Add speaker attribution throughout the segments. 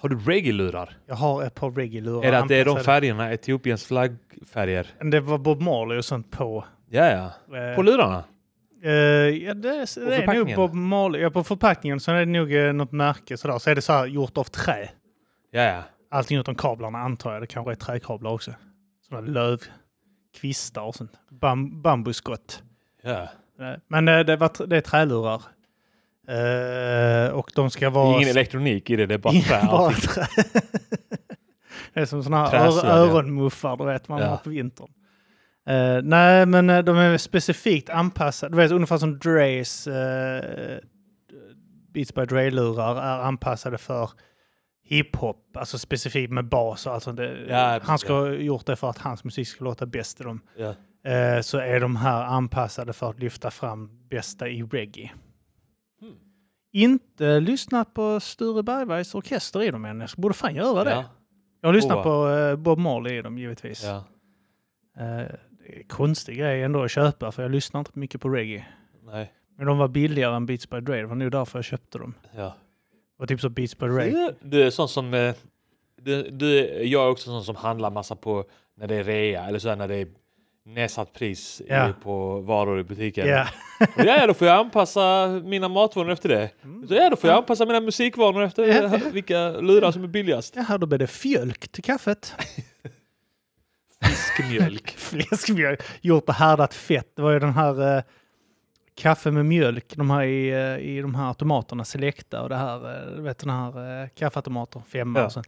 Speaker 1: Har du reggae-lurar?
Speaker 2: Jag har ett par reggae-lurar.
Speaker 1: Är det att det är de
Speaker 2: anpassade.
Speaker 1: färgerna, Etiopiens flaggfärger?
Speaker 2: Men Det var Bob Marley och sånt på.
Speaker 1: Ja, ja.
Speaker 2: Eh,
Speaker 1: På lurarna?
Speaker 2: eh, ja, det, det är nog
Speaker 1: förpackningen?
Speaker 2: Bob Marley. Ja, på förpackningen så är det nog eh, något märke sådär. Så är det så här gjort av trä.
Speaker 1: Ja, ja.
Speaker 2: Allting utom kablarna antar jag. Det kanske är träkablar också. Sådana lövkvistar och sånt. Bam, bambuskott.
Speaker 1: ja.
Speaker 2: Eh, Men eh, det, var, tr- det är trälurar. Eh, och de ska vara...
Speaker 1: Ingen elektronik i det, det är bara
Speaker 2: Ingen-
Speaker 1: trä. typ
Speaker 2: bara
Speaker 1: allting.
Speaker 2: trä. det är som sådana här
Speaker 1: Träslöjd,
Speaker 2: ör,
Speaker 1: ja.
Speaker 2: öronmuffar, du vet, man
Speaker 1: Ja.
Speaker 2: har på vintern. Eh, nej, men eh, de är specifikt anpassade. Du vet, ungefär som Dreys eh, Beats by Dre-lurar är anpassade för hiphop, alltså specifikt med bas och allt sånt. Det-
Speaker 1: Ja,
Speaker 2: han ska ha gjort det för att hans musik ska låta bäst i dem.
Speaker 1: Ja.
Speaker 2: Eh, så är de här anpassade för att lyfta fram bästa i reggae.
Speaker 1: Hmm.
Speaker 2: Inte lyssnat på Sture Bergwijs orkester i dem än. Jag borde fan göra det.
Speaker 1: Ja,
Speaker 2: Jag har lyssnat
Speaker 1: Boa.
Speaker 2: på eh, Bob Marley i dem givetvis.
Speaker 1: ja.
Speaker 2: Eh, det är konstig grej ändå att köpa för jag lyssnar inte mycket på reggae.
Speaker 1: Nej.
Speaker 2: Men de var billigare än Beats by Dre. Det var nog därför jag köpte dem.
Speaker 1: Ja.
Speaker 2: Det var typ så Beats by Dre.
Speaker 1: Du, du är sån som... eh, Du, du, är- jag är också sån som handlar massa på när det är rea eller så här, när det är nedsatt pris i-
Speaker 2: Ja.
Speaker 1: på varor i butiken.
Speaker 2: Ja,
Speaker 1: Och ja, då får jag anpassa mina matvanor efter det.
Speaker 2: Mm.
Speaker 1: Så ja, då får jag anpassa mina musikvanor efter eh, vilka lurar som är billigast.
Speaker 2: ja här då blev det fjölk till kaffet.
Speaker 1: Fiskmjölk.
Speaker 2: Fläskmjölk gjort på härdat fett. Det var ju den här eh, kaffe med mjölk, de här i, eh, i de här automaterna, Selecta och det här, eh, du vet den här eh, kaffeautomater, femma
Speaker 1: Ja.
Speaker 2: och så.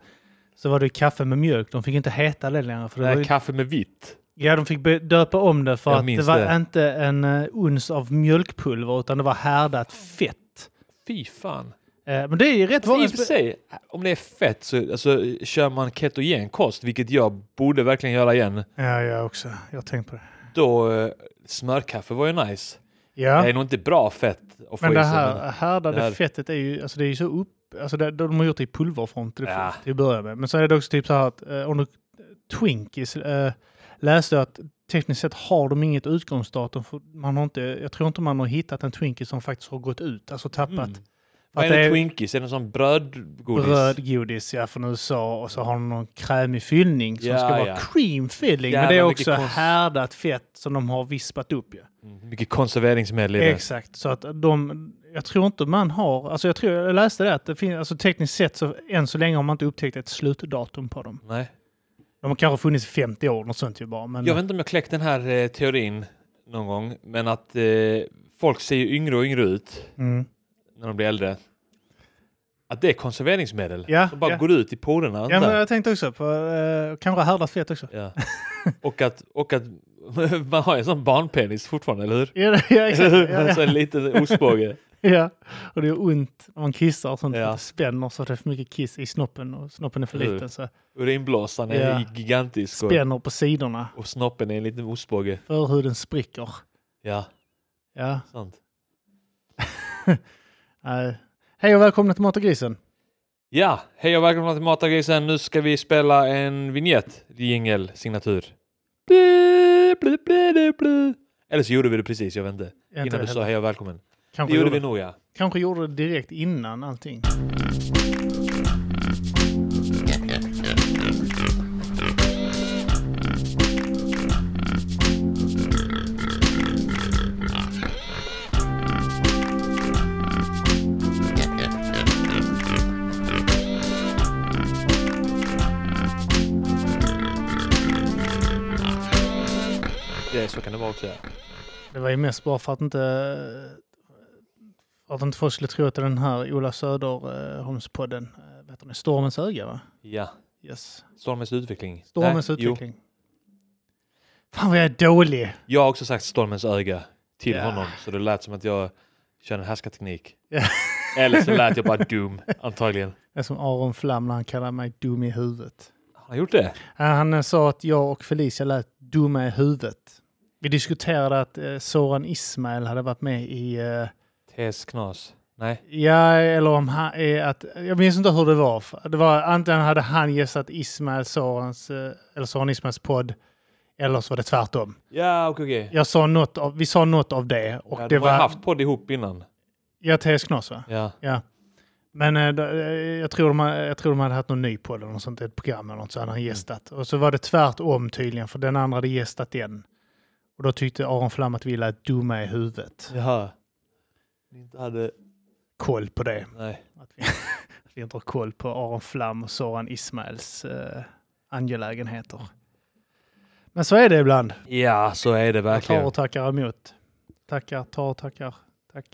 Speaker 2: Så var det ju kaffe med mjölk, de fick inte heta det längre. För det var
Speaker 1: Nej,
Speaker 2: ju,
Speaker 1: kaffe med vitt.
Speaker 2: ja, de fick be- döpa om det för
Speaker 1: Jag
Speaker 2: att det
Speaker 1: minns
Speaker 2: var
Speaker 1: det.
Speaker 2: inte en eh, uns av mjölkpulver utan det var härdat fett.
Speaker 1: Fy fan.
Speaker 2: Eh, men det är ju rätt
Speaker 1: Alltså, I
Speaker 2: vanligt.
Speaker 1: och för sig, om det är fett så alltså, kör man ketogenkost, vilket jag borde verkligen göra igen,
Speaker 2: Ja, jag också. Jag har tänkt på det.
Speaker 1: då eh, smörkaffe var ju nice.
Speaker 2: Ja.
Speaker 1: Det är nog inte bra fett att få
Speaker 2: Men det
Speaker 1: i sig. men-
Speaker 2: här härdade
Speaker 1: det här-
Speaker 2: fettet är ju, alltså det är ju så upp, alltså det, de har gjort det i pulverform till,
Speaker 1: Ja.
Speaker 2: till att börja med. Men så är det också typ så här att eh, om du Twinkies eh, läste jag att tekniskt sett har de inget utgångsdatum för man har inte, jag tror inte man har hittat en Twinkie som faktiskt har gått ut, alltså tappat.
Speaker 1: Mm.
Speaker 2: Att
Speaker 1: Vad är det,
Speaker 2: det är-
Speaker 1: Twinkies? Är det sån brödgodis?
Speaker 2: Brödgodis ja, från USA och så har de någon krämig fyllning som
Speaker 1: Ja,
Speaker 2: ska vara
Speaker 1: ja.
Speaker 2: cream filling. men det är
Speaker 1: Jävla mycket
Speaker 2: också
Speaker 1: konst-
Speaker 2: härdat fett som de har vispat upp ju.
Speaker 1: Mm, Mycket konserveringsmedel i det.
Speaker 2: Exakt, så att de, jag tror inte man har, alltså jag tror jag läste det att det finns, alltså tekniskt sett så än så länge har man inte upptäckt ett slutdatum på dem.
Speaker 1: Nej.
Speaker 2: De har kanske funnits i 50 år, något sånt ju bara. Men
Speaker 1: Jag vet inte om jag kläckt den här eh, teorin någon gång, men att eh, folk ser ju yngre och yngre ut
Speaker 2: mm.
Speaker 1: när de blir äldre. Att det är konserveringsmedel
Speaker 2: Ja,
Speaker 1: som bara
Speaker 2: ja.
Speaker 1: går ut i porerna.
Speaker 2: Ja, men
Speaker 1: antar jag.
Speaker 2: jag tänkte också på, eh, kanske härdat fett också.
Speaker 1: Ja. Och att, och att man har ju en sån barnpenis fortfarande, eller hur?
Speaker 2: Ja, ja, exakt.
Speaker 1: en
Speaker 2: Ja,
Speaker 1: sån liten ostbåge.
Speaker 2: ja, ja. Och det gör ont när man kissar och sånt.
Speaker 1: Ja.
Speaker 2: Ja. Det spänner så att det är för mycket kiss i snoppen och snoppen är för
Speaker 1: Eller hur?
Speaker 2: liten. Så
Speaker 1: Urinblåsan är
Speaker 2: Ja.
Speaker 1: gigantisk och,
Speaker 2: spänner på sidorna,
Speaker 1: och snoppen är en liten ostbåge.
Speaker 2: förhuden spricker.
Speaker 1: Ja,
Speaker 2: Ja.
Speaker 1: sant.
Speaker 2: nej. Hej och välkomna till Mat och grisen.
Speaker 1: Ja, hej och välkomna till Matargrisen. Nu ska vi spela en vignett, jingel, signatur. Bli, bli, bli, bli, bli. Eller så gjorde vi det precis, jag vet inte.
Speaker 2: Jag
Speaker 1: Innan du sa hej och välkommen. Det
Speaker 2: Kanske
Speaker 1: gjorde vi nog ja.
Speaker 2: Kanske gjorde det direkt innan allting.
Speaker 1: Det, så kan det vara också. Ja.
Speaker 2: Det var ju mest bara för att inte, för att inte folk skulle tro att det är den här Ola Söderholmspodden, eh, vet ni, Stormens öga va?
Speaker 1: ja.
Speaker 2: Yes.
Speaker 1: Stormens utveckling.
Speaker 2: Stormens
Speaker 1: Nej, jo.
Speaker 2: utveckling. Fan vad jag är dålig!
Speaker 1: Jag har också sagt stormens öga till
Speaker 2: Ja.
Speaker 1: honom, så det lät som att jag kör en härskarteknik.
Speaker 2: Ja.
Speaker 1: Eller så lät jag bara dum, antagligen.
Speaker 2: Det är som Aron Flam när han kallar mig dum i huvudet.
Speaker 1: Han har gjort det?
Speaker 2: Eh, Han eh, sa att jag och Felicia lät dumma i huvudet. Vi diskuterade att eh, Soran Ismail hade varit med i eh,
Speaker 1: Tes knas. Nej.
Speaker 2: Ja, eller om han är att... Jag minns inte hur det var. Det var antingen hade han gästat Ismail Sorens, eh, eller Soran Ismails podd, eller så var det tvärtom.
Speaker 1: Ja, okej, okej.
Speaker 2: Jag sa något av, vi sa något av det och
Speaker 1: Ja,
Speaker 2: det
Speaker 1: de har ju
Speaker 2: var...
Speaker 1: haft podd ihop innan.
Speaker 2: Ja, TS Knas va?
Speaker 1: Ja.
Speaker 2: Ja. Men eh, då- eh, jag, tror de, ha- jag tror de hade haft någon ny podd eller något sånt, ett program eller något, så
Speaker 1: Mm.
Speaker 2: hade han gästat. Och så var det tvärtom tydligen, för den andra hade gästat den. Och då tyckte Aron Flam att vi lät dumma i huvudet.
Speaker 1: Jaha. Ni Inte hade...
Speaker 2: Koll på det.
Speaker 1: Nej.
Speaker 2: Att vi, att vi inte har koll på Aron Flam och Soran Ismails eh, angelägenheter. Men så är det ibland.
Speaker 1: Ja, så är det
Speaker 2: Jag tar
Speaker 1: verkligen.
Speaker 2: och tackar emot. Tackar, tar och tackar. Tack.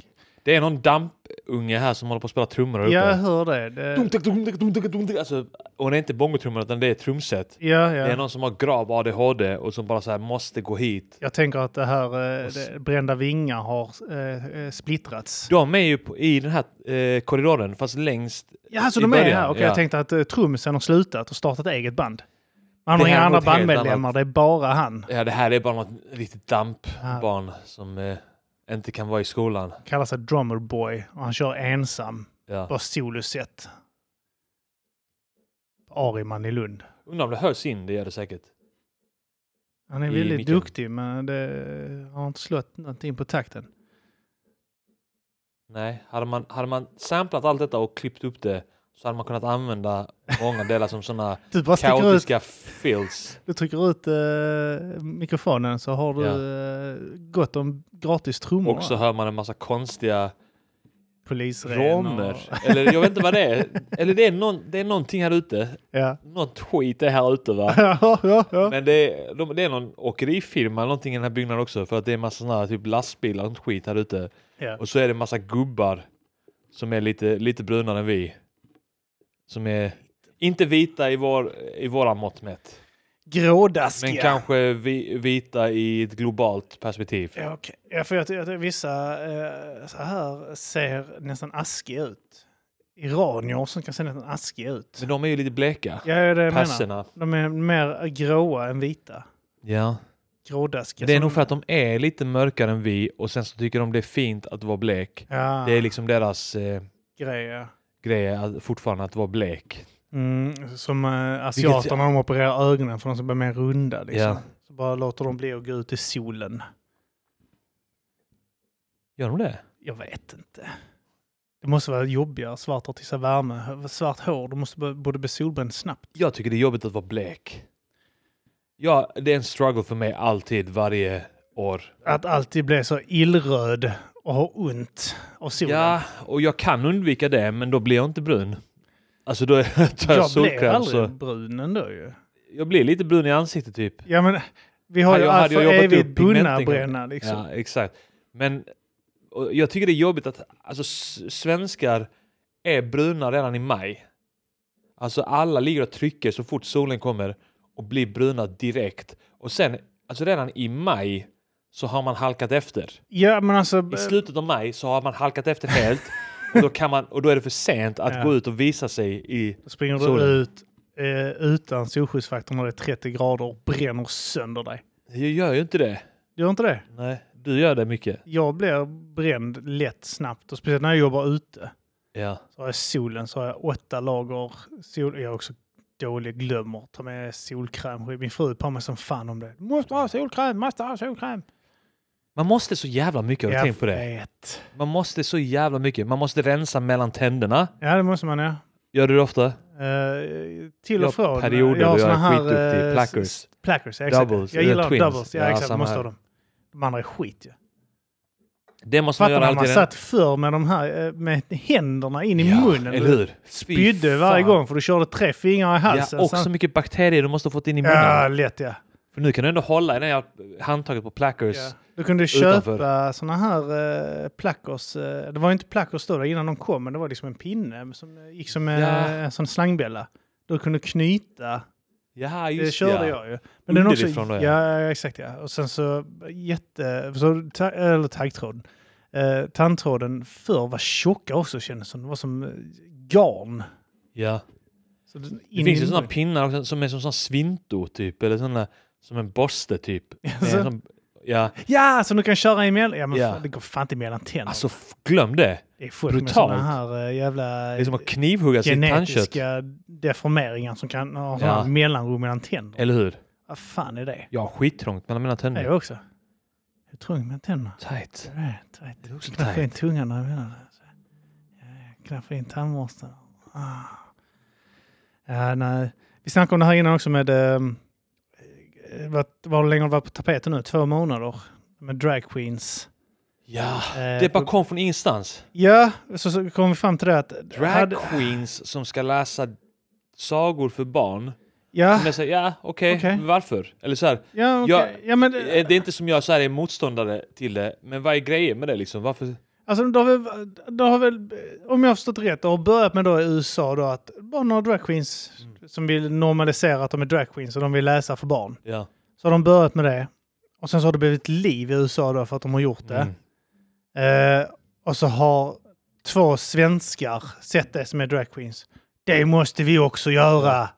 Speaker 1: Det är någon dampunge här som håller på att spela trummor där uppe.
Speaker 2: Jag hör det. det
Speaker 1: Dum-tuck, dum-tuck, dum-tuck, dum-tuck. Alltså, och det är inte bongotrummor utan det är trumset.
Speaker 2: ja,
Speaker 1: Det är
Speaker 2: ja.
Speaker 1: någon som har grav ADHD och som bara så här måste gå hit.
Speaker 2: Jag tänker att det här eh,
Speaker 1: Och s-
Speaker 2: det, brända vingar har eh, eh, splittrats.
Speaker 1: De är ju på, i den här eh, korridoren fast längst...
Speaker 2: Ja, så
Speaker 1: i
Speaker 2: de är
Speaker 1: början,
Speaker 2: här. Okej,
Speaker 1: ja.
Speaker 2: jag tänkte att eh, trummisen har slutat och startat eget band. Han
Speaker 1: Det
Speaker 2: har inga
Speaker 1: här är
Speaker 2: andra
Speaker 1: något helt
Speaker 2: bandmedlemmar,
Speaker 1: annat.
Speaker 2: det är bara han.
Speaker 1: Ja, det här är bara något riktigt
Speaker 2: Ja.
Speaker 1: dampbarn som eh, inte kan vara i skolan.
Speaker 2: Kallar sig Drummer Boy och han kör ensam.
Speaker 1: Ja.
Speaker 2: Bara soloset. Ariman i Lund.
Speaker 1: Undrar om det hörs in, det gör det säkert.
Speaker 2: Han är
Speaker 1: I
Speaker 2: väldigt
Speaker 1: micken.
Speaker 2: duktig men det har inte slått någonting på takten.
Speaker 1: Nej, hade man, hade man samplat allt detta och klippt upp det så hade man kunnat använda många delar som sådana
Speaker 2: Du bara sticker ut,
Speaker 1: kaotiska fills.
Speaker 2: du trycker ut eh, mikrofonen så har du
Speaker 1: Ja.
Speaker 2: eh, gott om gratis trummor.
Speaker 1: Och så hör man en massa konstiga
Speaker 2: Polisren och-
Speaker 1: romer. Eller jag vet inte vad det är. Eller det är, någon, det är någonting här ute.
Speaker 2: Ja.
Speaker 1: Något skit är här ute va?
Speaker 2: ja, ja, ja.
Speaker 1: Men det är, de- det är någon åkerifirma eller någonting i den här byggnaden också för att det är massa sådana här typ lastbilar och sånt skit här ute.
Speaker 2: Ja.
Speaker 1: Och så är det massa gubbar som är lite, lite brunare än vi. Som är inte vita i, vår, i våra mått mätt.
Speaker 2: Grådaskiga.
Speaker 1: Men kanske vi, vita i ett globalt perspektiv.
Speaker 2: Ja, okej. Ja, för jag tycker att vissa eh, så här ser nästan askiga ut. Iranier som kan se nästan askiga ut.
Speaker 1: Men de är ju lite bleka.
Speaker 2: Ja, det är det jag menar.
Speaker 1: Perserna.
Speaker 2: De är mer gråa än vita.
Speaker 1: Ja.
Speaker 2: Grådaskiga.
Speaker 1: Det är
Speaker 2: som-
Speaker 1: nog för att de är lite mörkare än vi och sen så tycker de det är fint att vara blek.
Speaker 2: ja,
Speaker 1: Det är liksom deras eh,
Speaker 2: grejer.
Speaker 1: grej att, fortfarande att vara blek.
Speaker 2: Mm, som eh, asiaterna,
Speaker 1: Vilket-
Speaker 2: de opererar ögonen för de som blir mer runda. Liksom.
Speaker 1: Ja.
Speaker 2: Så bara låter dem bli och gå ut i solen.
Speaker 1: Gör de det?
Speaker 2: Jag vet inte. Det måste vara jobbigare. Svart har till sig värme. Svart hår, du måste både bli solbränd snabbt.
Speaker 1: Jag tycker det är jobbigt att vara blek. Ja, det är en struggle för mig alltid, varje år.
Speaker 2: Att alltid bli så illröd och ha ont av solen.
Speaker 1: Ja, och jag kan undvika det, men då blir jag inte brun. Alltså då tar jag,
Speaker 2: jag blev
Speaker 1: solkräm
Speaker 2: aldrig
Speaker 1: så...
Speaker 2: brun ändå ju.
Speaker 1: Jag blir lite brun i ansiktet typ.
Speaker 2: Ja men vi har
Speaker 1: Hade
Speaker 2: ju
Speaker 1: jag-
Speaker 2: allt
Speaker 1: hade jag
Speaker 2: för
Speaker 1: jobbat upp
Speaker 2: evigt bundna
Speaker 1: pigmenten-
Speaker 2: bränna liksom.
Speaker 1: Ja, exakt. Men och jag tycker det är jobbigt att alltså, s- svenskar är bruna redan i maj. Alltså alla ligger och trycker så fort solen kommer och blir bruna direkt. Och sen, alltså redan i maj så har man halkat efter.
Speaker 2: Ja men alltså,
Speaker 1: I slutet av maj så har man halkat efter helt. Och då, kan man, och då är det för sent att
Speaker 2: Ja.
Speaker 1: gå ut och visa sig i...
Speaker 2: då springer du
Speaker 1: solen.
Speaker 2: ut eh, utan solskyddsfaktor när det är 30 grader och bränner sönder dig.
Speaker 1: Jag gör ju inte det.
Speaker 2: Gör inte det?
Speaker 1: Nej, du gör det mycket.
Speaker 2: Jag blir bränd lätt snabbt och speciellt när jag jobbar ute.
Speaker 1: Ja.
Speaker 2: Så har jag solen, så har jag åtta lager sol. Jag är också dålig, glömmer ta med solkräm. Min fru är på mig som fan om det. Du måste ha solkräm, måste ha solkräm.
Speaker 1: Man måste så jävla mycket, har du tänkt på det?
Speaker 2: vet.
Speaker 1: Man måste så jävla mycket. Man måste rensa mellan tänderna.
Speaker 2: Ja, det måste man ja.
Speaker 1: Gör du det ofta?
Speaker 2: Eh,
Speaker 1: Jag
Speaker 2: till
Speaker 1: har
Speaker 2: och från.
Speaker 1: perioder
Speaker 2: jag har
Speaker 1: då jag
Speaker 2: såna
Speaker 1: har
Speaker 2: här
Speaker 1: skitduktig.
Speaker 2: eh,
Speaker 1: Plackers.
Speaker 2: s- plackers, ja, exakt.
Speaker 1: Doubles,
Speaker 2: Jag
Speaker 1: eller
Speaker 2: gillar
Speaker 1: twins.
Speaker 2: doubles. Ja,
Speaker 1: Ja,
Speaker 2: exakt. Man
Speaker 1: samma
Speaker 2: måste ha
Speaker 1: här.
Speaker 2: dem. De andra är skit ju.
Speaker 1: Det måste man
Speaker 2: Fattar
Speaker 1: göra
Speaker 2: när man
Speaker 1: alltid.
Speaker 2: satt förr med de här eh, med händerna in i munnen.
Speaker 1: eller hur?
Speaker 2: Spydde varje gång för du körde tre fingrar i halsen.
Speaker 1: Ja, och
Speaker 2: sen-
Speaker 1: så mycket bakterier du måste ha fått in i munnen.
Speaker 2: ja lätt ja.
Speaker 1: För nu kan du ändå hålla i det här handtaget på plackers.
Speaker 2: Ja. Du kunde
Speaker 1: Utanför.
Speaker 2: köpa såna här eh, plackers. Eh, det var ju inte plackers då innan de kom, men det var liksom en pinne som eh, gick som en,
Speaker 1: Ja.
Speaker 2: en sån slangbella. Du kunde knyta
Speaker 1: Jaha,
Speaker 2: Det
Speaker 1: just
Speaker 2: körde
Speaker 1: ja.
Speaker 2: jag ju. Men den är också,
Speaker 1: Underifrån då,
Speaker 2: ja.
Speaker 1: ja.
Speaker 2: ja, exakt ja. Och sen så jätte... Så, ta, eller taggtråden. Eh, tandtråden förr var tjocka också kändes som. Det var som eh, garn.
Speaker 1: Ja.
Speaker 2: Så den-
Speaker 1: Det
Speaker 2: in
Speaker 1: finns
Speaker 2: i
Speaker 1: ju sådana
Speaker 2: munnen.
Speaker 1: pinnar också, som är som sån svinto typ, eller såna som en borste typ. Det är
Speaker 2: så-
Speaker 1: en sån- Ja,
Speaker 2: Ja, så du kan köra emellan. Ja, men
Speaker 1: Ja.
Speaker 2: Fan, det går fan inte mellan tänderna.
Speaker 1: alltså f- glöm det.
Speaker 2: det är folk med
Speaker 1: brutalt.
Speaker 2: sådana här eh, jävla
Speaker 1: Det är som att knivhugga sitt tandkött.
Speaker 2: genetiska deformeringar som kan ha sådana
Speaker 1: Ja.
Speaker 2: här mellanrum mellan tänderna.
Speaker 1: Eller hur?
Speaker 2: Vad fan är det?
Speaker 1: Jag har skittrångt mellan mina
Speaker 2: Det är
Speaker 1: tänder.
Speaker 2: jag också. Hur trångt mellan tänderna?
Speaker 1: Tight.
Speaker 2: Det är tajt.
Speaker 1: Det är också
Speaker 2: Knappt
Speaker 1: tajt.
Speaker 2: in tungan när jag menar det. Ja, knappa in tandborsten. Ah. Ja, nej. Vi snackade om det här innan också med... ehm, Eh, vad, vad länge har det varit på tapeten nu? Två månader? Med drag queens.
Speaker 1: Ja,
Speaker 2: Eh,
Speaker 1: det bara
Speaker 2: och-
Speaker 1: kom från ingenstans.
Speaker 2: Ja, så, så kom vi fram till det att...
Speaker 1: Drag queens som ska läsa sagor för barn.
Speaker 2: ja,
Speaker 1: Men säger ja, okej,
Speaker 2: Okej.
Speaker 1: varför? Eller så här,
Speaker 2: ja, okej.
Speaker 1: jag-
Speaker 2: ja, men...
Speaker 1: eh, det är inte som jag så här är motståndare till det, men vad är grejen med det liksom? Varför?
Speaker 2: Alltså, då har väl, då har väl, om jag har förstått rätt, det har börjat med då i USA då att bara några dragqueens
Speaker 1: Mm.
Speaker 2: som vill normalisera att de är dragqueens och de vill läsa för barn.
Speaker 1: Ja.
Speaker 2: Så har de börjat med det. Och sen så har det blivit liv i USA då för att de har gjort det.
Speaker 1: Mm.
Speaker 2: Eh, och så har två svenskar sett det som är dragqueens. Det
Speaker 1: Mm.
Speaker 2: måste vi också göra!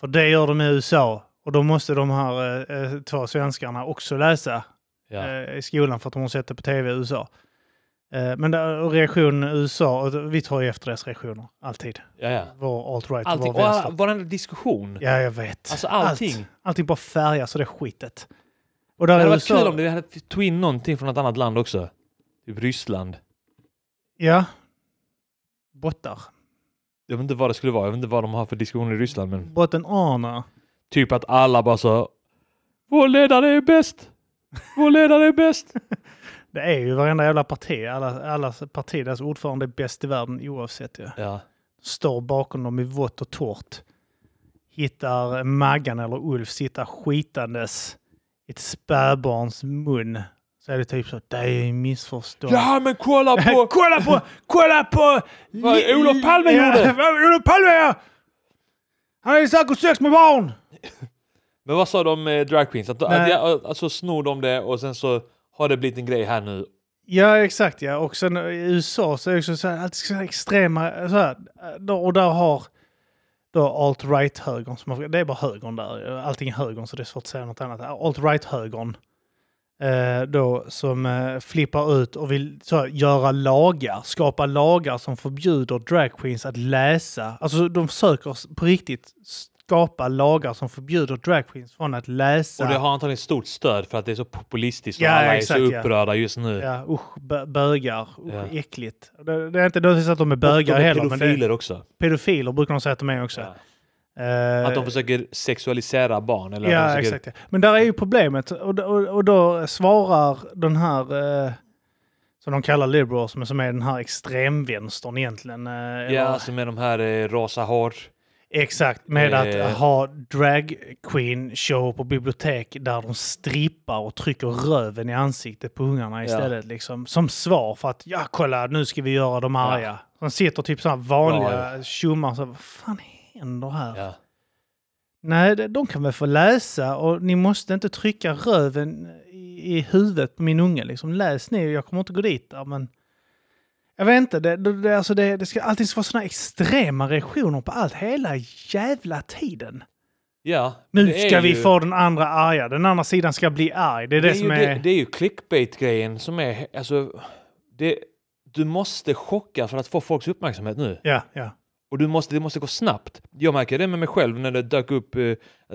Speaker 2: För det gör de i USA. Och då måste de här eh, eh, två svenskarna också läsa
Speaker 1: Ja.
Speaker 2: eh, i skolan för att de har sett det på tv i USA. Eh, men där, och reaktionen i USA, och vi tar ju efter deras reaktioner, alltid.
Speaker 1: ja, ja.
Speaker 2: Vår alt-right och
Speaker 1: Allting,
Speaker 2: vår
Speaker 1: och alla,
Speaker 2: vänster.
Speaker 1: varenda diskussion.
Speaker 2: Ja, jag vet.
Speaker 1: Alltså, allting.
Speaker 2: Allt, allting bara färgas av det skitet. Och där
Speaker 1: Det
Speaker 2: i
Speaker 1: hade varit
Speaker 2: USA,
Speaker 1: kul om vi hade tog in någonting från ett annat land också. Typ Ryssland.
Speaker 2: Ja. Bottar.
Speaker 1: Jag vet inte vad det skulle vara, jag vet inte vad de har för diskussioner i Ryssland, men
Speaker 2: Botten Arna.
Speaker 1: typ att alla bara så Vår ledare är bäst! Vår ledare är bäst!
Speaker 2: Det är ju varenda jävla parti. Alla, alla partier, deras ordförande är bäst i världen oavsett ju.
Speaker 1: ja.
Speaker 2: Står bakom dem i vått och torrt. Hittar Maggan eller Ulf sitta skitandes i ett spädbarns mun. Så är det typ så, det är ju missförstånd.
Speaker 1: ja, men kolla på...
Speaker 2: kolla på, kolla på!
Speaker 1: Vad Olof Palme
Speaker 2: ja,
Speaker 1: gjorde.
Speaker 2: Vad Olof Palme ja! Han är säkert sex med barn!
Speaker 1: Men vad sa de med drag queens? Att, att,
Speaker 2: Nej.
Speaker 1: jag, att, att så snor de det och sen så har det blivit en grej här nu.
Speaker 2: Ja, exakt. Ja. Och sen eh, i USA så är det också så här, alltid så här extrema... eh, Så här, då- och där har då alt-right-högern, som har- det är bara högern där, eh, allting är högern så det är svårt att säga något annat. Alt-right-högern eh, då som eh, flippar ut och vill så här, göra lagar, skapa lagar som förbjuder dragqueens att läsa. Alltså de försöker s- på riktigt skapa lagar som förbjuder dragqueens från att läsa.
Speaker 1: Och det har antagligen stort stöd för att det är så populistiskt och
Speaker 2: Ja,
Speaker 1: alla
Speaker 2: exakt,
Speaker 1: är så
Speaker 2: ja.
Speaker 1: upprörda just nu.
Speaker 2: Ja, usch, bö- bögar. Usch,
Speaker 1: typ. Ja.
Speaker 2: äckligt. Det, det är inte nödvändigtvis att de är bögar
Speaker 1: de är
Speaker 2: heller, men
Speaker 1: pedofiler
Speaker 2: det,
Speaker 1: också.
Speaker 2: pedofiler brukar de säga att de är också.
Speaker 1: Ja.
Speaker 2: Eh,
Speaker 1: Att de försöker sexualisera barn. Eller att
Speaker 2: ja,
Speaker 1: de försöker,
Speaker 2: exakt. ja. Men där är ju problemet. Och, då- och, och då svarar den här, eh, som de kallar liberals, men som är den här extremvänstern egentligen. Eh,
Speaker 1: Ja,
Speaker 2: eller-
Speaker 1: alltså med de här eh, rosa hår.
Speaker 2: Exakt, med
Speaker 1: Eh.
Speaker 2: att ha drag queen show på bibliotek där de strippar och trycker röven i ansiktet på ungarna istället. Liksom, som svar för att ja, kolla nu ska vi göra dem arga.
Speaker 1: Ja.
Speaker 2: De sitter typ sådana vanliga
Speaker 1: Ja,
Speaker 2: tjommar så vad fan händer här?
Speaker 1: Ja.
Speaker 2: Nej, de- de kan väl få läsa och ni måste inte trycka röven i, i huvudet på min unge. Liksom. Läs ni, jag kommer inte gå dit där, men... Jag vet inte, det, det, det, alltså det, det ska alltid vara såna extrema reaktioner på allt hela jävla tiden.
Speaker 1: ja.
Speaker 2: Nu
Speaker 1: det är
Speaker 2: ska vi
Speaker 1: ju-
Speaker 2: få den andra arga, den andra sidan ska bli arg. Det är det,
Speaker 1: Det är, ju,
Speaker 2: som
Speaker 1: det,
Speaker 2: är...
Speaker 1: det är ju clickbait-grejen som är... Alltså, det, du måste chocka för att få folks uppmärksamhet nu.
Speaker 2: Ja, ja.
Speaker 1: Och du måste, det måste gå snabbt. Jag märker det med mig själv när det dök upp, eh,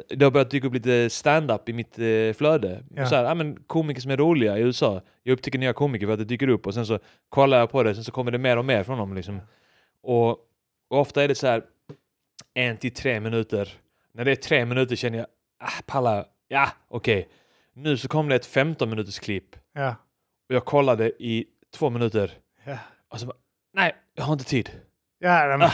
Speaker 1: det har börjat dyka upp lite stand-up i mitt eh, flöde.
Speaker 2: Ja.
Speaker 1: Så här, ja, men komiker som är roliga i USA. Jag upptäcker nya komiker för att det dyker upp och sen så kollar jag på det, sen så kommer det mer och mer från dem. Liksom. Och, och ofta är det så här en till tre minuter. När det är tre minuter känner jag, ah, pallar, ja, okej. Nu så kom det ett 15 minuters klipp
Speaker 2: ja,
Speaker 1: och jag kollade i två minuter.
Speaker 2: ja.
Speaker 1: Och så bara, nej, jag har inte tid.
Speaker 2: ja
Speaker 1: Ah.
Speaker 2: nej, men,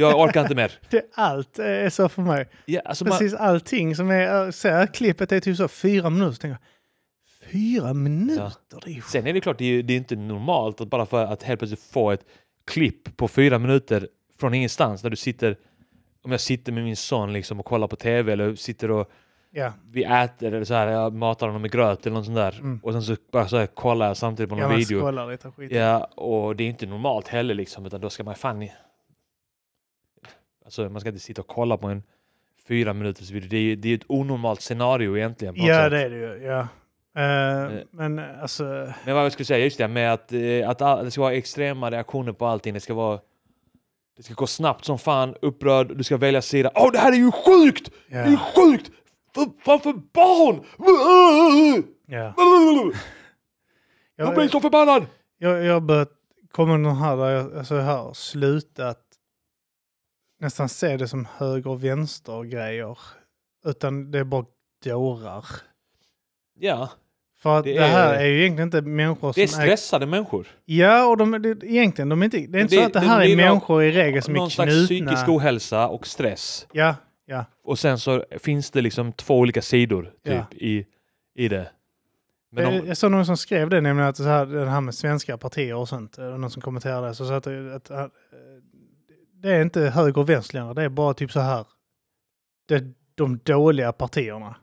Speaker 1: Jag orkar inte mer.
Speaker 2: det, allt är så för mig.
Speaker 1: Ja, alltså man,
Speaker 2: Precis allting som är... Så här, klippet är typ så fyra minuter. Så tänker jag, fyra minuter? Det är ju
Speaker 1: Sen är det klart, det är, ju- det är inte normalt att bara för att helt plötsligt få ett klipp på fyra minuter från ingenstans när du sitter, om jag sitter med min son liksom och kollar på tv eller sitter och
Speaker 2: Ja,
Speaker 1: vi äter eller så här, jag matar honom med gröt eller något sånt där
Speaker 2: Mm.
Speaker 1: och sen så bara så här, kollar jag samtidigt på någon
Speaker 2: jag måste
Speaker 1: video.
Speaker 2: kolla lite skit.
Speaker 1: Ja, och det är inte normalt heller liksom, utan då ska man fan i... Alltså man ska inte sitta och kolla på en fyra minuters video. Det är ju det är ett onormalt scenario egentligen. på något
Speaker 2: Ja,
Speaker 1: sätt.
Speaker 2: det är det ju. Ja. Eh, Men alltså,
Speaker 1: Men vad jag skulle säga, just det, med att, eh, att all, det ska vara extrema reaktioner på allting. Det ska vara... Det ska gå snabbt som fan, upprörd, du ska välja sida. Åh, det här är ju sjukt!
Speaker 2: ja.
Speaker 1: Det är sjukt! För, fan för barn!
Speaker 2: ja.
Speaker 1: Jag blir så förbannad!
Speaker 2: Jag, jag har börjat kommer någon här där jag, alltså jag har slutat nästan se det som höger och vänster grejer. Utan det är bara dårar.
Speaker 1: Ja,
Speaker 2: För att
Speaker 1: Det
Speaker 2: det, här
Speaker 1: är-
Speaker 2: är ju egentligen inte människor
Speaker 1: det är
Speaker 2: som är...
Speaker 1: stressade människor.
Speaker 2: Ja, och de, det, egentligen, de är inte, det är inte
Speaker 1: Det-
Speaker 2: så att det
Speaker 1: det
Speaker 2: här
Speaker 1: blir
Speaker 2: är
Speaker 1: någon-
Speaker 2: människor i regel som är
Speaker 1: Någon slags
Speaker 2: knutna.
Speaker 1: psykisk ohälsa och stress.
Speaker 2: Ja, ja.
Speaker 1: Och sen så finns det liksom två olika sidor typ
Speaker 2: Ja. Eh,
Speaker 1: i, i det. Men
Speaker 2: Jag-
Speaker 1: om,
Speaker 2: Jag såg någon som skrev det, nämligen att så här, det här med svenska partier och sånt, eh, någon som kommenterade det, så sa att, att, att eh, det är inte höger och vänster längre, det är bara typ så här, det är de dåliga partierna.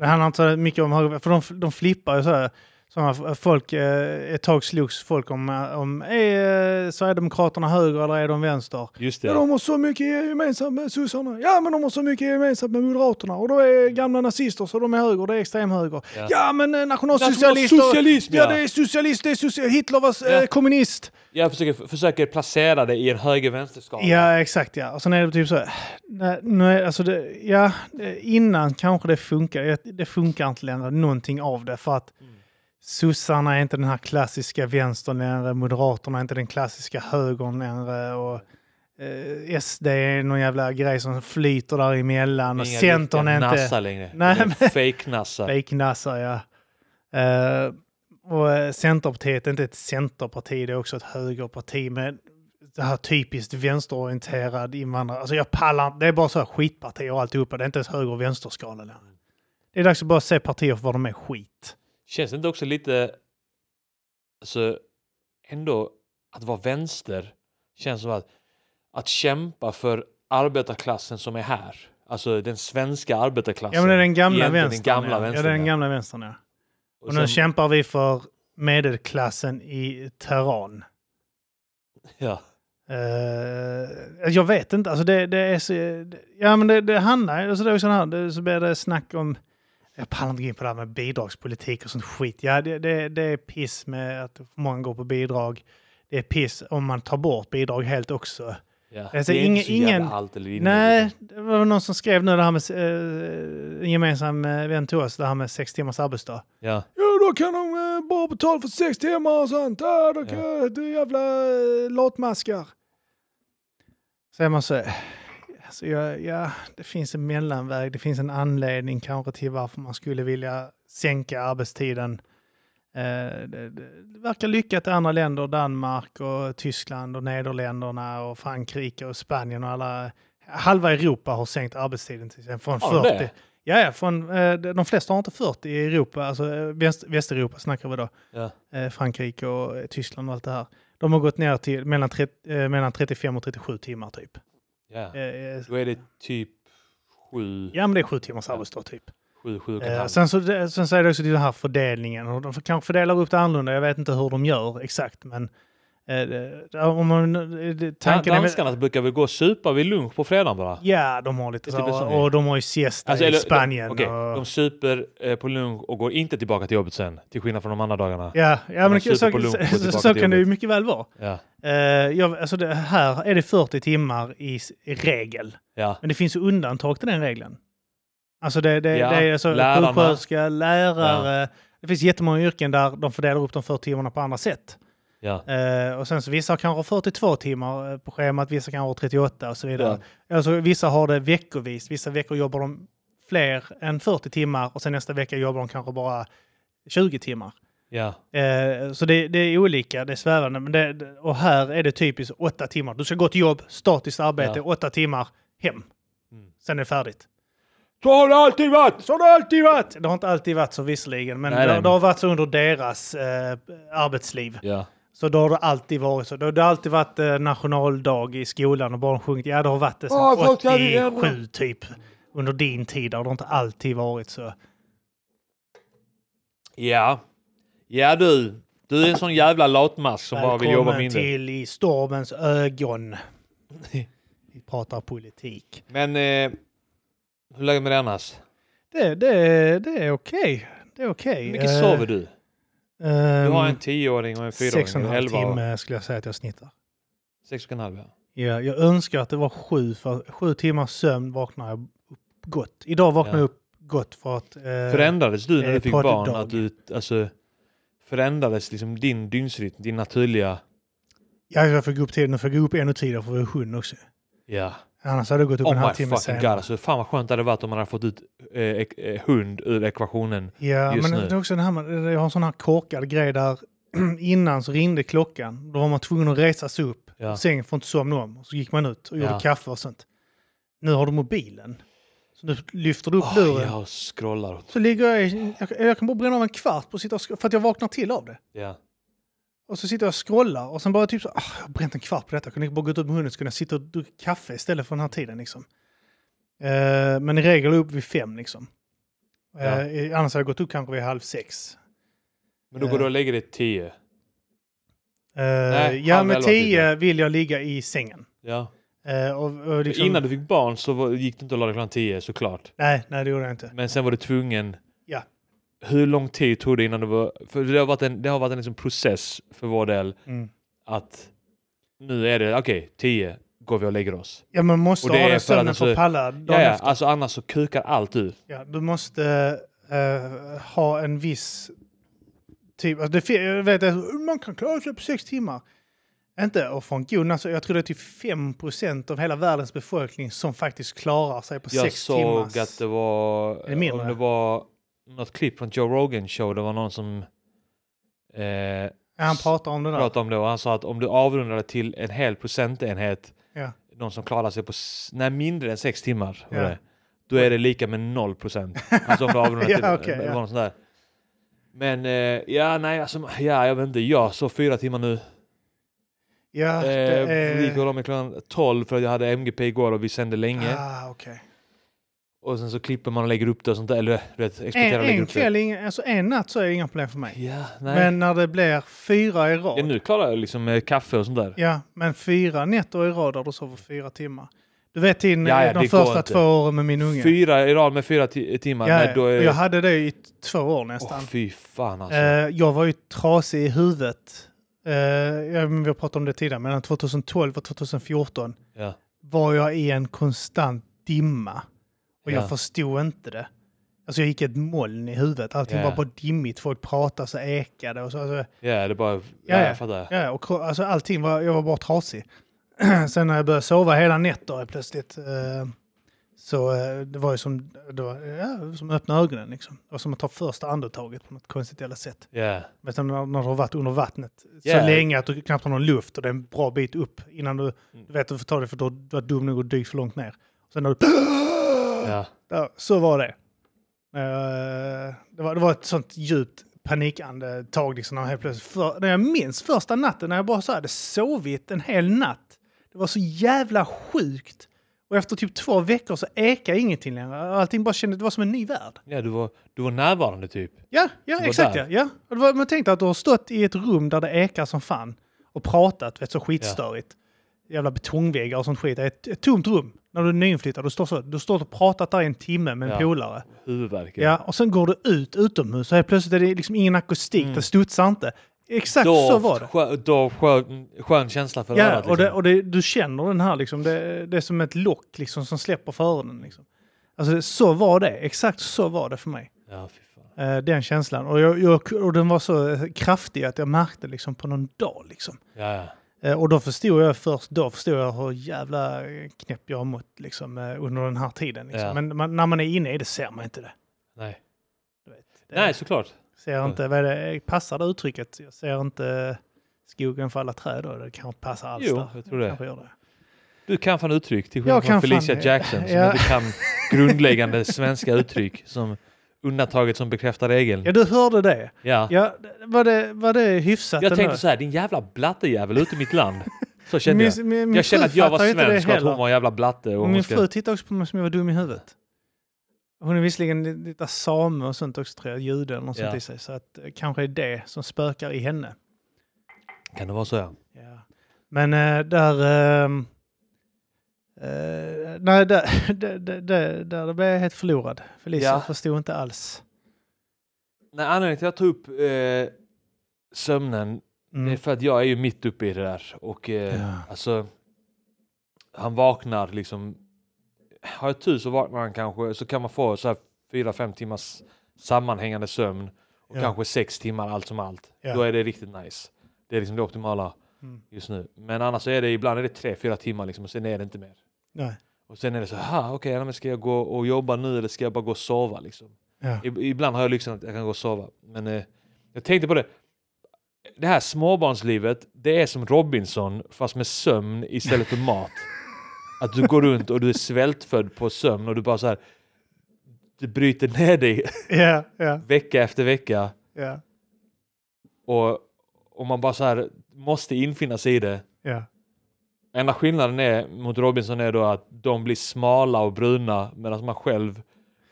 Speaker 2: Det handlar inte så mycket om höger, för de, de flippar ju så här, sådana folk, eh, ett tag slogs folk om, eh, om är eh, Sverigedemokraterna höger eller är de vänster?
Speaker 1: just
Speaker 2: Ja.
Speaker 1: det,
Speaker 2: de har så mycket gemensamt med sossarna. Ja, men de har så mycket gemensamt med moderaterna. Och de är gamla nazister, så de är höger, det är extremhöger. Ja,
Speaker 1: Ja.
Speaker 2: men eh, nationalsocialister.
Speaker 1: Nationalsocialism,
Speaker 2: ja.
Speaker 1: ja.
Speaker 2: det är socialist, det är socialist. Hitler var eh,
Speaker 1: Ja.
Speaker 2: kommunist.
Speaker 1: jag försöker, försöker placera det i en höger-vänster-skala.
Speaker 2: Ja, exakt ja. Och sen är det typ så här, nej, nu är, alltså det, ja, det- innan kanske det funkar. Det- Det funkar inte längre någonting av det för att
Speaker 1: Mm.
Speaker 2: sossarna är inte den här klassiska vänstern längre, moderaterna är inte den klassiska högern längre och eh, SD är någon jävla grej som flyter däremellan och
Speaker 1: Inga
Speaker 2: centern
Speaker 1: riktiga
Speaker 2: är inte...
Speaker 1: Nassa längre. Nej,
Speaker 2: Nej,
Speaker 1: men...
Speaker 2: men-
Speaker 1: Fake-Nassa.
Speaker 2: Fejknassar, ja. Eh, och eh, Centerpartiet är inte ett centerparti, det är också ett högerparti med det här typiskt vänsterorienterad invandrare. Alltså jag pallar inte. det är bara så här skitpartier och alltihopa. Det är inte ens höger och vänsterskala längre. Det är dags att bara se partier för vad de är skit.
Speaker 1: Känns det inte också lite... Alltså, ändå att vara vänster känns som att, att kämpa för arbetarklassen som är här. Alltså den svenska arbetarklassen.
Speaker 2: Ja men det är den gamla
Speaker 1: Egentligen den
Speaker 2: vänstern.
Speaker 1: gamla
Speaker 2: ja. ja,
Speaker 1: vänstern,
Speaker 2: det är den
Speaker 1: ja.
Speaker 2: gamla vänstern ja.
Speaker 1: Och
Speaker 2: Och
Speaker 1: sen-
Speaker 2: nu kämpar vi för medelklassen i Teheran.
Speaker 1: ja.
Speaker 2: Eh, jag vet inte, alltså det, det är så... Det, ja men det, det handlar alltså det är ju sån här, det, så blir det snack om... Jag pallar inte gå in på det här med bidragspolitik och sånt skit. Ja, det, det, det är piss med att för många går på bidrag. Det är piss om man tar bort bidrag helt också.
Speaker 1: Ja.
Speaker 2: Alltså,
Speaker 1: det är
Speaker 2: ingen-
Speaker 1: inte så jävla
Speaker 2: ingen-
Speaker 1: allt eller inget.
Speaker 2: Nej, det var någon som skrev nu det här med eh, en gemensam eh, vän till oss, det här med sex timmars arbetsdag.
Speaker 1: Ja.
Speaker 2: Ja, då kan de eh, bara betala för sex timmar och sånt. Ja, då kan, Du jävla eh, latmaskar. Säger man så. Alltså, ja, ja, det finns en mellanväg. Det finns en anledning kanske till varför man skulle vilja sänka arbetstiden. Eh, det, det verkar lyckat i andra länder, Danmark och Tyskland och Nederländerna och Frankrike och Spanien och alla. Halva Europa har sänkt arbetstiden till exempel från
Speaker 1: Har de
Speaker 2: 40.
Speaker 1: det?
Speaker 2: Ja, ja, från, eh, de de flesta har inte 40 i Europa, alltså eh, väst, Västeuropa snackar vi då,
Speaker 1: Ja.
Speaker 2: eh, Frankrike och eh, Tyskland och allt det här. De har gått ner till mellan, 30, eh, mellan 35 och 37 timmar typ.
Speaker 1: Ja.
Speaker 2: Eh, eh,
Speaker 1: Då är det typ sju,
Speaker 2: ja, men det är sju timmars arbetsdag typ.
Speaker 1: sju, sju och en
Speaker 2: Eh,
Speaker 1: halv.
Speaker 2: sen, så, det- sen så är det också den här fördelningen. Och de får- kanske fördelar upp det annorlunda, jag vet inte hur de gör exakt, men eh, det- om man, eh, det- tanken
Speaker 1: Dan-
Speaker 2: är väl...
Speaker 1: Danskarna brukar väl gå och supa vid lunch på fredagen bara?
Speaker 2: Ja, de har lite
Speaker 1: Det är typ en
Speaker 2: så,
Speaker 1: sån
Speaker 2: och de har ju siesta i
Speaker 1: Alltså, eller-
Speaker 2: Spanien.
Speaker 1: De, okej,
Speaker 2: och,
Speaker 1: de super eh, på lunch och går inte tillbaka till jobbet sen, till skillnad från de andra dagarna.
Speaker 2: ja, ja, men så,
Speaker 1: super på lunch och
Speaker 2: så, så,
Speaker 1: tillbaka
Speaker 2: så
Speaker 1: till
Speaker 2: kan det ju
Speaker 1: jobbet.
Speaker 2: mycket väl vara.
Speaker 1: Ja,
Speaker 2: Eh, jag, alltså det, här är det 40 timmar i, s- i regel.
Speaker 1: ja,
Speaker 2: Men det finns ju undantag till den regeln. Alltså det, det,
Speaker 1: Ja,
Speaker 2: det är alltså
Speaker 1: lärarna.
Speaker 2: sjuksköterska, lärare. Det finns jättemånga yrken där de fördelar upp de 40 timmarna på andra sätt.
Speaker 1: ja.
Speaker 2: Eh, och sen så vissa har kanske 42 timmar eh, på schemat, vissa kanske har 38 och så vidare.
Speaker 1: Ja.
Speaker 2: Alltså vissa har det veckovis. Vissa veckor jobbar de fler än 40 timmar och sen nästa vecka jobbar de kanske bara 20 timmar.
Speaker 1: ja.
Speaker 2: Eh, så det, det är olika, det är svävande. Men det, det- och här är det typiskt åtta timmar. Du ska gå till jobb, statiskt arbete,
Speaker 1: Ja.
Speaker 2: åtta timmar, hem.
Speaker 1: Mm.
Speaker 2: Sen är det färdigt.
Speaker 1: Så har det alltid varit!
Speaker 2: Så har det alltid varit! Det har inte alltid varit så visserligen, men
Speaker 1: Nej,
Speaker 2: det,
Speaker 1: nej,
Speaker 2: det har varit så under deras eh, arbetsliv.
Speaker 1: Ja,
Speaker 2: Så då har det alltid varit så. Då har det alltid varit eh, nationaldag i skolan och barn sjungit. Ja, det har varit det sedan
Speaker 1: Ja, folk hade det ändå.
Speaker 2: 87 typ. Under din tid har det inte alltid varit så.
Speaker 1: ja. Ja du, du är en sån jävla latmask som bara vill jobba
Speaker 2: Välkommen
Speaker 1: mindre.
Speaker 2: till I stormens ögon. Vi pratar politik.
Speaker 1: Men eh, hur lägger med det annars?
Speaker 2: Det, det, det är okej. Det är okej. Eh, ehm,
Speaker 1: Hur mycket sover du? Du har en 10-åring och en 4-åring.
Speaker 2: um, Sex och en halv
Speaker 1: 11 år.
Speaker 2: timme skulle jag säga att jag snittar.
Speaker 1: Sex och en halv, ja.
Speaker 2: Ja, jag önskar att det var sju, för sju timmars sömn vaknar jag upp gott. Idag vaknar
Speaker 1: Ja.
Speaker 2: jag upp gott för att... eh,
Speaker 1: Förändrades du när
Speaker 2: eh,
Speaker 1: du fick
Speaker 2: podd
Speaker 1: barn?
Speaker 2: dag.
Speaker 1: Att du, alltså, förändrades liksom din dygnsrytm, din naturliga...
Speaker 2: Ja, jag får gå upp tidigare. Nu får jag gå upp ännu tidigare för att vara hund också.
Speaker 1: Ja.
Speaker 2: Annars hade jag gått upp en
Speaker 1: Oh my
Speaker 2: halvtimme
Speaker 1: fucking
Speaker 2: senare.
Speaker 1: god. Alltså, fan vad skönt det hade varit om man hade fått ut eh, ek- eh, hund ur ekvationen.
Speaker 2: Ja,
Speaker 1: just
Speaker 2: men
Speaker 1: nu.
Speaker 2: det är också den här, med- jag har en sån här korkad grej där innan så ringde klockan. Då var man tvungen att resa sig upp.
Speaker 1: Ja.
Speaker 2: Sängen får inte somna om. Och Så gick man ut och gjorde
Speaker 1: Ja.
Speaker 2: kaffe och sånt. Nu har du mobilen. Så nu lyfter du upp
Speaker 1: Oh,
Speaker 2: luren.
Speaker 1: jag scrollar.
Speaker 2: Så ligger jag i, jag, jag kan bara bränna av en kvart på att sitta och sk- för att jag vaknar till av det.
Speaker 1: Ja.
Speaker 2: Och så sitter jag och scrollar och sen bara typ så, ah, jag har bränt en kvart på detta. Jag kunde bara gått upp med hunden så kunde jag sitta och dricka kaffe istället för den här tiden liksom. Eh, men i regel upp vid fem liksom. Eh,
Speaker 1: Ja.
Speaker 2: i- annars hade jag gått upp kanske vid halv sex.
Speaker 1: Men då går
Speaker 2: Eh.
Speaker 1: du och lägger dig tio.
Speaker 2: Eh,
Speaker 1: Nej,
Speaker 2: ja,
Speaker 1: halv
Speaker 2: med
Speaker 1: elva blir
Speaker 2: tio vill jag ligga i sängen.
Speaker 1: Ja.
Speaker 2: Eh, och, och liksom,
Speaker 1: Innan du fick barn så var, gick det inte att lägga dig klockan tio såklart.
Speaker 2: Nej, nej det gjorde jag inte.
Speaker 1: Men sen var du tvungen.
Speaker 2: Ja.
Speaker 1: Hur lång tid tog det innan du var... För det har varit en, det har varit en liksom process för vår del
Speaker 2: Mm.
Speaker 1: att nu är det okej, tio går vi och lägger oss.
Speaker 2: Ja, man måste
Speaker 1: Och det
Speaker 2: ha
Speaker 1: är
Speaker 2: den
Speaker 1: för att
Speaker 2: sömnen
Speaker 1: den
Speaker 2: för
Speaker 1: så-
Speaker 2: att palla dagen
Speaker 1: Ja, ja,
Speaker 2: efter.
Speaker 1: alltså annars så kukar allt ur.
Speaker 2: Ja, du måste eh, ha en viss typ. Alltså det, fin- jag vet att man kan klara sig på sex timmar. Inte och från god alltså, Jag tror det är typ 5 av hela världens befolkning som faktiskt klarar sig på
Speaker 1: Jag
Speaker 2: sex
Speaker 1: såg
Speaker 2: timmars...
Speaker 1: att det var,
Speaker 2: Är det mindre?
Speaker 1: om det var något klipp från Joe Rogan show, det var någon som eh,
Speaker 2: ja, han pratar om det där.
Speaker 1: pratade om det och han sa att om du avrundade till en hel procentenhet,
Speaker 2: Ja.
Speaker 1: någon som klarar sig på s- nej, mindre än sex timmar, var
Speaker 2: Ja.
Speaker 1: det, då är det lika med noll procent. Alltså om du avrundar
Speaker 2: Ja,
Speaker 1: till,
Speaker 2: okej,
Speaker 1: det
Speaker 2: ja.
Speaker 1: var något sånt där. Men eh, ja, nej, alltså, ja, jag vet inte, jag sov fyra timmar nu.
Speaker 2: Ja,
Speaker 1: Eh,
Speaker 2: det
Speaker 1: Vi gick och
Speaker 2: är...
Speaker 1: la mig klockan 12 för att jag hade MGP igår och vi sände länge.
Speaker 2: Ah, okej.
Speaker 1: Och sen så klipper man och lägger upp det och sånt där. Eller du vet, exporterar
Speaker 2: En,
Speaker 1: och lägger
Speaker 2: en
Speaker 1: upp det.
Speaker 2: kväll, ingen, alltså en natt så är det inga problem för mig.
Speaker 1: Ja, nej.
Speaker 2: Men när det blir fyra i rad.
Speaker 1: ja, nu klarar jag liksom eh, kaffe och sånt där.
Speaker 2: Ja, men fyra nätter i rad där du sover fyra timmar. Du vet din, eh,
Speaker 1: Ja, ja,
Speaker 2: de
Speaker 1: det går
Speaker 2: första
Speaker 1: inte.
Speaker 2: två åren med min unge.
Speaker 1: Fyra i rad med fyra ti- timmar.
Speaker 2: Ja,
Speaker 1: nej, då är
Speaker 2: och jag hade det i t- två år
Speaker 1: Åh,
Speaker 2: nästan.
Speaker 1: fy fan alltså.
Speaker 2: Eh, jag var ju trasig i huvudet. Eh, ja, men vi har pratat om det tidigare, mellan 2012 och 2014
Speaker 1: ja.
Speaker 2: var jag i en konstant dimma. Och
Speaker 1: Ja.
Speaker 2: jag förstod inte det. Alltså jag gick i ett moln i huvudet. Allting
Speaker 1: Ja.
Speaker 2: var bara dimmigt. Folk pratade så ekade och så. Alltså,
Speaker 1: ja, det är bara... Ja,
Speaker 2: Ja, ja.
Speaker 1: jag fattar.
Speaker 2: ja, och, kro- alltså allting var, jag var bara trasig. Sen när jag började sova hela nätter plötsligt. Eh, så eh, det var ju som, det var, ja, som att öppna ögonen liksom. Det var som att ta första andetaget på något konstigt jävla sätt.
Speaker 1: Ja.
Speaker 2: Men sen när, när du har varit under vattnet
Speaker 1: Ja.
Speaker 2: så länge att du knappt har någon luft och det är en bra bit upp innan du, du vet att du får ta det för att du, har- du var dum nog att dyka för långt ner. Sen när du,
Speaker 1: ja.
Speaker 2: ja, så var det. Eh, det, var, det var ett sånt djupt panikandetag liksom när jag helt plötsligt, för, när jag minns första natten när jag bara så hade sovit en hel natt. Det var så jävla sjukt. Och efter typ två veckor så ekade ingenting längre. Allting bara kändes, det var som en ny värld.
Speaker 1: ja du, var, du var närvarande typ.
Speaker 2: Ja, ja
Speaker 1: var
Speaker 2: exakt. Ja.
Speaker 1: där.
Speaker 2: Ja. Och det var, man tänkte att du har stått i ett rum där det ekar som fan och pratat vet, så skitstörigt. Jävla betongväggar och sånt skit. Det är ett, ett tomt rum när du är nyinflyttad. Du står, så, du står och pratat där i en timme med en
Speaker 1: Ja.
Speaker 2: polare.
Speaker 1: Huvudvärk.
Speaker 2: Ja, och sen går du ut utomhus och helt plötsligt är det liksom ingen akustik.
Speaker 1: Mm.
Speaker 2: Det studsar inte. Exakt så var det.
Speaker 1: Skö, då skön, skön känsla för
Speaker 2: Ja,
Speaker 1: örat.
Speaker 2: och, det,
Speaker 1: liksom.
Speaker 2: och det, du känner den här liksom. Det, det är som ett lock liksom som släpper för öronen. Liksom. Alltså, så var det. Exakt så var det för mig.
Speaker 1: Ja, fy fan.
Speaker 2: Eh, den känslan. Och, jag, jag, och den var så eh, kraftig att jag märkte liksom på någon dag. Liksom.
Speaker 1: Ja, ja.
Speaker 2: Eh, och då förstod jag först då förstod jag hur jävla eh, knäpp jag har mått liksom, eh, under den här tiden. Liksom.
Speaker 1: Ja.
Speaker 2: Men man, när man är inne i det ser man inte det.
Speaker 1: Nej.
Speaker 2: Du vet. Det-
Speaker 1: Nej, såklart. Mm.
Speaker 2: Ser inte, vad är det, passar det uttrycket? Jag ser inte skogen för alla träd då? Det kanske inte passar alls
Speaker 1: Jo,
Speaker 2: där.
Speaker 1: jag tror det.
Speaker 2: Kanske gör det.
Speaker 1: Du kan fan uttryck till
Speaker 2: Jag
Speaker 1: skillnad
Speaker 2: kan
Speaker 1: från Felicia
Speaker 2: fan-
Speaker 1: Jackson som
Speaker 2: Ja.
Speaker 1: inte kan grundläggande svenska uttryck som undantaget som bekräftar regeln.
Speaker 2: Ja, du hörde det.
Speaker 1: Ja.
Speaker 2: Ja, det- var, det var det hyfsat
Speaker 1: Jag
Speaker 2: ändå?
Speaker 1: tänkte så här, din jävla blattejävel ute i mitt land. Så kände
Speaker 2: Min,
Speaker 1: jag.
Speaker 2: min, min
Speaker 1: Jag kände
Speaker 2: fru
Speaker 1: att jag var
Speaker 2: fattar inte det
Speaker 1: svensk och att
Speaker 2: heller.
Speaker 1: hon var en jävla blatte. Och
Speaker 2: Min
Speaker 1: hon ska...
Speaker 2: fru tittar också på mig som jag var dum i huvudet. Hon är visserligen li- lite same och sånt också tror jag, jude eller något
Speaker 1: Ja.
Speaker 2: sånt i sig. Så att eh, kanske är det som spökar i henne.
Speaker 1: Kan det vara så? Ja.
Speaker 2: Ja. Men eh, där... ehm, eh, nej, där, där, där, där, där blev jag helt förlorad. Felicia
Speaker 1: Ja.
Speaker 2: förstod inte alls.
Speaker 1: Nej, anledningen till att jag tog upp eh, sömnen
Speaker 2: Mm.
Speaker 1: det är för att jag är ju mitt uppe i det där. Och eh,
Speaker 2: Ja.
Speaker 1: alltså, han vaknar liksom. Har jag tur så vaknar han kanske så kan man få så här fyra, fem timmars sammanhängande sömn. och
Speaker 2: Ja.
Speaker 1: kanske sex timmar allt som allt.
Speaker 2: Ja.
Speaker 1: Då är det riktigt nice. Det är liksom det optimala
Speaker 2: Mm.
Speaker 1: just nu. Men annars så är det ibland är det tre, fyra timmar liksom och sen är det inte mer.
Speaker 2: Nej.
Speaker 1: Och sen är det så här, okej, ja, men ska jag gå och jobba nu eller ska jag bara gå och sova liksom?
Speaker 2: Ja.
Speaker 1: Ib- Ibland har jag lyxen att jag kan gå och sova. Men eh, jag tänkte på det. Det här småbarnslivet, det är som Robinson fast med sömn istället för mat. Att du går runt och du är svältfödd på sömn och du bara så här. Du bryter ner dig
Speaker 2: Ja, ja,
Speaker 1: vecka efter vecka
Speaker 2: ja,
Speaker 1: och, och man bara så här måste infinna sig i det.
Speaker 2: ja.
Speaker 1: Enda skillnaden är, mot Robinson är då att de blir smala och bruna medan man själv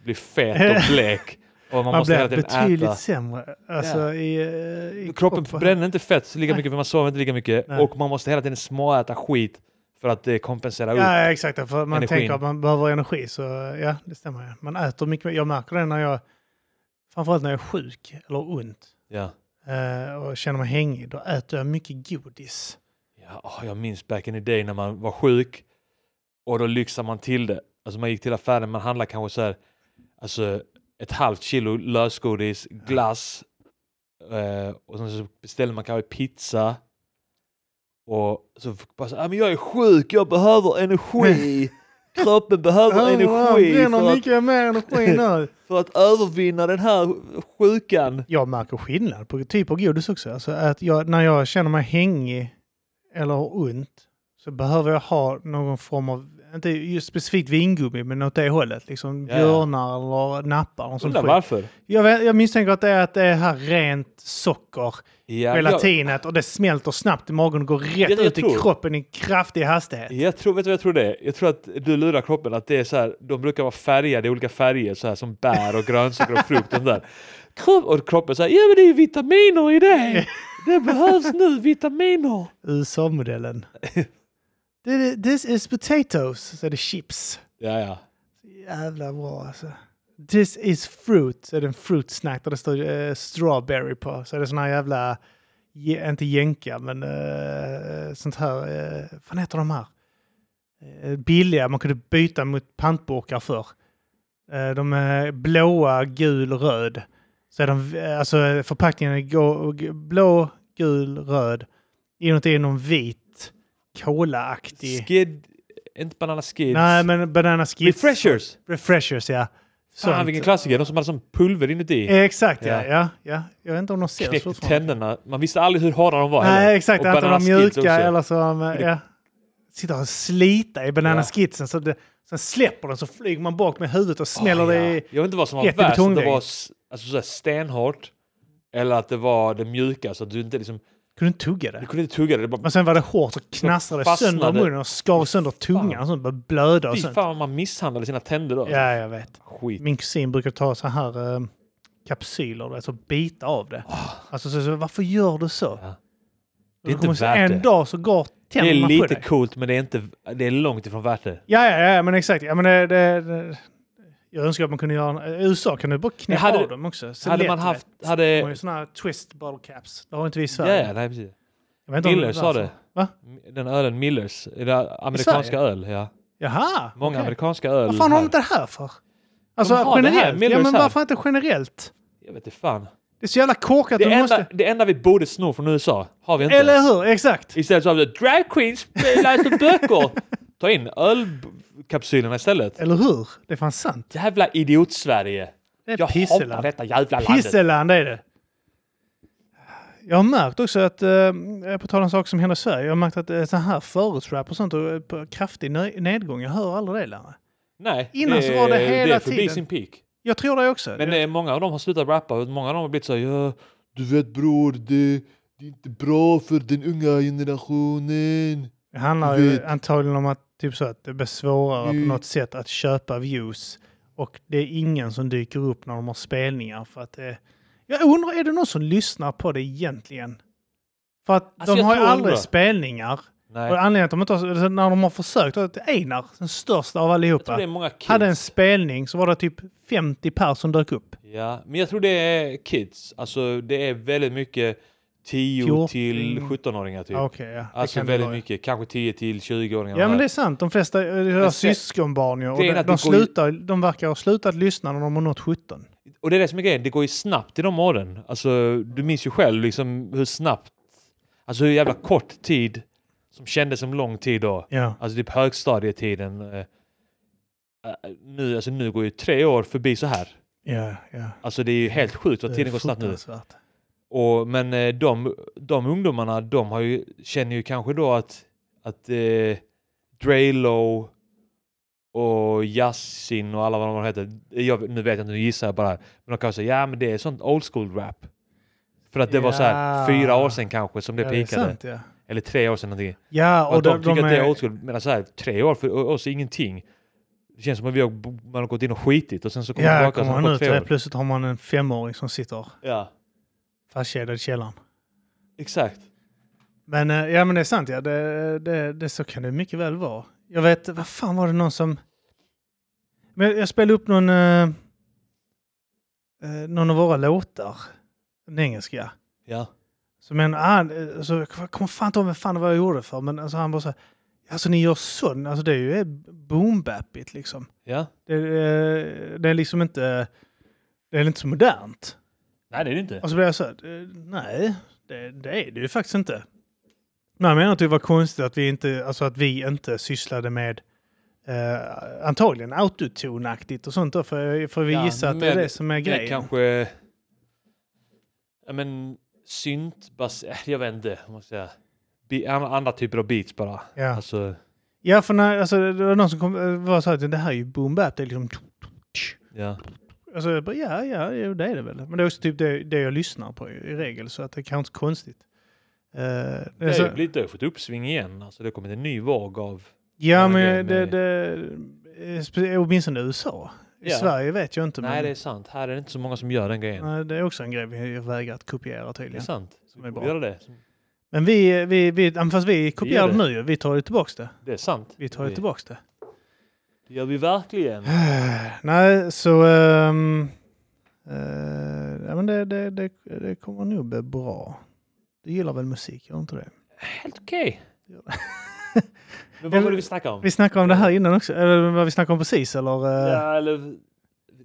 Speaker 1: blir fet och blek. Och man,
Speaker 2: Man,
Speaker 1: måste hela
Speaker 2: blir
Speaker 1: tiden
Speaker 2: betydligt
Speaker 1: äta.
Speaker 2: sämre. Alltså
Speaker 1: Ja.
Speaker 2: i, eh, i
Speaker 1: Typ Kroppen
Speaker 2: kroppen.
Speaker 1: bränner inte fett lika
Speaker 2: Nej.
Speaker 1: mycket för man sover inte lika mycket
Speaker 2: Nej.
Speaker 1: och man måste hela tiden småäta skit för att eh, kompensera upp.
Speaker 2: Ja, ja, exakt. För man
Speaker 1: Energin.
Speaker 2: tänker att man behöver energi. Så ja, det stämmer. ja. Man äter mycket. mer. Jag märker det när jag, framförallt när jag är sjuk eller ont
Speaker 1: Ja.
Speaker 2: eh, och känner mig hängig. Då äter jag mycket godis.
Speaker 1: Ja, åh, jag minns back in the day när man var sjuk och då lyxade man till det. Alltså man gick till affären, man handlade kanske så här, alltså ett halvt kilo lösgodis, glass eh, och sen så beställde man kanske pizza och så fick bara så här, "Ah, men jag är sjuk, jag behöver energi. Kroppen behöver energi för
Speaker 2: Bränner
Speaker 1: att,
Speaker 2: mycket mer energi nu.
Speaker 1: för att övervinna den här sjukan.
Speaker 2: jag märker skillnad på typ av godis också. Alltså att jag, när jag känner mig hängig eller har ont så behöver jag ha någon form av, inte just specifikt vingummi, men åt det hållet. Liksom
Speaker 1: Ja.
Speaker 2: björnar eller nappar. Någon sån
Speaker 1: Undrar
Speaker 2: skit.
Speaker 1: varför?
Speaker 2: jag, vet, jag misstänker att det är att det är här rent socker,
Speaker 1: Ja, jag,
Speaker 2: gelatinet, och det smälter snabbt i magen och går rätt
Speaker 1: jag
Speaker 2: ut i
Speaker 1: tror-
Speaker 2: kroppen i kraftig hastighet.
Speaker 1: jag tror, vet du vad jag tror det är? Jag tror att du lurar kroppen att det är så här, de brukar vara färgade i olika färger så här som bär och grönsaker och frukt och sånt där. Kro- Och kroppen säger, ja men det är ju vitaminer i det! Det behövs nu vitaminer!
Speaker 2: USA-modellen. This- This is potatoes, så är det chips.
Speaker 1: Ja, ja.
Speaker 2: Jävla bra alltså. This is fruit, så är det en fruit snack där det står eh, strawberry på. Så är det sån här jävla, je, inte jänka, men eh, sånt här, eh, vad heter de här? Eh, billiga, man kunde byta mot pantburkar för. Eh, de är blåa, gul, röd. Så är de, eh, alltså förpackningen är gå- g- blå, gul, röd. Inuti är någon vit, kolaaktig.
Speaker 1: Skid, inte banana skids.
Speaker 2: Nej, men banana skids.
Speaker 1: Refreshers!
Speaker 2: Refreshers, ja.
Speaker 1: Fan
Speaker 2: Sånt.
Speaker 1: Ah, vilken klassiker, de som hade sån pulver inuti.
Speaker 2: Eh, Exakt, ja.
Speaker 1: Ja.
Speaker 2: ja, ja. Jag vet inte om de säljs
Speaker 1: Knäckte
Speaker 2: fortfarande.
Speaker 1: tänderna, man visste aldrig hur hårda de var
Speaker 2: Nej,
Speaker 1: heller.
Speaker 2: exakt.
Speaker 1: Och
Speaker 2: Antingen de
Speaker 1: Banana Skids
Speaker 2: mjuka
Speaker 1: också.
Speaker 2: eller som... Ja, sitter och slita i
Speaker 1: Ja.
Speaker 2: bananaskitsen. Så det, sen släpper den så flyger man bak med huvudet och smäller
Speaker 1: Ah, ja.
Speaker 2: det i...
Speaker 1: Jag vet inte vad som var
Speaker 2: rätt i
Speaker 1: värst, om det
Speaker 2: betongväggen.
Speaker 1: var s- alltså, så här stenhårt eller att det var det mjuka så att du inte liksom,
Speaker 2: Kunde inte tugga
Speaker 1: du
Speaker 2: det.
Speaker 1: kunde inte tugga det. det bara,
Speaker 2: Men sen var det hårt så knastrade det sönder
Speaker 1: fastnade.
Speaker 2: munnen och skar sönder tungan och sånt. Började blöda och
Speaker 1: fy
Speaker 2: sånt.
Speaker 1: fan vad man misshandlade sina tänder då.
Speaker 2: Ja, jag vet.
Speaker 1: Skit.
Speaker 2: Min kusin brukar ta så här eh, kapsyler, du vet, så bita av det. Alltså, så, så, varför gör du så?
Speaker 1: Ah. Ja.
Speaker 2: Och
Speaker 1: Det är
Speaker 2: då
Speaker 1: inte
Speaker 2: kommer så-
Speaker 1: värt
Speaker 2: En
Speaker 1: det.
Speaker 2: dag så går
Speaker 1: Det är
Speaker 2: tänderna på
Speaker 1: lite
Speaker 2: dig.
Speaker 1: coolt men det är, inte, det är långt ifrån värt det.
Speaker 2: Ja, ja, ja, men exakt. Ja, men det, det, det, jag önskar att man kunde göra... en- I USA kan du bara knäppa
Speaker 1: Men hade-
Speaker 2: av dem också. Så
Speaker 1: Hade
Speaker 2: lätt,
Speaker 1: man
Speaker 2: du
Speaker 1: haft,
Speaker 2: vet. De har
Speaker 1: hade,
Speaker 2: ju såna här twist bottle caps. Det har inte vi i
Speaker 1: ja,
Speaker 2: Sverige.
Speaker 1: ja, nej, precis.
Speaker 2: Jag vet inte om
Speaker 1: Miller
Speaker 2: är
Speaker 1: sa
Speaker 2: därför.
Speaker 1: det.
Speaker 2: alltså. Va?
Speaker 1: Den ölen Millers, är det amerikanska öl? Ja.
Speaker 2: Jaha!
Speaker 1: Många
Speaker 2: okej.
Speaker 1: amerikanska öl.
Speaker 2: Vad fan har de
Speaker 1: här.
Speaker 2: inte det här för? Alltså
Speaker 1: har det här,
Speaker 2: generellt? ja,
Speaker 1: Millers
Speaker 2: men
Speaker 1: här.
Speaker 2: varför inte generellt?
Speaker 1: Jag vet inte fan.
Speaker 2: Det är så jävla korkat.
Speaker 1: Det
Speaker 2: du
Speaker 1: enda,
Speaker 2: måste...
Speaker 1: det enda vi borde sno från USA har vi inte.
Speaker 2: Eller hur? Exakt.
Speaker 1: Istället så har vi drag queens läser böcker. Ta in ölkapsylerna istället.
Speaker 2: Eller hur? Det är fan sant.
Speaker 1: Jävla idiot-Sverige.
Speaker 2: Det är
Speaker 1: Jag hatar
Speaker 2: pisseland.
Speaker 1: detta jävla landet.
Speaker 2: Pisseland är det. Jag har märkt också att, eh, på tal om saker som händer i Sverige, jag har märkt att eh, så här förortsrap och sånt är på kraftig nö- nedgång. Jag hör aldrig det längre.
Speaker 1: Nej,
Speaker 2: Innan så var det hela
Speaker 1: det är förbi
Speaker 2: tiden.
Speaker 1: sin peak.
Speaker 2: Jag tror det också.
Speaker 1: Men
Speaker 2: det,
Speaker 1: eh, många av dem har slutat rappa. och Många av dem har blivit så här, ja, du vet bror, det, det är inte bra för den unga generationen.
Speaker 2: handlar ju
Speaker 1: vet.
Speaker 2: antagligen om att, typ så att det blir svårare
Speaker 1: Mm.
Speaker 2: på något sätt att köpa views. Och det är ingen som dyker upp när de har spelningar. För att, eh, jag undrar, är det någon som lyssnar på det egentligen? För att
Speaker 1: Alltså,
Speaker 2: de
Speaker 1: jag
Speaker 2: har ju
Speaker 1: tror
Speaker 2: aldrig
Speaker 1: undrar.
Speaker 2: spelningar.
Speaker 1: Nej,
Speaker 2: Och
Speaker 1: jag
Speaker 2: anledningen till att de inte har, när de har försökt, att Einar, den största av
Speaker 1: tror
Speaker 2: allihopa,
Speaker 1: det är många kids.
Speaker 2: hade en spelning så var det typ 50 pers som dök upp.
Speaker 1: Ja, men jag tror det är kids. Alltså det är väldigt mycket 10 till
Speaker 2: 14.
Speaker 1: 17-åringar typ.
Speaker 2: Ja, Ah, Okej, ja. Det
Speaker 1: Alltså
Speaker 2: kan det
Speaker 1: väldigt
Speaker 2: vara.
Speaker 1: mycket, kanske 10 till 20-åringar.
Speaker 2: Ja, men det är sant. De flesta eh, det är
Speaker 1: se-
Speaker 2: syskonbarn ju, och
Speaker 1: grejen
Speaker 2: de,
Speaker 1: är att det
Speaker 2: de,
Speaker 1: går ju-
Speaker 2: slutar, de verkar ha slutat lyssna när de har nått 17.
Speaker 1: Och det är det som är grejen, det går ju snabbt i de åren. Alltså, du minns ju själv liksom hur snabbt, alltså hur jävla kort tid som kändes som lång tid då.
Speaker 2: Ja.
Speaker 1: Alltså typ högstadietiden. eh, eh, Nu, alltså nu går ju tre år förbi så här.
Speaker 2: Ja, ja.
Speaker 1: Alltså det är ju helt sjukt vad tiden går snabbt nu.
Speaker 2: Fruktansvärt.
Speaker 1: Och, men eh, de, de ungdomarna, de har ju, känner ju kanske då att, att eh, Draylo och Yasin och alla vad de heter, jag, nu vet jag inte, nu gissar jag bara här. Men de kanske säger, ja men det är sånt old school rap. För att det var så här
Speaker 2: Ja.
Speaker 1: fyra år sedan kanske som det
Speaker 2: Ja, är
Speaker 1: peakade.
Speaker 2: sant, ja.
Speaker 1: Eller tre år sedan någonting.
Speaker 2: Ja,
Speaker 1: Och
Speaker 2: och
Speaker 1: att
Speaker 2: de,
Speaker 1: de tycker
Speaker 2: de
Speaker 1: att det är
Speaker 2: är...
Speaker 1: old school, men så här, tre år för oss är ingenting. Det känns som att vi har, man har gått in och skitit och sen så kommer man
Speaker 2: Ja,
Speaker 1: tillbaka
Speaker 2: kommer
Speaker 1: och sen
Speaker 2: han
Speaker 1: har det
Speaker 2: ut
Speaker 1: gått tre
Speaker 2: och
Speaker 1: år.
Speaker 2: plötsligt har man en femåring som sitter
Speaker 1: Ja,
Speaker 2: fastkedjad i källaren.
Speaker 1: exakt.
Speaker 2: Men eh, ja, men det är sant. Ja. Det, det, det, så kan det mycket väl vara. Jag vet, vad fan var det någon som... Men jag, jag spelade upp någon, eh, eh, någon av våra låtar, den engelska.
Speaker 1: Ja.
Speaker 2: Så men han, eh, alltså, jag kommer- kommer fan inte ihåg vem fan det var jag gjorde för, men alltså, han bara så här, alltså ni gör sån, alltså det är ju eh, boom-bappigt liksom.
Speaker 1: ja.
Speaker 2: Det, eh, det är liksom inte, det är inte så modernt.
Speaker 1: Nej det är det inte.
Speaker 2: Och så blev jag så här, eh, nej, det, det är det ju faktiskt inte. Men jag menar att det var konstigt att vi inte, alltså att vi inte sysslade med eh, antagligen autotonaktigt och sånt då, för, för vi
Speaker 1: Ja,
Speaker 2: gissar att det är
Speaker 1: men
Speaker 2: det som är
Speaker 1: Det
Speaker 2: grejen.
Speaker 1: kanske... Ja men syntbaserat, jag vet inte. vad man ska säga. Be- andra, andra typer av beats bara.
Speaker 2: Ja.
Speaker 1: Alltså,
Speaker 2: ja, för när, alltså, det var någon som kom, eh, var så här, det här är ju boom bap, det är liksom...
Speaker 1: ja.
Speaker 2: Alltså, jag bara, ja, ja, jo, det är det väl. Men det är också typ det, det jag lyssnar på i, i regel, så att det är kanske inte konstigt. Eh,
Speaker 1: Det har
Speaker 2: så-
Speaker 1: ju blivit, det har ju fått uppsving igen. Alltså det har kommit en ny våg av...
Speaker 2: ja,
Speaker 1: det
Speaker 2: men det,
Speaker 1: med-
Speaker 2: det, eh, spe- åtminstone i USA. I
Speaker 1: Ja.
Speaker 2: Sverige vet jag inte.
Speaker 1: Nej
Speaker 2: men,
Speaker 1: det är sant, här är det inte så många som gör den grejen.
Speaker 2: Nej, det är också en grej vi vägrar att kopiera
Speaker 1: Det är
Speaker 2: tydligen.
Speaker 1: sant.
Speaker 2: är
Speaker 1: Vi
Speaker 2: bra.
Speaker 1: borde göra det.
Speaker 2: Men vi, vi, vi, ja, men fast vi kopierar
Speaker 1: gör
Speaker 2: det
Speaker 1: det.
Speaker 2: nu ju. Vi tar ju tillbaks det.
Speaker 1: Det är sant.
Speaker 2: Vi tar ju Äh.
Speaker 1: Det-
Speaker 2: tillbaks det. Eh,
Speaker 1: Det gör vi verkligen.
Speaker 2: Nej, så... ehm, eh, ja, men det, det, det, det kommer nog bli bra. Du gillar väl musik, gör inte det?
Speaker 1: Helt okej.
Speaker 2: Ja.
Speaker 1: Men vad var det vi snackade om?
Speaker 2: Vi snackade om det här innan också, eller vad vi snackade om precis eller? eh,
Speaker 1: Ja, eller...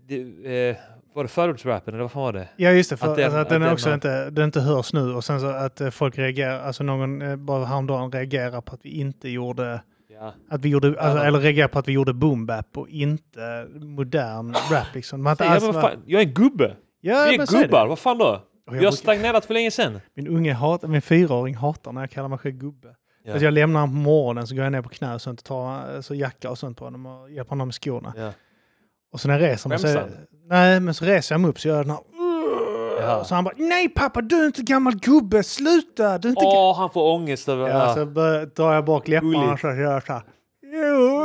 Speaker 1: Det, eh, var det förortsrappen eller vad fan var det?
Speaker 2: Ja just det, för
Speaker 1: Att
Speaker 2: att
Speaker 1: den-
Speaker 2: den, alltså, att
Speaker 1: att
Speaker 2: den,
Speaker 1: den
Speaker 2: också
Speaker 1: har-
Speaker 2: inte, den inte hörs nu och sen så att eh, folk reagerar, alltså någon eh, bara häromdagen reagerar på att vi inte gjorde,
Speaker 1: Ja.
Speaker 2: att vi gjorde, alltså,
Speaker 1: Ja.
Speaker 2: eller reagerar på att vi gjorde boom bap och inte modern rap liksom. Man har inte
Speaker 1: Ja,
Speaker 2: alls
Speaker 1: men vad
Speaker 2: varit-
Speaker 1: fan, jag är en gubbe.
Speaker 2: Ja,
Speaker 1: Vi är
Speaker 2: men så är det.
Speaker 1: gubbar, vad fan då?
Speaker 2: Och jag
Speaker 1: Vi har
Speaker 2: brukar,
Speaker 1: stagnerat för länge sedan.
Speaker 2: min unge hatar, min fyraåring hatar när jag kallar mig själv gubbe.
Speaker 1: Ja.
Speaker 2: Alltså, jag lämnar honom på morgonen så går jag ner på knä och sånt och tar eh, så jacka och sånt på honom och hjälper honom med skorna.
Speaker 1: Ja.
Speaker 2: Och så när jag reser mig så,
Speaker 1: Skäms
Speaker 2: nej, men så reser jag mig upp så gör jag den här...
Speaker 1: Ja.
Speaker 2: Så han bara nej pappa du är inte gammal gubbe, sluta! Du är inte ga-"
Speaker 1: Åh, han får ångest över...
Speaker 2: ja, så
Speaker 1: Ja.
Speaker 2: bör- drar jag bak läpparna och
Speaker 1: Gulligt.
Speaker 2: så gör jag så här. "Jo,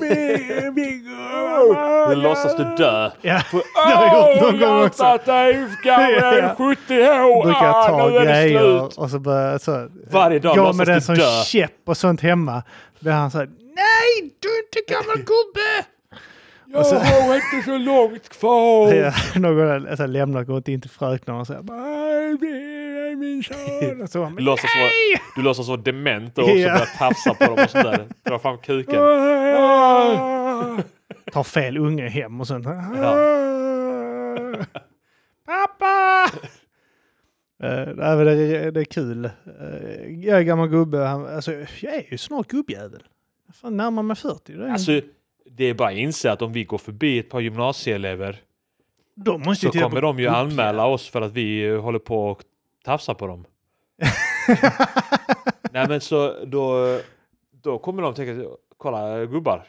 Speaker 2: min- min gubbe."
Speaker 1: Nu låtsas du dö.
Speaker 2: Ja,
Speaker 1: För,
Speaker 2: har jag gjort någon
Speaker 1: jag
Speaker 2: gång
Speaker 1: har
Speaker 2: också.
Speaker 1: tagit dig
Speaker 2: Ja.
Speaker 1: gammal 70 år!
Speaker 2: brukar jag
Speaker 1: Ah, nu
Speaker 2: ta
Speaker 1: är det slut.
Speaker 2: grejer och så börjar jag så...
Speaker 1: Varje dag
Speaker 2: Gå
Speaker 1: låtsas
Speaker 2: med
Speaker 1: du
Speaker 2: den som
Speaker 1: dö.
Speaker 2: käpp och sånt hemma. Då är han så här, nej du är inte gammal gubbe!
Speaker 1: Jag har inte så långt kvar!
Speaker 2: Ja, någon har alltså, lämnat och gått in till fröknarna och så här, "Nej, det är min son. Och så bara, "Men
Speaker 1: Låtsas vara,
Speaker 2: nej!"
Speaker 1: du låtsas vara dement och också
Speaker 2: Ja.
Speaker 1: börjar tafsa på dem och sådär. Dra fram kuken.
Speaker 2: Tar fel unge hem och sånt. Pappa! Eh, nej, men det, det är kul. Eh, jag är gammal gubbe. Han, alltså, jag är ju snart gubbjävel. Jag fan närmar mig 40. Det är,
Speaker 1: Alltså, det är bara att inse att om vi går förbi ett par gymnasieelever
Speaker 2: de måste
Speaker 1: så
Speaker 2: ju titta
Speaker 1: kommer
Speaker 2: på
Speaker 1: de ju
Speaker 2: gubbjävel.
Speaker 1: anmäla oss för att vi eh, håller på och tafsar på dem. Nej men så då, då kommer de tänka, kolla gubbar.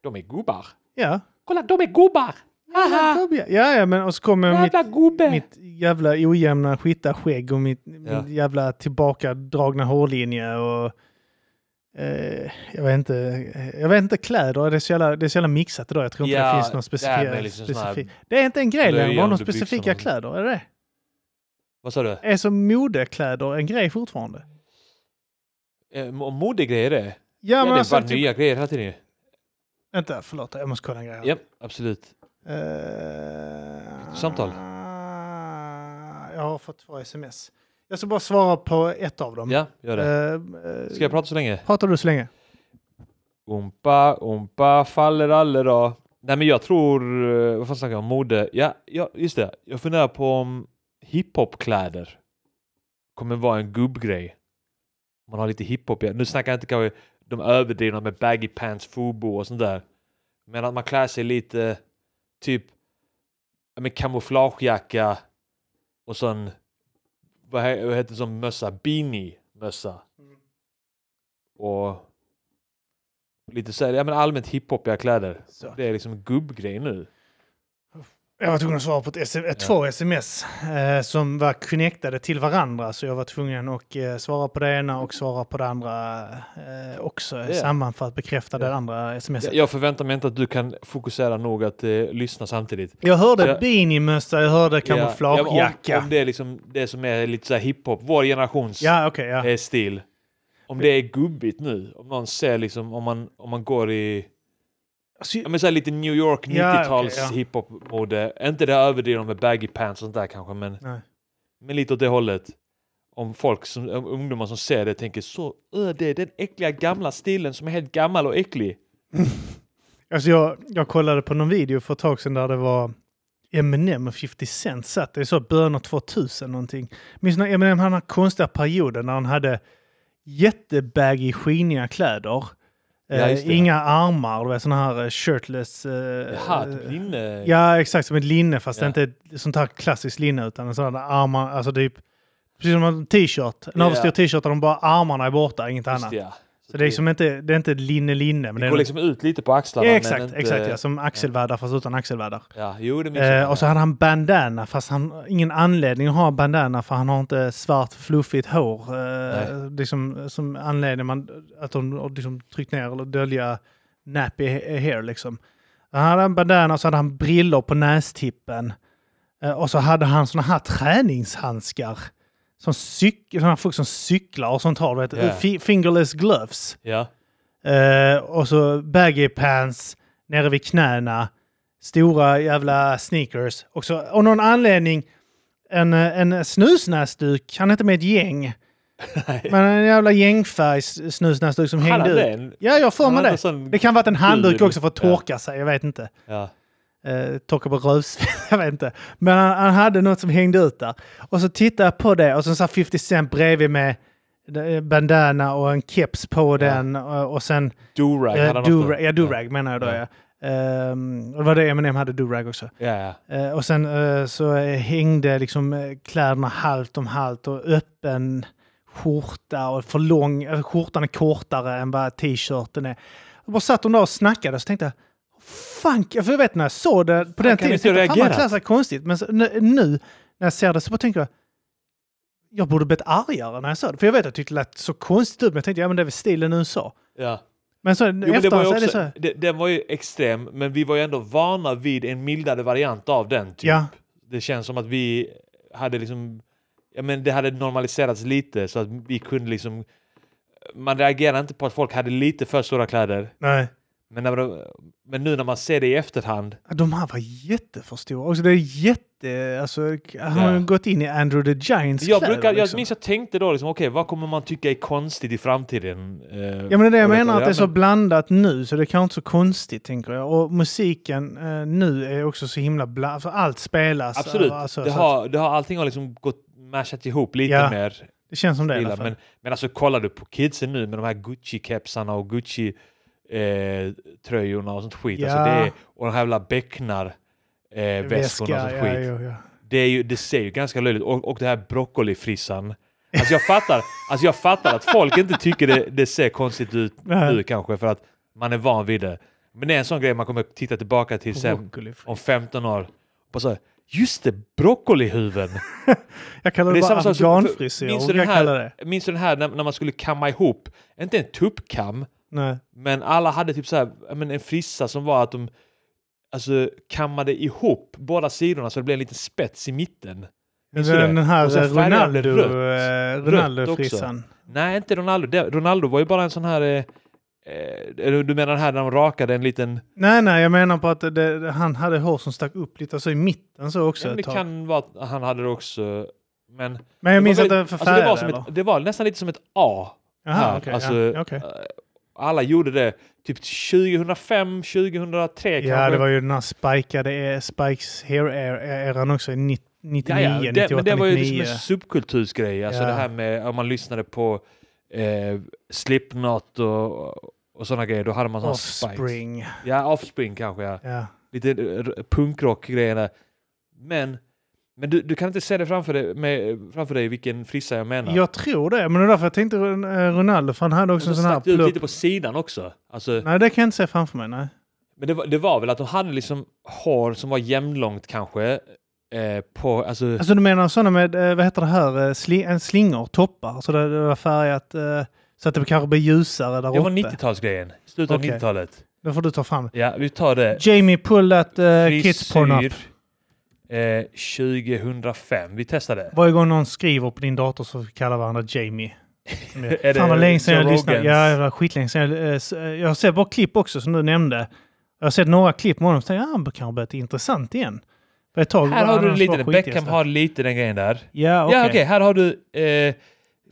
Speaker 1: De är gubbar.
Speaker 2: ja.
Speaker 1: Kolla, de är gubbar! Haha!
Speaker 2: Gubbjävel. ja, ja, men och så kommer mitt,
Speaker 1: Jävla gubbe!
Speaker 2: mitt jävla ojämna skittarskägg och mitt, min jävla tillbakadragna hårlinje och eh, jag vet inte, jag vet inte kläder, det är så jävla, det är så jävla mixat idag. Jag tror inte
Speaker 1: Ja,
Speaker 2: det finns någon
Speaker 1: det här
Speaker 2: specifik.
Speaker 1: med liksom såna här
Speaker 2: specifik. Det är inte en grej längre,
Speaker 1: blöjor
Speaker 2: bara de
Speaker 1: under byxorna och
Speaker 2: specifika
Speaker 1: sånt.
Speaker 2: kläder, är det det?
Speaker 1: Vad sa du?
Speaker 2: Är som modekläder en grej fortfarande?
Speaker 1: Eh, mo- Modegrejer det?
Speaker 2: Ja,
Speaker 1: Ja,
Speaker 2: men
Speaker 1: det är
Speaker 2: alltså,
Speaker 1: bara
Speaker 2: typ,
Speaker 1: nya grejer hela tiden ju.
Speaker 2: Vänta, förlåt, jag måste kolla en grej. här.
Speaker 1: Japp, absolut.
Speaker 2: Eh,
Speaker 1: Samtal.
Speaker 2: Jag har fått två sms. Jag ska bara svara på ett av dem.
Speaker 1: Ja, gör det.
Speaker 2: Eh, eh,
Speaker 1: Ska jag prata så länge?
Speaker 2: Pratar du så länge?
Speaker 1: Umpa, umpa, faller allera. Nej men jag tror, eh, vad fan snackar jag om? Mode? Ja, ja, just det. Jag funderar på om hiphopkläder kommer vara en gubbgrej. Man har lite hiphop, i- nu snackar jag inte kanske de överdrivna med baggy pants, fubo och sånt där. Men att man klär sig lite, typ, ja, men kamouflagejacka och sån, vad, he, vad heter det som mössa? Beanie-mössa.
Speaker 2: Mm.
Speaker 1: Och lite så här, ja men allmänt hiphopiga kläder.
Speaker 2: Så.
Speaker 1: Det är liksom en gubbgrej nu.
Speaker 2: Jag var tvungen att svara på ett sm- eh, två sms eh, som var connectade till varandra. Så jag var tvungen att eh, svara på det ena och svara på det andra eh, också.
Speaker 1: Ja.
Speaker 2: Samman för att bekräfta det
Speaker 1: Ja.
Speaker 2: andra sms.
Speaker 1: Jag, jag förväntar mig inte att du kan fokusera nog att eh, lyssna samtidigt.
Speaker 2: Jag hörde
Speaker 1: Ja.
Speaker 2: beanie-mössa, jag hörde
Speaker 1: Ja,
Speaker 2: kamouflagejacka.
Speaker 1: om, om det är liksom det som är lite så här hiphop, vår generations
Speaker 2: Ja, okej. ja.
Speaker 1: eh, stil. Om det är gubbigt nu, om någon ser liksom, om man, om man går i
Speaker 2: Alltså,
Speaker 1: ja, men så här lite New York
Speaker 2: Ja,
Speaker 1: 90-tals
Speaker 2: okej, ja.
Speaker 1: hiphop-mode. Inte det överdrivna med baggy pants och sånt där kanske, men,
Speaker 2: Nej.
Speaker 1: men lite åt det hållet. Om folk, som, om ungdomar som ser det tänker så, "Ö, det är den äckliga gamla stilen som är helt gammal och äcklig.
Speaker 2: Alltså jag, jag kollade på någon video för ett tag sedan där det var Eminem och 50 Cent satt. Det är så bönor 2000 någonting. Minns när Eminem hade den här konstiga perioden när han hade jättebaggy skiniga kläder.
Speaker 1: Ja, just det.
Speaker 2: eh, inga armar, du vet sådana här eh, shirtless... Eh,
Speaker 1: Jaha,
Speaker 2: eh,
Speaker 1: typ linne...
Speaker 2: Ja, exakt. Som ett linne fast
Speaker 1: Ja.
Speaker 2: det är inte ett sånt här klassiskt linne utan en sån här armar, alltså typ... Precis som en t-shirt. En
Speaker 1: Ja.
Speaker 2: överstor t-shirt där de bara armarna är borta, inget
Speaker 1: Just
Speaker 2: annat.
Speaker 1: det, ja.
Speaker 2: Så det är liksom inte, det är inte ett linne-linne. Men
Speaker 1: Det
Speaker 2: är
Speaker 1: går liksom ut lite på axlarna.
Speaker 2: Ja,
Speaker 1: men
Speaker 2: exakt,
Speaker 1: inte-
Speaker 2: exakt ja. Som axelvärdar fast utan axelvärdar.
Speaker 1: Ja, jo, det minns
Speaker 2: Eh,
Speaker 1: jag.
Speaker 2: och så hade han bandana fast han ingen anledning att ha bandana för han har inte svart fluffigt hår. Eh,
Speaker 1: Nej.
Speaker 2: liksom, som anledning man, att de har liksom, tryckt ner eller dölja nappy he- hair liksom. Han hade en bandana och så hade han briller på nästippen. Eh, och så hade han såna här träningshandskar. Som cyk- såna här folk som cyklar och sånt har du vet.
Speaker 1: Ja.
Speaker 2: Fi- Fingerless gloves.
Speaker 1: ja.
Speaker 2: Eh, och så baggy pants nere vid knäna. Stora jävla sneakers. Och så, av någon anledning en, eh, en snusnäsduk. Han är inte med i ett gäng.
Speaker 1: Nej.
Speaker 2: Men en jävla gängfärg s- snusnäsduk som
Speaker 1: Hade
Speaker 2: hängde
Speaker 1: han
Speaker 2: ut.
Speaker 1: den?
Speaker 2: Ja, jag har för
Speaker 1: Han
Speaker 2: mig
Speaker 1: hade
Speaker 2: det.
Speaker 1: sån-
Speaker 2: Det kan vara en handduk
Speaker 1: kul.
Speaker 2: också för att torka sig. Jag vet inte.
Speaker 1: Ja.
Speaker 2: Eh, torka på rövsvett. Jag vet inte. Men han, han hade något som hängde ut där. Och så tittade jag på det och så satt 50 Cent bredvid med eh, bandana och en keps på den. eh, Och, och sen
Speaker 1: Do-rag hade
Speaker 2: Eh,
Speaker 1: han
Speaker 2: do-rag,
Speaker 1: också.
Speaker 2: ja, do-rag menar jag då. Ja. Ehm, och det var det Eminem hade, do-rag också.
Speaker 1: Ja, ja.
Speaker 2: Eh, och sen eh, så eh, hängde liksom eh, kläderna halvt om halvt och öppen skjorta och för lång, eh, skjortan är kortare än vad t-shirten är. Jag bara satt hon där och snackade och så tänkte jag, fan, för jag vet när jag såg det på den
Speaker 1: kan
Speaker 2: tiden,
Speaker 1: inte
Speaker 2: jag fan man
Speaker 1: reagera."
Speaker 2: klär sig konstigt. Men så, nu, nu när jag ser det så bara tänker jag, jag borde blivit argare när jag såg det. För jag vet att jag tyckte det lät så konstigt ut, men jag tänkte, ja men det är väl stilen i USA.
Speaker 1: ja.
Speaker 2: Men så
Speaker 1: Jo, men det var
Speaker 2: efterhand
Speaker 1: ju
Speaker 2: så är det
Speaker 1: också,
Speaker 2: så här,
Speaker 1: det- den var ju extrem, men vi var ju ändå vana vid en mildare variant av den. Typ.
Speaker 2: Ja.
Speaker 1: Det känns som att vi hade liksom... Ja, men det hade normaliserats lite så att vi kunde liksom... Man reagerade inte på att folk hade lite för stora kläder.
Speaker 2: Nej.
Speaker 1: Men, när de, men nu när man ser det i efterhand.
Speaker 2: Ja, De här var jätteför stora. Alltså, det är jätte... Alltså, han har
Speaker 1: Ja.
Speaker 2: ju gått in i Andrew the Giants
Speaker 1: Jag,
Speaker 2: kläder,
Speaker 1: brukar, jag
Speaker 2: liksom.
Speaker 1: minns jag tänkte då, liksom, okej, vad kommer man tycka är konstigt i framtiden? Eh,
Speaker 2: Ja, men det är det jag
Speaker 1: och
Speaker 2: menar, att det är
Speaker 1: Ja,
Speaker 2: så
Speaker 1: men-
Speaker 2: blandat nu, så det är kanske inte så konstigt, tänker jag. Och musiken eh, nu är också så himla blandat, för allt spelas.
Speaker 1: Absolut,
Speaker 2: över- Alltså,
Speaker 1: det,
Speaker 2: så att
Speaker 1: har, det har, allting har liksom gått mashat ihop lite
Speaker 2: Ja,
Speaker 1: mer.
Speaker 2: det känns som det i alla
Speaker 1: Illa.
Speaker 2: fall.
Speaker 1: Men, men alltså kollar du på kidsen nu med de här Gucci-kepsarna och Gucci-tröjorna och sånt skit. Alltså
Speaker 2: Ja.
Speaker 1: det är, och de här jävla becknar-väskorna och sånt
Speaker 2: Väska, ja,
Speaker 1: skit.
Speaker 2: jo, ja.
Speaker 1: Det, är ju, det ser ju ganska löjligt Och, och det här broccolifrissan. Alltså jag, fattar, alltså jag fattar att folk inte tycker det, det ser konstigt ut
Speaker 2: Nej.
Speaker 1: nu kanske för att man är van vid det. Men det är en sån grej man kommer titta tillbaka till sen
Speaker 2: Broccoli.
Speaker 1: om 15 år. Och så, här, just det, broccolihuvuden!
Speaker 2: Jag kallar det,
Speaker 1: Det är samma
Speaker 2: bara
Speaker 1: sak som-
Speaker 2: afghanfrisyr.
Speaker 1: minns du den
Speaker 2: Jag
Speaker 1: här-
Speaker 2: kallar det.
Speaker 1: Minns du den här när, när man skulle kamma ihop, inte en tuppkam,
Speaker 2: Nej.
Speaker 1: men alla hade typ så här, ja, men en frissa som var att de alltså, kammade ihop båda sidorna så det blev en liten spets i mitten. Minns du det?
Speaker 2: Den, den här
Speaker 1: Och sen
Speaker 2: eh,
Speaker 1: färgade det
Speaker 2: Ronaldo, eh,
Speaker 1: rött.
Speaker 2: Ronaldo-frissan.
Speaker 1: Nej, inte Ronaldo. Det- Ronaldo var ju bara en sån här... Eh, eh, eller du menar den här när de rakade en liten...
Speaker 2: Nej, nej, jag menar på att det, det, han hade hår som stack upp lite så i mitten så också
Speaker 1: Ja, men
Speaker 2: ett
Speaker 1: det
Speaker 2: tag.
Speaker 1: kan vara att han hade det också. Men det
Speaker 2: Men jag
Speaker 1: var
Speaker 2: minns att
Speaker 1: väldigt- alltså,
Speaker 2: det var
Speaker 1: det,
Speaker 2: förfärgade
Speaker 1: var som ett, det var nästan lite som ett A.
Speaker 2: Jaha,
Speaker 1: här.
Speaker 2: okej,
Speaker 1: Alltså,
Speaker 2: ja, okej.
Speaker 1: eh, Alla gjorde det typ 2005, 2003
Speaker 2: Ja,
Speaker 1: kanske.
Speaker 2: det var ju den här spikade, eh, Spikes Hair-eran också, i nitt- eh, 99,
Speaker 1: ja, ja. Det,
Speaker 2: 98,
Speaker 1: men det var ju
Speaker 2: 99.
Speaker 1: liksom en subkultursgrej. Alltså
Speaker 2: Ja.
Speaker 1: det här med om man lyssnade på eh, Slipknot och, och sådana grejer. Då hade man sådana spikes.
Speaker 2: Offspring.
Speaker 1: Ja, Offspring kanske. Ja.
Speaker 2: Ja.
Speaker 1: Lite eh, punkrock-grejer där. Men, men du, du kan inte se det framför dig, med, framför dig vilken frissa jag menar.
Speaker 2: Jag tror det, men det är därför jag tänkte Ron- eh, Ronaldo, för han hade
Speaker 1: och
Speaker 2: också
Speaker 1: så
Speaker 2: en sån här
Speaker 1: stack det ut
Speaker 2: plupp.
Speaker 1: lite på sidan också. Alltså,
Speaker 2: Nej, det kan jag inte se framför mig. Nej.
Speaker 1: Men det var, det var väl att de hade liksom hår som var jämnlångt kanske. Eh, på, alltså,
Speaker 2: Alltså du menar sådana med, eh, vad heter det här, eh, sli, en slingor, toppar, så det, det var färgat eh, så att det kanske blir ljusare där
Speaker 1: det var
Speaker 2: uppe.
Speaker 1: 90-talsgrejen. Slutet av
Speaker 2: Okej.
Speaker 1: 90-talet.
Speaker 2: Då får du ta fram det.
Speaker 1: Ja, vi tar det.
Speaker 2: Jamie pull that eh, kids porn up.
Speaker 1: eh, 2005. Vi testar det.
Speaker 2: Varje gång någon skriver på din dator så kallar varandra Jamie.
Speaker 1: Är
Speaker 2: Fan
Speaker 1: det
Speaker 2: vad länge sedan jag
Speaker 1: Joe
Speaker 2: lyssnade.
Speaker 1: Rogans?
Speaker 2: Ja, det var skitlänge sedan. Jag, eh, s- eh, jag har sett bara klipp också som du nämnde. Jag har sett några klipp med honom så tänkte jag, ah, han kanske börjat intressant igen. För ett tag
Speaker 1: Här
Speaker 2: var
Speaker 1: har
Speaker 2: han
Speaker 1: du
Speaker 2: hans
Speaker 1: lite
Speaker 2: bara
Speaker 1: det.
Speaker 2: skitigaste.
Speaker 1: Beckham har lite den grejen där.
Speaker 2: Ja, okej.
Speaker 1: Ja, okej. Här har du eh,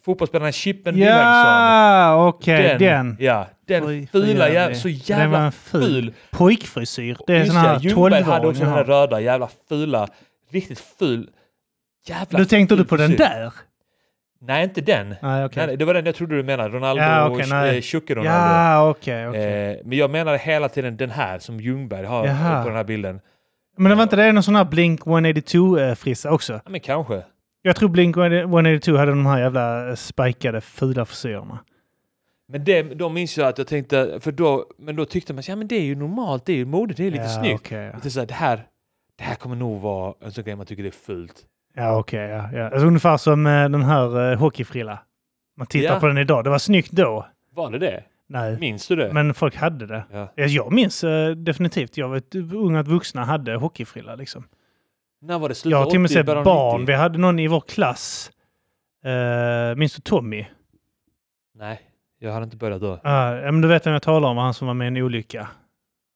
Speaker 1: fotbollsspelaren Chippen Wilhelmsson.
Speaker 2: Ja, okej. Den.
Speaker 1: Ja, den
Speaker 2: Oj,
Speaker 1: fula
Speaker 2: för
Speaker 1: jävla...
Speaker 2: jävligt.
Speaker 1: Så
Speaker 2: Den var
Speaker 1: jävla
Speaker 2: en
Speaker 1: ful.
Speaker 2: Pojkfrisyr. Det är
Speaker 1: Just
Speaker 2: sån här
Speaker 1: det, Ljungberg hade också den här
Speaker 2: tolvåring.
Speaker 1: röda, jävla fula, riktigt ful. Jävla
Speaker 2: Nu tänkte
Speaker 1: ful
Speaker 2: du på den
Speaker 1: frisyr.
Speaker 2: där?
Speaker 1: Nej, inte den.
Speaker 2: Nej, okej.
Speaker 1: Nej, det var den jag trodde du menade. Ronaldo
Speaker 2: Ja, okej,
Speaker 1: och
Speaker 2: nej.
Speaker 1: eh, Tjocke-Ronaldo.
Speaker 2: Ja, okej. okej.
Speaker 1: eh, men jag menade hela tiden den här som Ljungberg har
Speaker 2: Jaha.
Speaker 1: på den här bilden.
Speaker 2: Men det var inte det någon sån här Blink 182-frissa eh, också?
Speaker 1: Ja, men kanske.
Speaker 2: Jag tror Blink 182 hade de här jävla eh, spikade fula frisyrerna.
Speaker 1: Men det, då minns jag att jag tänkte, för då, men då tyckte man så, ja men det är ju normalt, det är ju mode, det är lite
Speaker 2: ja,
Speaker 1: snyggt.
Speaker 2: okej, ja.
Speaker 1: Lite så här, det, här, det här kommer nog vara en sån grej man tycker det är fult.
Speaker 2: ja, okej. ja, ja. Alltså, ungefär som eh, den här eh, hockeyfrilla. Man tittar
Speaker 1: Ja.
Speaker 2: på den idag. Det var snyggt då.
Speaker 1: Var det det?
Speaker 2: Nej,
Speaker 1: Minns du det?
Speaker 2: men folk hade det.
Speaker 1: ja.
Speaker 2: Ja, Jag minns eh, definitivt. Jag vet unga att vuxna hade hockeyfrilla. Liksom.
Speaker 1: När var det slut?
Speaker 2: Jag har till och med
Speaker 1: 80,
Speaker 2: sett
Speaker 1: början av
Speaker 2: barn.
Speaker 1: 90?
Speaker 2: Vi hade någon i vår klass. Uh, minns du Tommy?
Speaker 1: Nej, jag hade inte börjat då.
Speaker 2: Ah, ja, men du vet vem jag talar om, han som var med i en olycka.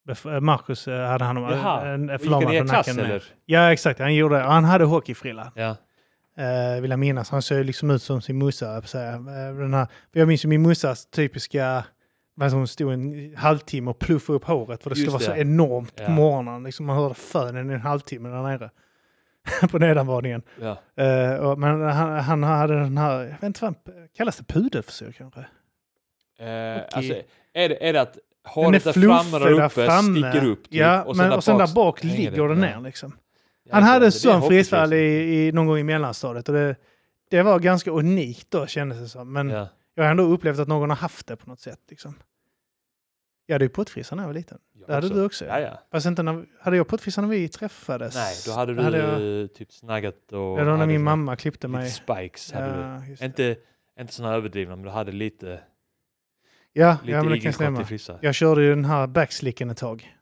Speaker 2: Bef- eh, Marcus eh, hade han om
Speaker 1: Jaha.
Speaker 2: en en
Speaker 1: Gick det
Speaker 2: förlamad
Speaker 1: i
Speaker 2: på
Speaker 1: er klass
Speaker 2: nacken. Med.
Speaker 1: eller?
Speaker 2: Ja, exakt. Han gjorde det. Han hade hockeyfrilla,
Speaker 1: Ja.
Speaker 2: eh, vill jag minnas. Han såg liksom ut som sin morsa, höll jag på att säga. Eh, den här, för jag minns ju min morsas typiska... Vad som stod en halvtimme och pluffade upp håret för det skulle
Speaker 1: Just
Speaker 2: vara så
Speaker 1: det.
Speaker 2: enormt
Speaker 1: Ja.
Speaker 2: på morgonen. Liksom man hörde fönen i en halvtimme där nere. på nedanvåningen.
Speaker 1: ja.
Speaker 2: Eh, och, men han, han hade den här, jag vet inte vad han- kallas det pudelfrisyr kanske?
Speaker 1: Eh,
Speaker 2: Okej.
Speaker 1: alltså, är, det, är det att
Speaker 2: Den är
Speaker 1: håret där framme
Speaker 2: fluffig
Speaker 1: där uppe
Speaker 2: framme.
Speaker 1: sticker upp? typ,
Speaker 2: ja, och, men, och sen där bak
Speaker 1: hänger
Speaker 2: ligger
Speaker 1: det.
Speaker 2: den
Speaker 1: Ja.
Speaker 2: ner liksom.
Speaker 1: Ja,
Speaker 2: Han
Speaker 1: det-
Speaker 2: hade
Speaker 1: det
Speaker 2: en
Speaker 1: är
Speaker 2: sån
Speaker 1: hockeyfrisyr.
Speaker 2: frisyr i, i någon gång i mellanstadiet och det, det var ganska unikt då kändes det som. Men
Speaker 1: Ja.
Speaker 2: jag har ändå upplevt att någon har haft det på något sätt. Liksom. Jag hade ju puttfrissa när jag var liten.
Speaker 1: Jag
Speaker 2: Det hade
Speaker 1: också.
Speaker 2: du också.
Speaker 1: Ja, ja.
Speaker 2: Fast inte när, hade jag puttfrissa när vi träffades?
Speaker 1: Nej, då hade du
Speaker 2: jag,
Speaker 1: typ snaggat och...
Speaker 2: det var när
Speaker 1: hade
Speaker 2: min
Speaker 1: såna-
Speaker 2: mamma klippte mig.
Speaker 1: Lite spikes hade
Speaker 2: Ja, just
Speaker 1: du.
Speaker 2: det.
Speaker 1: Inte, inte såna överdrivna, men du hade lite,
Speaker 2: ja,
Speaker 1: lite
Speaker 2: ja, men det kan
Speaker 1: igelkottig
Speaker 2: stämma.
Speaker 1: frissa.
Speaker 2: Jag körde ju den här backslicken ett tag.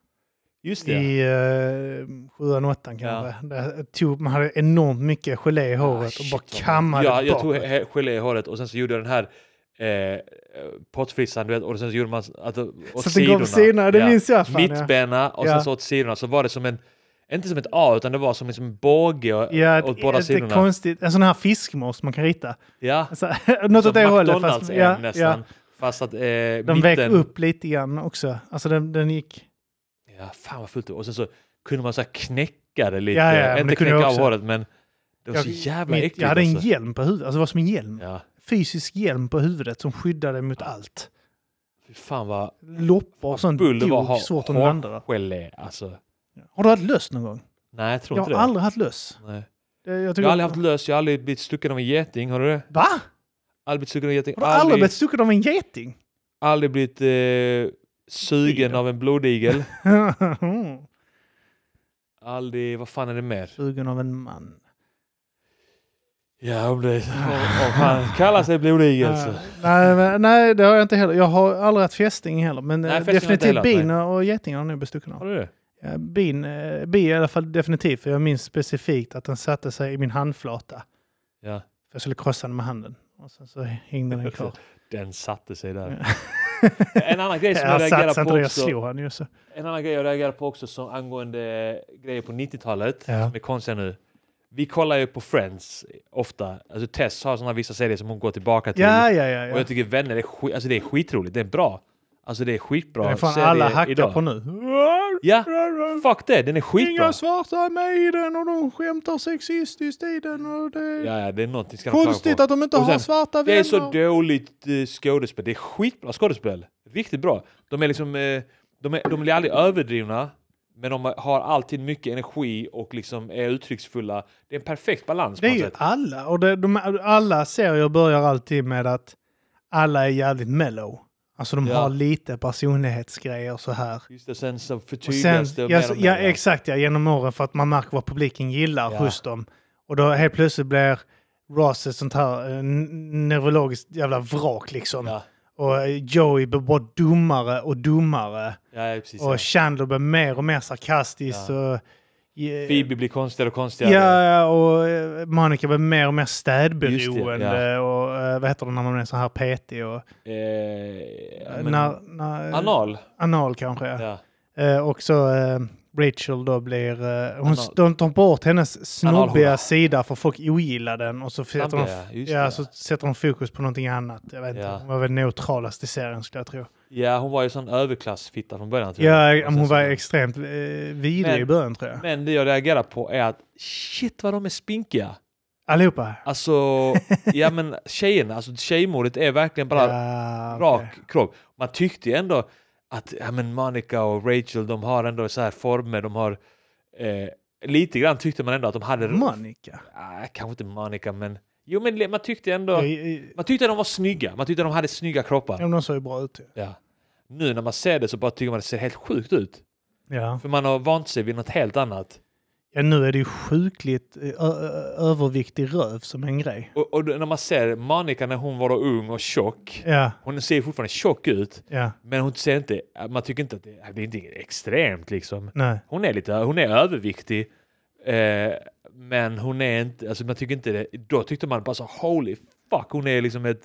Speaker 1: Just det.
Speaker 2: i uh, sjuan, åttan kanske. Där tog, man hade enormt mycket gelé i håret
Speaker 1: Ah, shit,
Speaker 2: och
Speaker 1: vad
Speaker 2: bara
Speaker 1: mycket.
Speaker 2: kammade
Speaker 1: ja, Jag
Speaker 2: bakåt.
Speaker 1: tog he- gelé i håret och sen så gjorde jag den här eh, pottfrissan, du vet, och sen så gjorde man att, åt
Speaker 2: Så att den går på sidorna, det minns jag fan, ja.
Speaker 1: Mittbena och sen
Speaker 2: Ja.
Speaker 1: så åt sidorna, så var det som en, inte som ett A, utan det var som liksom en båge och-
Speaker 2: Ja,
Speaker 1: åt
Speaker 2: ett,
Speaker 1: båda
Speaker 2: ett,
Speaker 1: sidorna.
Speaker 2: ett konstigt, en sån här fiskmås man kan rita.
Speaker 1: ja,
Speaker 2: Alltså, något
Speaker 1: som
Speaker 2: åt det hållet.
Speaker 1: McDonalds
Speaker 2: Fast,
Speaker 1: är
Speaker 2: ja,
Speaker 1: nästan.
Speaker 2: ja.
Speaker 1: Fast att eh,
Speaker 2: Den
Speaker 1: mitten...
Speaker 2: vek upp lite grann också. Alltså den, den gick...
Speaker 1: Ja, fan vad fult det var. Och sen så kunde man så här knäcka det lite,
Speaker 2: Ja, ja, men
Speaker 1: inte
Speaker 2: det kunde
Speaker 1: knäcka
Speaker 2: jag
Speaker 1: av
Speaker 2: också.
Speaker 1: håret, men det var så
Speaker 2: Jag-
Speaker 1: jävla
Speaker 2: mitt-
Speaker 1: äckligt.
Speaker 2: jag hade en
Speaker 1: alltså.
Speaker 2: hjälm på huvudet. Alltså det var som en hjälm.
Speaker 1: Ja,
Speaker 2: Fysisk hjälm på huvudet som skyddade mot allt.
Speaker 1: fy fan vad
Speaker 2: Loppor och sånt
Speaker 1: bull det var att
Speaker 2: dog
Speaker 1: ha
Speaker 2: svårt att landa där.
Speaker 1: hårgelé. Alltså.
Speaker 2: Har du haft löss någon gång?
Speaker 1: Nej, jag tror
Speaker 2: Jag
Speaker 1: inte
Speaker 2: har
Speaker 1: det.
Speaker 2: aldrig haft löss.
Speaker 1: Nej.
Speaker 2: Det- Jag,
Speaker 1: Jag
Speaker 2: tycker-
Speaker 1: har aldrig haft lös, jag har aldrig blivit stucken av en geting. Har du det?
Speaker 2: Va?
Speaker 1: Aldrig blivit stucken av en geting.
Speaker 2: Har du aldrig
Speaker 1: Aldrig,
Speaker 2: blivit stucken av en geting?
Speaker 1: aldrig blivit eh, sugen
Speaker 2: Igel.
Speaker 1: av en blodigel. aldrig, vad fan är det mer?
Speaker 2: Sugen av en man.
Speaker 1: Ja, om, det, om, om han kallar sig blodigel så.
Speaker 2: Nej, nej, men- nej, det har jag inte heller. Jag har aldrig haft fästing heller. Men
Speaker 1: Nej,
Speaker 2: eh,
Speaker 1: fästing har jag inte
Speaker 2: definitivt
Speaker 1: heller haft,
Speaker 2: bin och getingar har nog bestucken
Speaker 1: Har
Speaker 2: av.
Speaker 1: du det?
Speaker 2: Ja, Bin, eh, bi i alla fall definitivt. För jag minns specifikt att den satte sig i min handflata.
Speaker 1: Ja,
Speaker 2: För jag skulle krossa den med handen. Och sen så hängde den kvar.
Speaker 1: den satte sig där. en annan grej som jag
Speaker 2: Jag satsade
Speaker 1: reagerar
Speaker 2: inte det,
Speaker 1: på
Speaker 2: jag
Speaker 1: också.
Speaker 2: slog han ju. Så.
Speaker 1: En annan grej jag reagerar på också som angående eh, grejer på 90-talet
Speaker 2: Ja.
Speaker 1: som är konstiga nu. Vi kollar ju på Friends ofta. Alltså Tess har sådana vissa serier som hon går tillbaka till.
Speaker 2: Ja, ja, ja.
Speaker 1: Mm. Och
Speaker 2: ja.
Speaker 1: jag tycker Vänner är, skit, alltså det är skitroligt, det är bra. Alltså det är skitbra.
Speaker 2: Den är fan
Speaker 1: Ser
Speaker 2: alla
Speaker 1: det
Speaker 2: hackar
Speaker 1: idag.
Speaker 2: på nu.
Speaker 1: Ja, fuck det. Den är skitbra.
Speaker 2: Inga svarta är med i den och de skämtar sexistiskt i den och det är
Speaker 1: Ja, ja, det är någonting ska de klaga
Speaker 2: konstigt
Speaker 1: på.
Speaker 2: att de inte
Speaker 1: Och
Speaker 2: har
Speaker 1: sen,
Speaker 2: svarta vänner.
Speaker 1: Det är så dåligt eh, skådespel. Det är skitbra skådespel. Riktigt bra. De är liksom... eh, De, är, de blir aldrig överdrivna, men de har alltid mycket energi och liksom är uttrycksfulla. Det är en perfekt balans på
Speaker 2: Det är
Speaker 1: något
Speaker 2: ju
Speaker 1: sätt.
Speaker 2: alla. Och det, de, alla serier börjar alltid med att alla är jävligt mellow. Alltså de
Speaker 1: Ja.
Speaker 2: har lite personlighetsgrejer så här.
Speaker 1: Just det, sen så
Speaker 2: Och sen,
Speaker 1: förtydligas det
Speaker 2: ja,
Speaker 1: mer
Speaker 2: så-
Speaker 1: och mer.
Speaker 2: ja, exakt ja, genom åren för att man märker vad publiken gillar
Speaker 1: Ja.
Speaker 2: hos dem. Och då helt plötsligt blir Ross ett sånt här eh, n- neurologiskt jävla vrak liksom.
Speaker 1: Ja,
Speaker 2: Och eh, Joey blir bara dummare och dummare.
Speaker 1: ja, ja, precis.
Speaker 2: Och
Speaker 1: Ja.
Speaker 2: Chandler blir mer och mer sarkastisk.
Speaker 1: Ja.
Speaker 2: Och, eh,
Speaker 1: Phoebe blir konstigare och konstigare.
Speaker 2: Ja, och eh, Monica blir mer och mer
Speaker 1: Just
Speaker 2: städberoende.
Speaker 1: det,
Speaker 2: Och eh, vad heter det när man är så här petig? Och, eh,
Speaker 1: Eh, ja, men,
Speaker 2: när, när,
Speaker 1: anal.
Speaker 2: Anal kanske, ja.
Speaker 1: Ja.
Speaker 2: Eh, och så eh, Rachel då blir... Eh, hon
Speaker 1: Anal-
Speaker 2: s- de tar bort hennes
Speaker 1: Analhora.
Speaker 2: snobbiga sida för folk ogillar den. Och så sätter, de,
Speaker 1: Snabbiga, just
Speaker 2: ja,
Speaker 1: det.
Speaker 2: så sätter de fokus på någonting annat. Jag vet inte,
Speaker 1: Ja.
Speaker 2: hon var väl neutralast i serien skulle jag tro.
Speaker 1: ja, hon var ju sån överklassfitta från början. tror jag.
Speaker 2: Ja,
Speaker 1: Och sen
Speaker 2: hon
Speaker 1: så-
Speaker 2: var extremt eh, vidrig
Speaker 1: Men-
Speaker 2: i början tror jag.
Speaker 1: Men det jag reagerar på är att shit vad de är spinkiga.
Speaker 2: Allihopa.
Speaker 1: Alltså, ja men tjejerna, alltså tjejmordet är verkligen bara
Speaker 2: Ja,
Speaker 1: rak
Speaker 2: okej.
Speaker 1: kropp. Man tyckte ju ändå att ja, men Monica och Rachel, de har ändå så här former, de har... Eh, lite grann tyckte man ändå att de hade...
Speaker 2: Monica.
Speaker 1: Ah, kanske inte Monica, men... Jo, men le- man tyckte ändå...
Speaker 2: Ja, i- i-
Speaker 1: Man tyckte att de var snygga, man tyckte att de hade snygga
Speaker 2: Ja,
Speaker 1: kroppar.
Speaker 2: men de såg ju bra ut. ju.
Speaker 1: Ja. Nu när man ser det så bara tycker man att det ser helt sjukt ut.
Speaker 2: Ja.
Speaker 1: För man har vant sig vid något helt annat.
Speaker 2: ja, nu är det ju sjukligt eh, ö- ö- överviktig röv som en grej.
Speaker 1: Och, och då- när man ser Monica när hon var då ung och tjock.
Speaker 2: Ja,
Speaker 1: Hon ser fortfarande tjock ut,
Speaker 2: ja,
Speaker 1: men hon ser inte... Man tycker inte att det, det är inte extremt liksom.
Speaker 2: nej.
Speaker 1: Hon är lite, hon är överviktig. Eh, men hon är inte, alltså man tycker inte det. Då tyckte man bara så holy fuck, hon är liksom ett,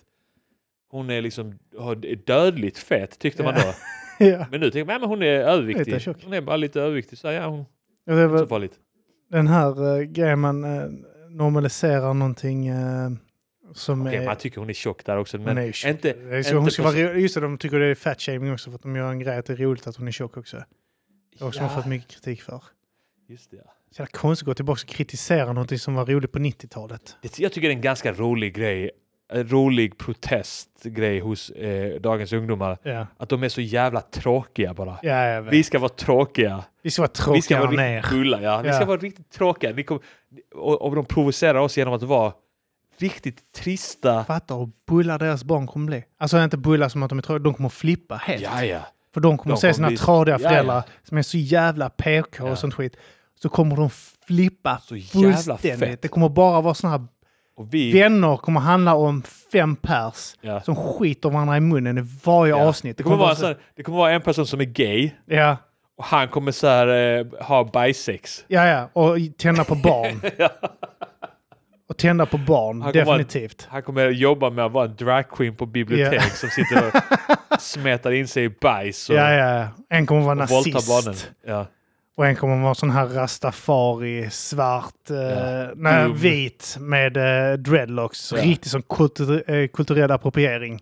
Speaker 1: hon är liksom har dödligt fet tyckte man då.
Speaker 2: Ja.
Speaker 1: Men nu tänker man, nej men hon är
Speaker 2: Lite
Speaker 1: överviktig.
Speaker 2: tjock.
Speaker 1: Hon är bara lite överviktig, så ja hon,
Speaker 2: Ja, det
Speaker 1: inte så
Speaker 2: var
Speaker 1: farligt.
Speaker 2: den här eh, grejen man eh, normaliserar någonting eh, som
Speaker 1: Okej,
Speaker 2: är...
Speaker 1: man tycker hon är tjock där också,
Speaker 2: hon
Speaker 1: men
Speaker 2: är ju tjock.
Speaker 1: inte,
Speaker 2: Det är så-
Speaker 1: inte
Speaker 2: hon ska
Speaker 1: på-
Speaker 2: vara, ro- just det, de tycker det är fat shaming också för att de gör en grej att det är roligt att hon är tjock också. Det är också hon
Speaker 1: ja,
Speaker 2: fått mycket kritik för.
Speaker 1: just det. ja.
Speaker 2: Så jävla konstigt att gå tillbaka och kritisera någonting som var roligt på 90-talet.
Speaker 1: Det- Jag tycker det är en ganska rolig grej, en rolig protestgrej hos eh, dagens ungdomar.
Speaker 2: Ja,
Speaker 1: Att de är så jävla tråkiga bara.
Speaker 2: ja jag vet.
Speaker 1: Vi ska vara tråkiga.
Speaker 2: Vi ska vara
Speaker 1: Vi ska
Speaker 2: tråkigare
Speaker 1: vara
Speaker 2: än
Speaker 1: riktigt
Speaker 2: er.
Speaker 1: fulla, ja. Vi ska
Speaker 2: Ja.
Speaker 1: vara riktigt tråkiga. Ni kommer, och, och de provocerar oss genom att vara riktigt trista.
Speaker 2: Fattar hur bullar deras barn kommer bli. Alltså inte bullar som att de är tråkiga, de kommer flippa helt.
Speaker 1: Ja, ja.
Speaker 2: För de kommer
Speaker 1: De
Speaker 2: se
Speaker 1: kommer
Speaker 2: sina
Speaker 1: bli-
Speaker 2: tradiga
Speaker 1: Ja, ja.
Speaker 2: föräldrar som är så jävla PK
Speaker 1: Ja.
Speaker 2: och sånt skit. Så kommer de flippa
Speaker 1: Så jävla
Speaker 2: fullständigt.
Speaker 1: fett.
Speaker 2: Det kommer bara vara såna här
Speaker 1: Och vi...
Speaker 2: vänner kommer handla om fem pers
Speaker 1: Ja.
Speaker 2: som skiter varandra i munnen i varje
Speaker 1: ja.
Speaker 2: avsnitt.
Speaker 1: Det kommer, vara
Speaker 2: så-
Speaker 1: så... det kommer vara en person som är gay
Speaker 2: Ja,
Speaker 1: och han kommer så här, eh, ha bisex.
Speaker 2: ja, ja. Och tända på barn. Och tända på barn,
Speaker 1: Han kommer vara-
Speaker 2: definitivt.
Speaker 1: Han kommer jobba med att vara en dragqueen på bibliotek
Speaker 2: Ja.
Speaker 1: som sitter och smetar in sig i bajs och,
Speaker 2: Ja, ja. En kommer vara
Speaker 1: och våldtar barnen.
Speaker 2: nazist.
Speaker 1: Ja.
Speaker 2: Och en kommer vara sån här rastafari, svart, eh,
Speaker 1: Ja.
Speaker 2: nej,
Speaker 1: Dum.
Speaker 2: vit med eh, dreadlocks.
Speaker 1: Ja.
Speaker 2: Riktigt som kultur, eh, kulturell appropriering.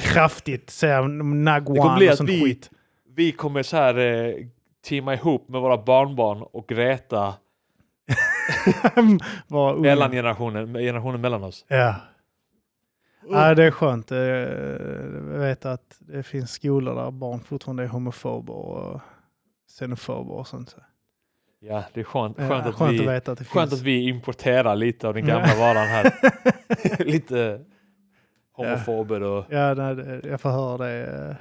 Speaker 2: Kraftigt, säger
Speaker 1: Det kommer
Speaker 2: Nagwan
Speaker 1: bli
Speaker 2: och
Speaker 1: att
Speaker 2: sånt
Speaker 1: vi-
Speaker 2: skit.
Speaker 1: Vi kommer så här eh, teama ihop med våra barnbarn och reta
Speaker 2: Vara ung.
Speaker 1: mellan generationen, generationen mellan oss.
Speaker 2: Ja. ja, det är skönt. Eh, Jag vet att det finns skolor där barn fortfarande är homofober och xenofober och sånt.
Speaker 1: Ja, det är skönt,
Speaker 2: Ja,
Speaker 1: skönt, att,
Speaker 2: skönt
Speaker 1: vi,
Speaker 2: att veta att det
Speaker 1: skönt att
Speaker 2: finns.
Speaker 1: vi importerar lite av den gamla varan här. lite homofober och...
Speaker 2: Ja, nej, det- jag får höra det. eh.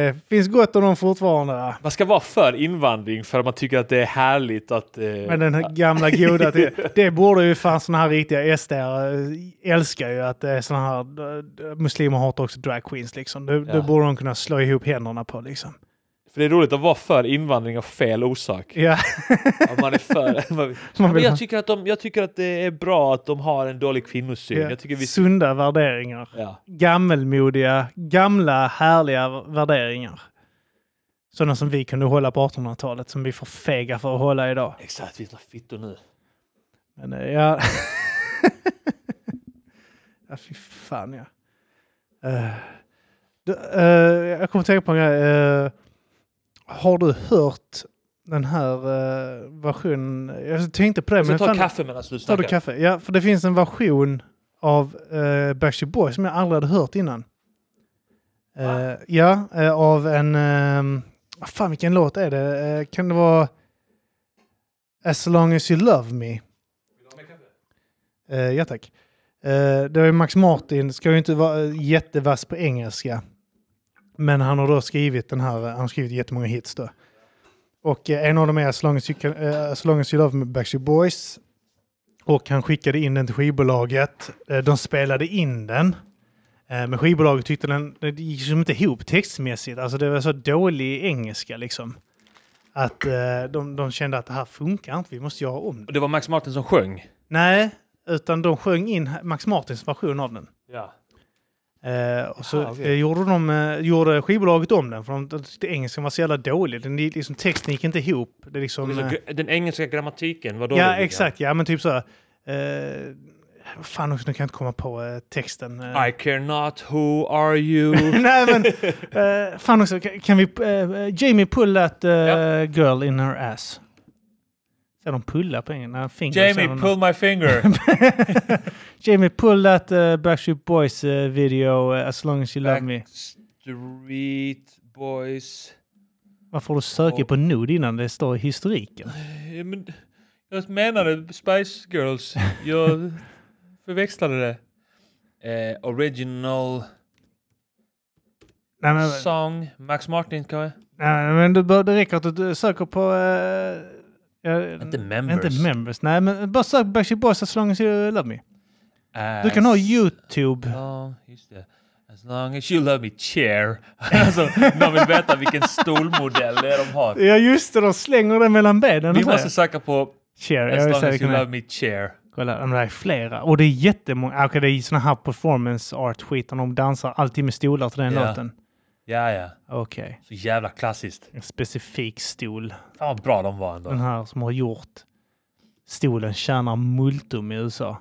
Speaker 2: Eh, finns gott om dem fortfarande. va?
Speaker 1: Man ska vara för invandring för att man tycker att det är härligt att... Eh,
Speaker 2: Men den här gamla goda till, Det borde ju fan såna här riktiga sd älskar ju att det är såna här... eh, Muslimer hatar också drag queens liksom. Det,
Speaker 1: Ja.
Speaker 2: det borde de kunna slå ihop händerna på liksom.
Speaker 1: För det är roligt att vara för invandring av fel orsak.
Speaker 2: Ja,
Speaker 1: Att man är för... man,
Speaker 2: man
Speaker 1: men
Speaker 2: vill
Speaker 1: jag
Speaker 2: ha-
Speaker 1: tycker, att de, jag tycker att det är bra att de har en dålig kvinnosyn.
Speaker 2: ja,
Speaker 1: Jag tycker vi...
Speaker 2: Sunda värderingar.
Speaker 1: Ja.
Speaker 2: gammelmodiga, gamla härliga värderingar. Sådana som vi kunde hålla på 1800-talet som vi är för fega för att hålla idag.
Speaker 1: Exakt, vi är fittor nu.
Speaker 2: Men eh, ja... ja, fy fan ja. Eh, Du, eh, jag kommer att tänka på en grej. Eh, har du hört den här eh, versionen? Jag tänkte på det.
Speaker 1: Jag ska ta
Speaker 2: fan-
Speaker 1: kaffe medan du
Speaker 2: Tar du
Speaker 1: snackar.
Speaker 2: kaffe? Ja, för det finns en version av eh, Backstreet Boys som jag aldrig hade hört innan. Eh,
Speaker 1: Va?
Speaker 2: ja, eh, av en... ehm, vad fan, vilken låt är det? Eh, kan det vara As long as you love me? Eh, ja, tack. Eh, det var ju Max Martin, ska ju inte vara eh, jättevass på engelska. Men han har då skrivit den här, eh, han har skrivit jättemånga hits då. Och eh, en av dem är As long as you, can, eh, as long as you love me, Backstreet Boys. Och han skickade in den till skivbolaget. Eh, de spelade in den. Eh, men skivbolaget tyckte den, det gick som inte ihop textmässigt. Alltså det var så dålig engelska liksom. Att eh, de, de kände att det här funkar inte, vi måste göra om det.
Speaker 1: Och det var Max Martin som sjöng.
Speaker 2: Nej, utan de sjöng in Max Martins version av den.
Speaker 1: Ja.
Speaker 2: Eh, och så
Speaker 1: Ah, okej.
Speaker 2: eh, gjorde, de, eh, gjorde skivbolaget om den, för de, de tyckte engelskan var så jävla dålig. Den, är liksom, texten gick inte ihop. Det är liksom, eh,
Speaker 1: Alltså, Den engelska grammatiken var dålig.
Speaker 2: ja, exakt. Ja, men typ så här. Eh, vad fan också, nu kan jag inte komma på eh, texten. eh.
Speaker 1: I care not who are you.
Speaker 2: Nej, men eh, fan också, kan, kan vi... eh, Jamie pull that eh,
Speaker 1: Ja.
Speaker 2: girl in her ass. Säger de pulla på en?
Speaker 1: Jamie, pull my finger.
Speaker 2: Jamie, pull that uh, Backstreet Boys uh, video uh, as long as you love me.
Speaker 1: Street boys.
Speaker 2: Varför har du söker på nude innan det står i historiken?
Speaker 1: Ja, men, jag menade Spice Girls. Jag förväxlade det. Eh, original
Speaker 2: Nej men,
Speaker 1: song. Max Martin kanske?
Speaker 2: nej, men du bör, det räcker att du söker på... eh, ja,
Speaker 1: Inte
Speaker 2: inte
Speaker 1: members.
Speaker 2: members. Nej, men bara sök Backstreet Boys as long as you love me.
Speaker 1: As
Speaker 2: Du kan ha YouTube.
Speaker 1: long- just det. As long as you love me chair. alltså, de vill veta vilken stolmodell det är de har.
Speaker 2: Ja just det, de slänger det mellan benen.
Speaker 1: Vi
Speaker 2: och så.
Speaker 1: måste söka på
Speaker 2: Share.
Speaker 1: As
Speaker 2: Jag vill
Speaker 1: long
Speaker 2: säga
Speaker 1: as
Speaker 2: det
Speaker 1: you
Speaker 2: kan
Speaker 1: love
Speaker 2: jag.
Speaker 1: me chair.
Speaker 2: Kolla, de där är flera. Och det är jättemånga. Ah, Okej, det är såna här performance art-skit. där De dansar alltid med stolar till den
Speaker 1: Ja.
Speaker 2: låten.
Speaker 1: Ja, ja.
Speaker 2: Okej.
Speaker 1: Så jävla klassiskt.
Speaker 2: En specifik stol.
Speaker 1: Fan vad bra de var ändå.
Speaker 2: Den här som har gjort stolen tjänar multum i USA.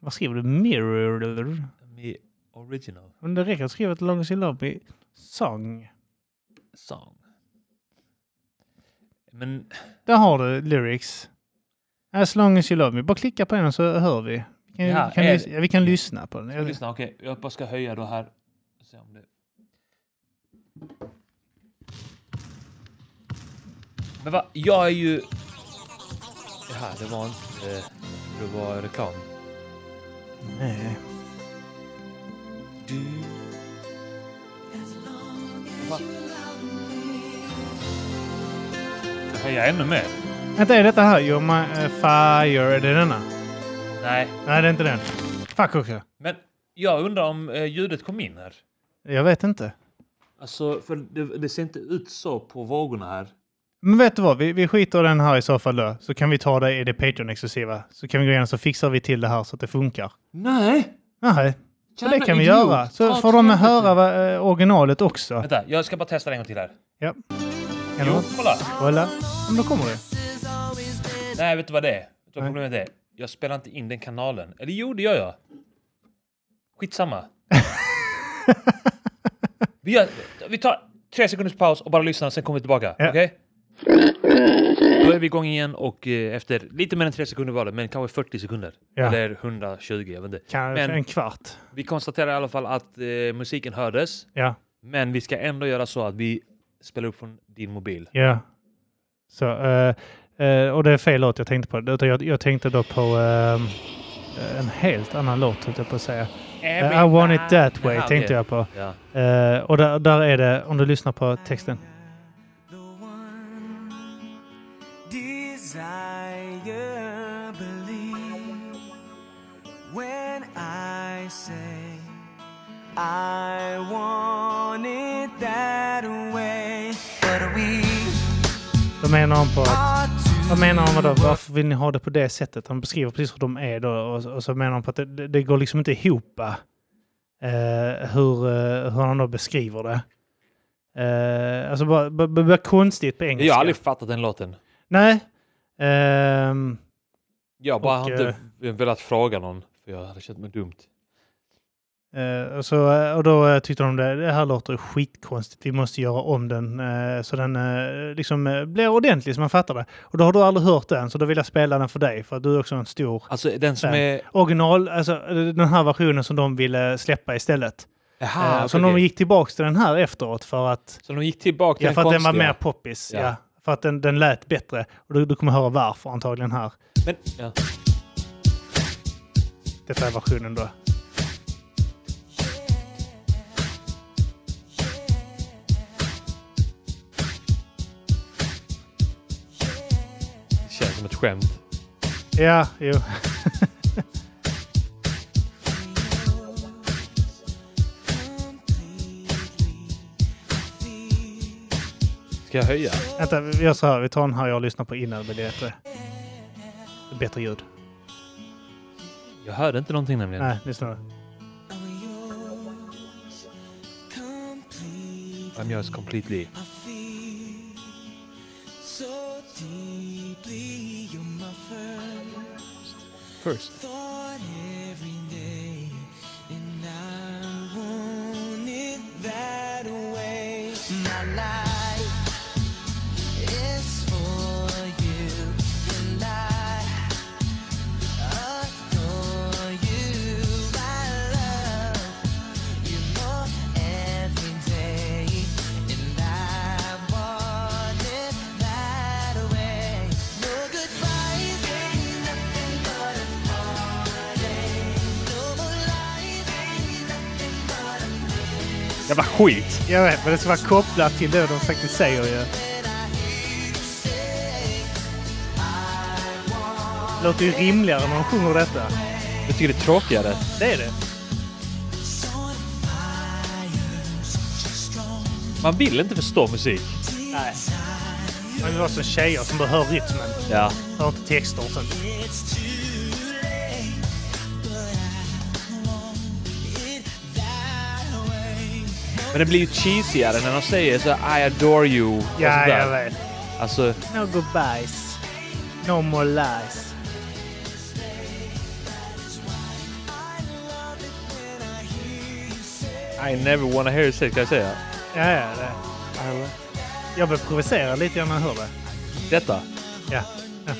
Speaker 2: Vad skriver du? Mirror?
Speaker 1: Me original
Speaker 2: Men det räcker att skriva ett långt syllabel. Song.
Speaker 1: song. Men
Speaker 2: Där har du lyrics. As long as you love me. Bara klicka på den så hör vi. Vi kan,
Speaker 1: Ja,
Speaker 2: vi kan,
Speaker 1: är-
Speaker 2: lys- ja, vi kan lyssna på den. Jag-
Speaker 1: lyssna, okej. Jag bara ska höja då här. Se om det... Men va? Jag är ju... Jaha, det var inte... eh, Det var reklam.
Speaker 2: Nej.
Speaker 1: Du... Va? Ska höja ännu mer?
Speaker 2: Vänta, är detta här? You're my eh, fire. Är det denna?
Speaker 1: Nej.
Speaker 2: Nej, det är inte den. Fuck också.
Speaker 1: Men jag undrar om eh, ljudet kom in här.
Speaker 2: Jag vet inte.
Speaker 1: Alltså, för det, det ser inte ut så på vågorna här.
Speaker 2: Men vet du vad? Vi, vi skiter i den här i så fall då. Så kan vi ta det i det Patreon-exklusiva. Så kan vi gå igenom så fixar vi till det här så att det funkar.
Speaker 1: Nej!
Speaker 2: Nej, så det kan vi göra. Så
Speaker 1: Ta
Speaker 2: får de
Speaker 1: till helvete.
Speaker 2: höra vad, eh, originalet också.
Speaker 1: Vänta, jag ska bara testa det en gång till här.
Speaker 2: Ja. Kan
Speaker 1: Jo,
Speaker 2: du
Speaker 1: kolla!
Speaker 2: kolla? Men då kommer det.
Speaker 1: Nej, vet du vad det är? Vet du vad
Speaker 2: Nej.
Speaker 1: problemet är? Jag spelar inte in den kanalen. Eller jo, det gör jag. Skitsamma. vi, gör, vi tar tre sekunders paus och bara lyssnar, sen kommer vi tillbaka.
Speaker 2: Ja.
Speaker 1: Okej? Då är vi igång igen och eh, efter lite mer än tre sekunder var det, men kanske 40 sekunder.
Speaker 2: Ja.
Speaker 1: Eller 120, jag vet inte.
Speaker 2: Kanske
Speaker 1: Men-
Speaker 2: en kvart.
Speaker 1: Vi konstaterar i alla fall att eh, musiken hördes,
Speaker 2: Ja,
Speaker 1: men vi ska ändå göra så att vi spelar upp från din mobil.
Speaker 2: ja. Så, eh, eh, och det är fel låt jag tänkte på. Utan jag, jag tänkte då på ehm, en helt annan låt, höll jag på att säga. Eh, I want it that way,
Speaker 1: Ah, okej.
Speaker 2: tänkte jag på.
Speaker 1: Ja.
Speaker 2: Eh, och där, där är det, om du lyssnar på texten.
Speaker 3: The one desire believe when I say I want it that way, but we
Speaker 2: Vad menar han på att
Speaker 3: are
Speaker 2: Vad
Speaker 3: too
Speaker 2: menar han vadå? Varför vill ni ha det på det sättet? Han beskriver precis hur de är då och, och så menar han på att det, det, det går liksom inte ihop eh, hur, eh, hur han då beskriver det. Eh, alltså bara, bara, bara, bara konstigt på engelska.
Speaker 1: Jag har aldrig fattat den låten.
Speaker 2: Nej. Ehm,
Speaker 1: Jag bara
Speaker 2: Och, eh,
Speaker 1: har inte velat fråga någon, för jag hade känt mig dumt.
Speaker 2: Eh, och så, eh, och då eh, tyckte de det, det här låter skitkonstigt, vi måste göra om den eh, så den eh, liksom eh, blir ordentlig så man fattar det. Och då har du aldrig hört den, så då vill jag spela den för dig, för att du är också en stor
Speaker 1: Alltså den som
Speaker 2: Fan.
Speaker 1: är...
Speaker 2: original, alltså eh, den här versionen som de ville släppa istället.
Speaker 1: Aha,
Speaker 2: eh, som
Speaker 1: okej,
Speaker 2: de
Speaker 1: okej.
Speaker 2: gick tillbaks till den här efteråt för att,
Speaker 1: så de gick tillbaka till
Speaker 2: ja, för att den var
Speaker 1: konstiga.
Speaker 2: mer poppis. Ja.
Speaker 1: Ja.
Speaker 2: för att den, den lät bättre. Och du, du kommer höra varför antagligen här.
Speaker 1: Men, ja.
Speaker 2: Detta är versionen då.
Speaker 1: Det känns som ett skämt.
Speaker 2: Ja, jo.
Speaker 1: Ska jag höja?
Speaker 2: Vänta, vi gör så här. Vi tar den här jag lyssnar på innan det blir bättre. Bättre ljud.
Speaker 1: Jag hörde inte någonting nämligen.
Speaker 2: Nej, lyssna nu.
Speaker 1: I'm yours completely.
Speaker 3: So deeply, you're my first
Speaker 1: First.
Speaker 3: thought every day, and I want it that way. My life is for you, and I adore you. I love you more every day, and I want it that way. No goodbyes, ain't nothing but a
Speaker 1: Jävla skit!
Speaker 2: Jag vet, men det ska vara kopplat till det de faktiskt säger ju. Låter ju rimligare när de sjunger detta.
Speaker 1: Jag tycker det är tråkigare.
Speaker 2: Det är det.
Speaker 1: Man vill inte förstå musik.
Speaker 2: Nej. Man vill vara som tjejer som bara hör rytmen.
Speaker 1: Ja.
Speaker 2: Hör inte texter och sånt.
Speaker 1: Men det blir ju cheesigare när de säger så här, I adore you. och sånt
Speaker 2: Ja,
Speaker 1: där.
Speaker 2: jag vet.
Speaker 1: Alltså,
Speaker 2: No goodbyes. No more lies.
Speaker 1: I never wanna hear you say it, kan jag säga.
Speaker 2: Ja, ja, det. Jag blir provocerad lite grann när jag hör det.
Speaker 1: Detta.
Speaker 2: Ja. ja.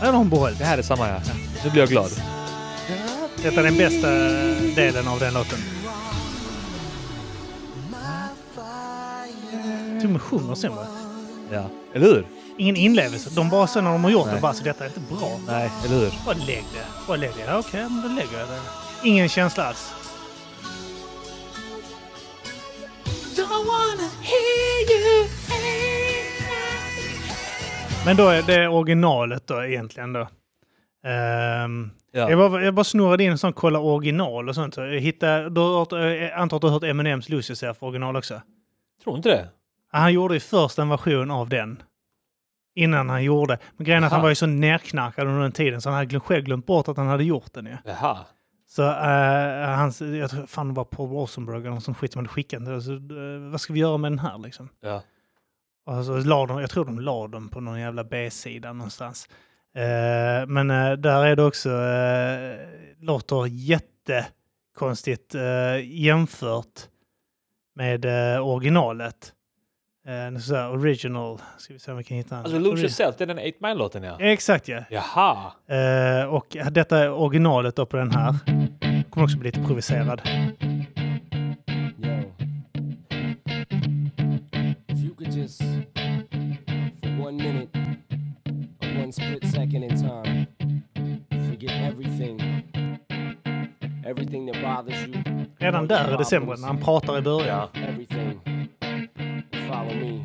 Speaker 2: Den har hon behållit.
Speaker 1: Det här är samma ja. Nu blir jag glad.
Speaker 2: Detta är den bästa delen av den låten. Tummen sjunger sämre.
Speaker 1: Ja. Eller hur?
Speaker 2: Ingen inlevelse. De bara sen när de har gjort det bara så detta är inte bra.
Speaker 1: Nej, eller hur?
Speaker 2: Bara lägg det. Bara lägg det. Ja, Okej, men då lägger jag det. Ingen känsla alls.
Speaker 3: Don't wanna hear you.
Speaker 2: Men då är det originalet då egentligen då. Ehm,
Speaker 1: Ja.
Speaker 2: jag, bara, jag bara snurrade in en sån kolla original och sånt. Jag hittade, du har hört, jag antar att du har hört Eminems Lucy säga för original också?
Speaker 1: Tror inte det.
Speaker 2: Han gjorde ju först en version av den. Innan han gjorde. Men grejen är att han
Speaker 1: Aha.
Speaker 2: var ju så nerknarkad under den tiden så han hade glöm- själv glömt bort att han hade gjort den ju.
Speaker 1: Jaha.
Speaker 2: Så eh, hans, jag tror fan det var Paul Rosenberg eller någon sån skit som hade skickat den. Så, eh, vad ska vi göra med den här liksom?
Speaker 1: Ja.
Speaker 2: Och så la de, jag tror de la dem på någon jävla B-sida någonstans. Eh, men eh, där är det också, eh, låter jättekonstigt eh, jämfört med eh, originalet. Eh, nu så här, original, ska vi se om vi kan hitta den.
Speaker 1: Alltså Lose Yourself, det är den 8 Mile-låten ja.
Speaker 2: Exakt ja.
Speaker 1: Jaha.
Speaker 2: Eh, och detta är originalet då på den här. Kommer också bli lite provocerad.
Speaker 4: Yo. If you could just, for one minute, or one split second in time, forget everything. Everything that bothers you,
Speaker 2: Redan där är det sämre när han pratar i början.
Speaker 4: everything. Follow me.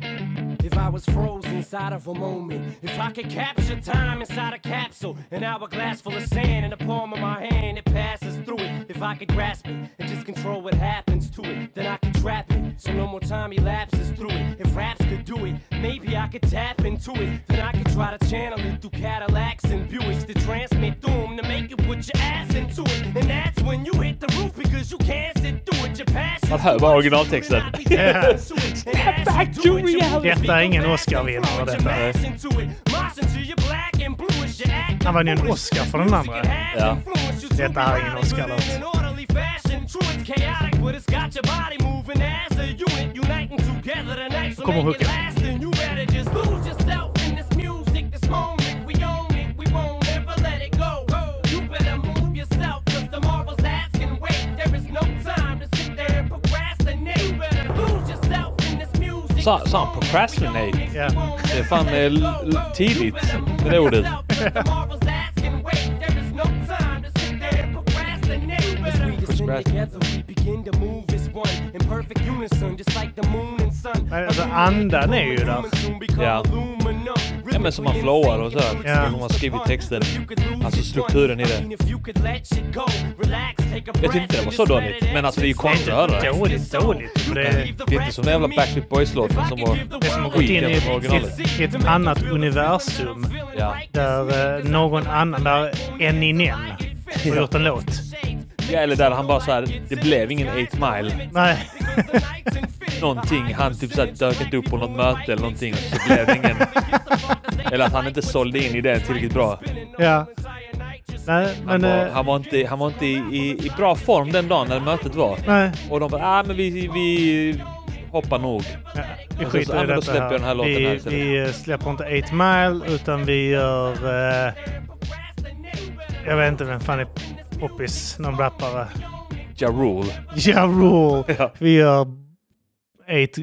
Speaker 4: If I was froze inside of a moment, if I could capture time inside a capsule, an hourglass full of sand in the palm of my hand, it passes through it. If I could grasp it and just control what happens to it, then I could trap it. So no more time elapses through it. If raps could do it, maybe I could tap into it. Then I could try to channel it through Cadillacs and Buicks to transmit through 'em to make you put your ass into it. And that's when you hit the roof because you can't sit through it. You're passing
Speaker 1: Man hör bara originaltexten.
Speaker 4: Step back to reality.
Speaker 2: Detta är ingen Oscar-vinnare, detta. Han vann ju en Oscar för den andra.
Speaker 1: Ja.
Speaker 2: Detta här är ingen Oscar-låt. Kommer hooken.
Speaker 1: Sa- sa han procrastinate?
Speaker 2: Ja.
Speaker 1: Det är fan eh, l- l- tidigt, det där ordet.
Speaker 2: alltså,
Speaker 4: Nej,
Speaker 2: alltså, andan är ju där.
Speaker 1: Ja. Ja, men som man flowar och så här.
Speaker 2: Ja.
Speaker 1: Som man skrivit texter. Alltså strukturen i det. Jag tyckte inte det var så dåligt, men alltså det är ju konstigt att höra det.
Speaker 2: Dåligt, dåligt. Men det,
Speaker 1: Det är inte som den jävla Backstreet Boys-låten som var
Speaker 4: Det är som
Speaker 2: har gått
Speaker 1: skit
Speaker 2: in i-
Speaker 1: jämfört med originalet.
Speaker 2: i ett annat universum
Speaker 1: Ja.
Speaker 2: där eh, någon annan, där Eminem har gjort en låt.
Speaker 1: ja, eller där han bara så här, det blev ingen 8 mile.
Speaker 2: Nej.
Speaker 1: Någonting, han typ så här dök inte upp på något möte eller någonting, så blev det ingen... Eller att han inte sålde in i det tillräckligt bra.
Speaker 2: ja. Nej,
Speaker 1: Han
Speaker 2: men...
Speaker 1: var,
Speaker 2: eh,
Speaker 1: han var inte, han var inte i, i, i bra form den dagen när mötet var.
Speaker 2: Nej.
Speaker 1: Och de bara, ah, men vi, vi hoppar nog.
Speaker 2: Ja, vi
Speaker 1: Och sen så-
Speaker 2: skiter
Speaker 1: ja,
Speaker 2: i
Speaker 1: men då
Speaker 2: detta
Speaker 1: släpper jag den här låten
Speaker 2: vi,
Speaker 1: här istället.
Speaker 2: vi eh, släpper inte 8 Mile utan vi gör... eh, jag vet inte vem fan är poppis. Någon rappare.
Speaker 1: Ja Rule.
Speaker 2: Ja, Rule.
Speaker 1: Ja.
Speaker 2: Vi gör 8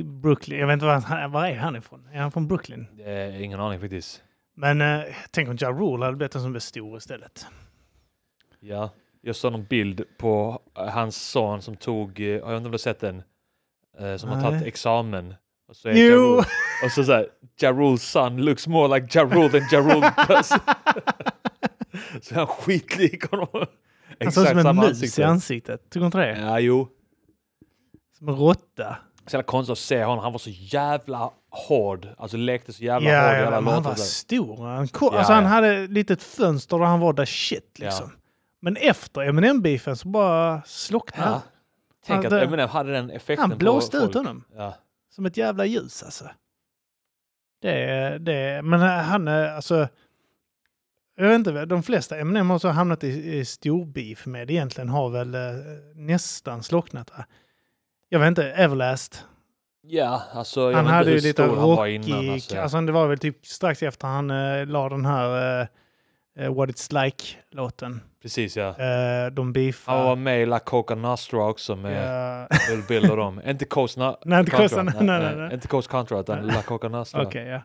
Speaker 2: Brooklyn. Jag vet inte var, han, var är han ifrån? Är han från Brooklyn?
Speaker 1: Eh, ingen aning faktiskt.
Speaker 2: Men eh, tänk om Ja Rule hade blivit den som blev stor istället.
Speaker 1: Ja. Jag såg någon bild på eh, hans son som tog, eh, jag vet inte om du har sett den, eh, som har
Speaker 2: Nej.
Speaker 1: tagit examen. Och så är
Speaker 2: Jo.
Speaker 1: Ja Rule- Och så såhär, Ja Rules son looks more like Ja Rule than Ja Rule does. så är han skitlik honom.
Speaker 2: Han såg ut som en mus i
Speaker 1: ansikte.
Speaker 2: ansiktet. Tycker du inte det?
Speaker 1: Ja, jo.
Speaker 2: Som en råtta.
Speaker 1: Så jävla konstigt att se honom. Han var så jävla hård. Alltså lekte så jävla
Speaker 2: Ja,
Speaker 1: hård i
Speaker 2: ja,
Speaker 1: alla
Speaker 2: men han
Speaker 1: låtar.
Speaker 2: var
Speaker 1: där.
Speaker 2: stor. Han, ko-
Speaker 1: Ja,
Speaker 2: alltså, han
Speaker 1: ja.
Speaker 2: hade ett litet fönster där han var där shit liksom. Men efter Eminem-beefen så bara slocknade han.
Speaker 1: Ja. Tänk att
Speaker 2: det-
Speaker 1: Eminem hade den effekten
Speaker 2: Han blåste
Speaker 1: på
Speaker 2: ut
Speaker 1: folk.
Speaker 2: honom
Speaker 1: Ja.
Speaker 2: som ett jävla ljus alltså. Det, det, men eh, han är alltså... Jag vet inte, de flesta Eminem har så hamnat i, i stor beef med egentligen har väl eh, nästan slocknat. Va? Jag vet inte, Everlast.
Speaker 1: Ja, alltså jag
Speaker 2: Han
Speaker 1: vet
Speaker 2: hade
Speaker 1: inte hur
Speaker 2: ju lite
Speaker 1: stor han var
Speaker 2: rockig...
Speaker 1: innan. Alltså.
Speaker 2: Alltså. det var väl typ strax efter han eh, la den här eh, eh, What It's Like-låten.
Speaker 1: Precis ja.
Speaker 2: Eh, eh, de beefade.
Speaker 1: Han var med i La Coca Nostra också med
Speaker 2: Ja,
Speaker 1: Bill Bill och dem. Inte Coast Na-
Speaker 2: Nej, inte Coast-
Speaker 1: Contra.
Speaker 2: nej, nej, nej.
Speaker 1: Inte Coast Contra utan La Coca Nostra.
Speaker 2: Okej, ja.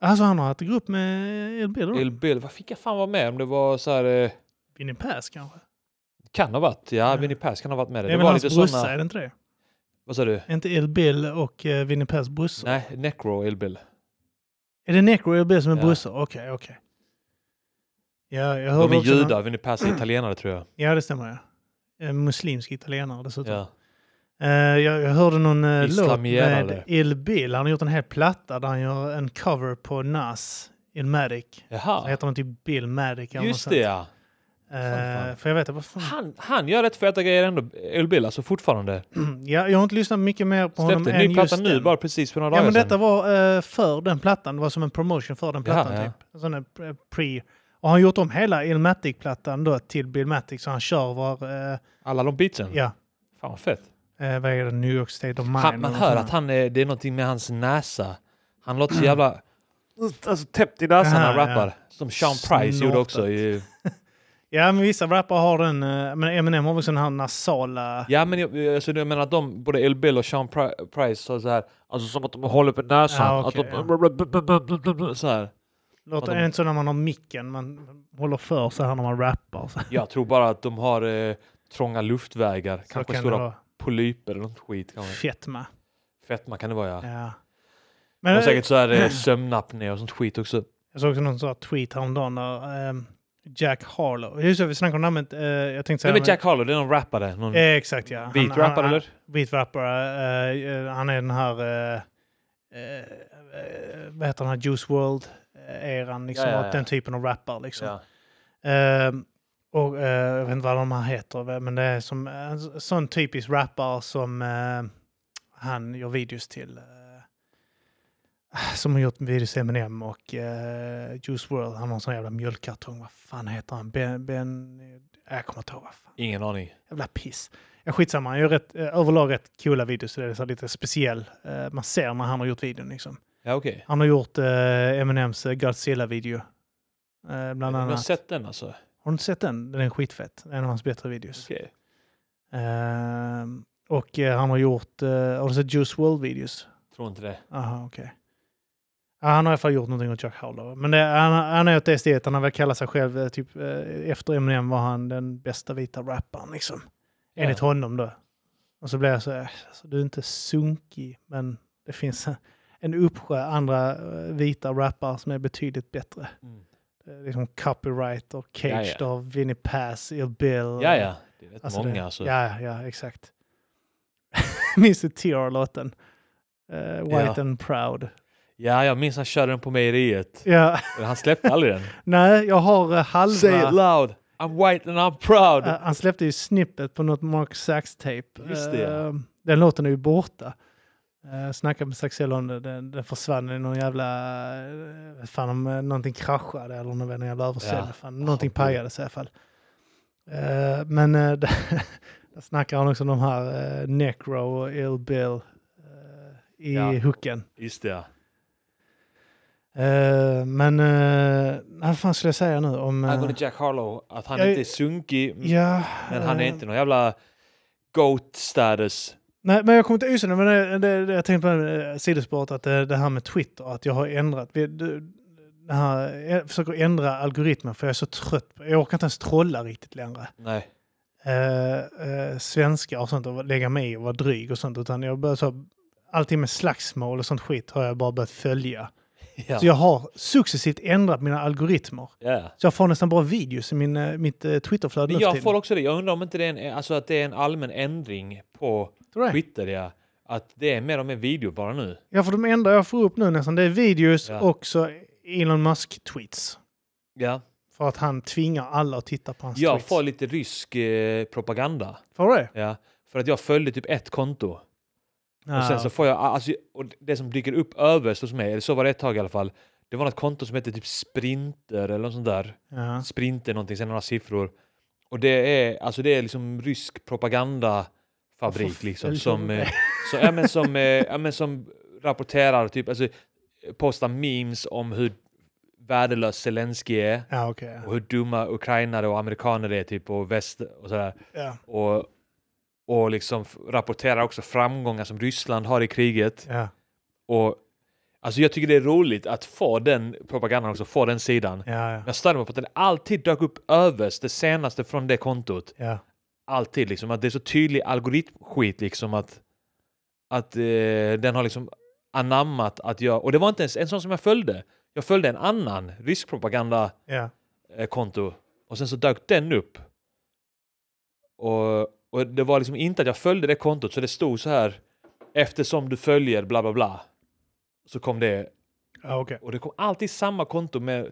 Speaker 2: Alltså han har haft en grupp med El Bill
Speaker 1: Bill
Speaker 2: El...
Speaker 1: Bill, vad fick jag fan vara med om det var så här... Eh,
Speaker 2: Vinnie Pass kanske?
Speaker 1: kan ha varit, ja Vinnie Pass kan ha varit med det.
Speaker 2: Det är
Speaker 1: Det
Speaker 2: väl
Speaker 1: var
Speaker 2: hans
Speaker 1: lite
Speaker 2: brorsa,
Speaker 1: sådana...
Speaker 2: är det inte det?
Speaker 1: Vad sa du?
Speaker 2: Är inte El Bill och uh, Vinnie Pass brorsor?
Speaker 1: Nej, Necro Bill Bill.
Speaker 2: Är det Necro och El Bill som är
Speaker 1: Ja.
Speaker 2: brorsor? Okej, okej. Ja, jag hörde
Speaker 1: De är
Speaker 2: också någon-
Speaker 1: judar, Vinnie Pass är italienare tror jag.
Speaker 2: Ja, det stämmer. Ja. En muslimsk italienare dessutom.
Speaker 1: Ja.
Speaker 2: Eh, jag, jag hörde någon eh, låt
Speaker 1: Islamierade.
Speaker 2: med Il Bill. Han har gjort en hel platta där han gör en cover på Nas, Ilmatic. Så
Speaker 1: Jaha,
Speaker 2: heter han typ Bill Matic. eller
Speaker 1: just
Speaker 2: något
Speaker 1: det
Speaker 2: sånt.
Speaker 1: ja.
Speaker 2: Eh,
Speaker 1: fan.
Speaker 2: för jag vet inte, vad fan.
Speaker 1: Han, han gör rätt feta grejer ändå, El Bill, alltså fortfarande.
Speaker 2: Ja, jag har inte lyssnat mycket mer på honom
Speaker 1: Släppte en ny
Speaker 2: än just
Speaker 1: platta nu
Speaker 2: den.
Speaker 1: bara precis för några
Speaker 2: Ja,
Speaker 1: dagar
Speaker 2: men detta
Speaker 1: sedan.
Speaker 2: var eh, för den plattan. Det var som en promotion för den plattan.
Speaker 1: ja.
Speaker 2: typ. En sån där pre- pre. Och han har gjort om hela Illmatic-plattan då till Billmatic så han kör var... Eh,
Speaker 1: Alla de beatsen.
Speaker 2: ja,
Speaker 1: Fan vad fett.
Speaker 2: eh, vad är det? New York State of Mind.
Speaker 1: Han, man
Speaker 2: eller
Speaker 1: hör
Speaker 2: något
Speaker 1: att han är, det är någonting med hans näsa. Han låter
Speaker 2: Mm.
Speaker 1: så jävla alltså, täppt i näsan när han
Speaker 2: Aha, ja.
Speaker 1: rappar. Som Sean Price gjorde också. i-
Speaker 2: Ja, men vissa rappare har den. eh, Men Eminem har väl sån här nasala...
Speaker 1: Ja men jag, alltså, jag menar att de, både El Bill och Sean Pri- Price sa så här, alltså som att de håller på näsan.
Speaker 2: Ja, okej,
Speaker 1: att de, Så här.
Speaker 2: låter
Speaker 1: de-
Speaker 2: är det inte så när man har micken. Man håller för så här när man rappar. Så,
Speaker 1: Jag tror bara att de har eh, trånga luftvägar,
Speaker 2: så
Speaker 1: kanske
Speaker 2: kan
Speaker 1: stora
Speaker 2: det vara.
Speaker 1: polyper eller något skit. Kanske.
Speaker 2: Fetma.
Speaker 1: Fetma kan det vara ja.
Speaker 2: Ja.
Speaker 1: De
Speaker 2: Men,
Speaker 1: har
Speaker 2: eh,
Speaker 1: säkert så här eh, sömnapné och sånt skit också.
Speaker 2: Jag såg också någon sån här tweet häromdagen där ehm, Jack Harlow... Just det, vi snackade om namnet. eh, jag tänkte säga...
Speaker 1: Nej men Jack Harlow, det är någon rappare. Någon
Speaker 2: Eh, exakt ja. Han-
Speaker 1: beatrapper
Speaker 2: han-
Speaker 1: eller?
Speaker 2: Beatrappare. eh, eh, han är den här... eh, eh, eh, vad heter den här Juice World-eran? Liksom,
Speaker 1: Ja, ja,
Speaker 2: och
Speaker 1: ja.
Speaker 2: Den typen av rappare liksom.
Speaker 1: Ja.
Speaker 2: Ehm, Och eh, jag vet inte vad de här heter, men det är som eh, en sån typisk rappare som eh, han gör videos till. Eh, som har gjort videos till Eminem och eh, Juice WRLD. Han har en sån jävla mjölkkartong. Vad fan heter han? Ben... ben äh, jag kommer inte ihåg vad fan.
Speaker 1: Ingen aning.
Speaker 2: Jävla piss. Ja, skitsamma, han gör rätt, eh, överlag rätt coola videos. Så det är så här lite speciell. Eh, man ser när han har gjort videon liksom.
Speaker 1: Ja, okej.
Speaker 2: Han har gjort eh, Eminems eh, Godzilla-video. Eh,
Speaker 1: Men
Speaker 2: bland
Speaker 1: Jag har
Speaker 2: annat.
Speaker 1: sett den alltså.
Speaker 2: Har du inte sett den? Den är skitfett. Det är En av hans bättre videos.
Speaker 1: Okej.
Speaker 2: Ehm, och eh, han har gjort... eh, har du sett Juice World-videos?
Speaker 1: Tror inte det.
Speaker 2: Aha, okej. Ja, han har i alla fall gjort någonting åt Jack Harlow. Men det, han, han är åt det steget. Han har väl kallat sig själv, eh, typ, eh, efter Eminem var han den bästa vita rapparen liksom. Enligt
Speaker 1: Ja.
Speaker 2: honom då. Och så blev jag så här, alltså, du är inte sunkig, men det finns en uppsjö andra eh, vita rappare som är betydligt bättre.
Speaker 1: Mm.
Speaker 2: Det är Liksom Copyright och Caged
Speaker 1: Ja, ja.
Speaker 2: och Vinnie Pass, Ill Bill.
Speaker 1: Ja, ja. Det är rätt
Speaker 2: Alltså
Speaker 1: många
Speaker 2: det,
Speaker 1: alltså.
Speaker 2: Ja, ja, exakt. Minns du TR-låten? Eh, White
Speaker 1: Ja.
Speaker 2: and proud.
Speaker 1: Ja, jag minns han körde den på mejeriet.
Speaker 2: Ja,
Speaker 1: Han släppte aldrig den.
Speaker 2: nej, jag har eh, halva...
Speaker 1: Say it loud! I'm white and I'm proud!
Speaker 2: Eh, han släppte ju snippet på något Mark Sachs-tape.
Speaker 1: Just det, ja.
Speaker 2: Eh, den låten är ju borta. Uh, snackade med Saxell om det, den, den försvann i någon jävla... eh, vet fan om uh, någonting kraschade eller någon, någon jävla översvämning.
Speaker 1: Ja.
Speaker 2: Fan, någonting
Speaker 1: Oh, gud.
Speaker 2: pajades i alla fall. Eh, men uh, där snackar han också om de här eh, Necro och Ill Bill eh, i
Speaker 1: Ja.
Speaker 2: hooken.
Speaker 1: Just det, ja.
Speaker 2: Eh, men eh, vad fan skulle jag säga nu om... eh,
Speaker 1: Angående Jack Harlow, att han
Speaker 2: Jag-
Speaker 1: inte är sunkig,
Speaker 2: ja,
Speaker 1: men han är
Speaker 2: eh,
Speaker 1: inte någon jävla goat status.
Speaker 2: Nej, men jag kommer inte ihåg det, men det, det, det, jag tänkte på eh, sidospåret att det, det här med Twitter, att jag har ändrat. Vi, det, det här, jag försöker ändra algoritmen för jag är så trött. på- Jag orkar inte ens trolla riktigt längre.
Speaker 1: Nej.
Speaker 2: Eh, eh, svenska och sånt och lägga mig i och vara dryg och sånt. Utan jag börjar så, allting med slagsmål och sånt skit har jag bara börjat följa.
Speaker 1: Ja.
Speaker 2: Så jag har successivt ändrat mina algoritmer.
Speaker 1: Ja.
Speaker 2: Så jag får nästan bara videos i min, eh, mitt eh, Twitterflöde
Speaker 1: Men
Speaker 2: nu för
Speaker 1: jag
Speaker 2: tiden.
Speaker 1: får också det. Jag undrar om inte det är en, alltså att det är en allmän ändring på
Speaker 2: Tror du det?
Speaker 1: Twitter, ja. Att det är mer och mer video bara nu.
Speaker 2: Ja, för de enda jag får upp nu nästan, det är videos
Speaker 1: Ja.
Speaker 2: och så Elon Musk-tweets.
Speaker 1: Ja.
Speaker 2: För att han tvingar alla att titta på hans
Speaker 1: Jag
Speaker 2: tweets.
Speaker 1: får lite rysk eh, propaganda.
Speaker 2: Får du det?
Speaker 1: Ja. För att jag följde typ ett konto. Och
Speaker 2: Ah,
Speaker 1: sen så får jag, alltså, och det som dyker upp överst hos mig, eller så var det ett tag i alla fall, det var något konto som hette typ Sprinter eller något sånt där.
Speaker 2: Ja.
Speaker 1: Sprinter någonting, sen några siffror. Och det är, alltså det är liksom rysk propagandafabrik
Speaker 2: Varför
Speaker 1: liksom
Speaker 2: följer
Speaker 1: som,
Speaker 2: du
Speaker 1: eh, så, ja, men som, eh, ja, men som rapporterar, typ, alltså eh, postar memes om hur värdelös Zelensky är
Speaker 2: Ja, okej.
Speaker 1: och hur dumma ukrainare och amerikaner är typ och väst och sådär
Speaker 2: Ja.
Speaker 1: och, och liksom f- rapporterar också framgångar som Ryssland har i kriget.
Speaker 2: Ja.
Speaker 1: Och alltså jag tycker det är roligt att få den propagandan också, få den sidan.
Speaker 2: Ja, ja.
Speaker 1: Jag störde mig på att den alltid dök upp överst, det senaste från det kontot.
Speaker 2: ja.
Speaker 1: Alltid liksom, att det är så tydlig algoritmskit liksom att, att eh, den har liksom anammat att jag, och det var inte ens en sån som jag följde. Jag följde en annan rysk propaganda
Speaker 2: ja.
Speaker 1: eh, konto. Och sen så dök den upp. Och, och det var liksom inte att jag följde det kontot, så det stod så här eftersom du följer bla bla bla. Så kom det,
Speaker 2: ja okej.
Speaker 1: och det kom alltid samma konto med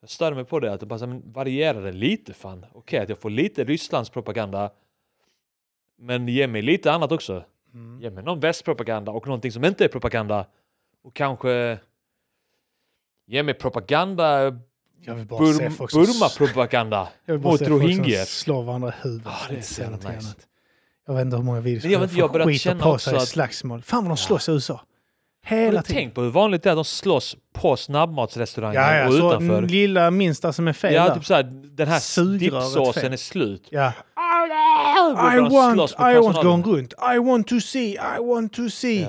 Speaker 1: jag störde mig på det, att det bara så här, men varierade lite fan. Okej att jag får lite Rysslands propaganda men ge mig lite annat också.
Speaker 2: Mm.
Speaker 1: Ge mig någon västpropaganda och någonting som inte är propaganda. Och kanske ge mig propaganda
Speaker 2: Jag vill bara se
Speaker 1: Bur-
Speaker 2: folk som...
Speaker 1: Burma-propaganda
Speaker 2: jag vill bara
Speaker 1: mot
Speaker 2: se folk som
Speaker 1: rohingyer.
Speaker 2: slår varandra i huvudet.
Speaker 1: Ah, det är
Speaker 2: Jag vill inte
Speaker 1: så
Speaker 2: se
Speaker 1: jävla
Speaker 2: någonting
Speaker 1: nice.
Speaker 2: annat. Jag vet inte hur många videos
Speaker 1: Men jag vet inte, jag
Speaker 2: folk
Speaker 1: började
Speaker 2: skiter
Speaker 1: känna
Speaker 2: på
Speaker 1: också
Speaker 2: sig i
Speaker 1: att-
Speaker 2: slagsmål. Fan vad de slåss i USA. Hela
Speaker 1: Har du
Speaker 2: tiden.
Speaker 1: tänkt på hur vanligt det är att de slåss på snabbmatsrestauranger
Speaker 2: ja, ja,
Speaker 1: och
Speaker 2: så
Speaker 1: utanför?
Speaker 2: lilla minsta som är fel
Speaker 1: Ja,
Speaker 2: där.
Speaker 1: typ såhär, den här
Speaker 2: Sugröret
Speaker 1: dippsåsen
Speaker 2: fel.
Speaker 1: är slut.
Speaker 2: ja.
Speaker 1: Brukar
Speaker 2: I
Speaker 1: de
Speaker 2: want,
Speaker 1: slåss med
Speaker 2: I want,
Speaker 1: personalen?
Speaker 2: gång runt. I want to see, I want to see.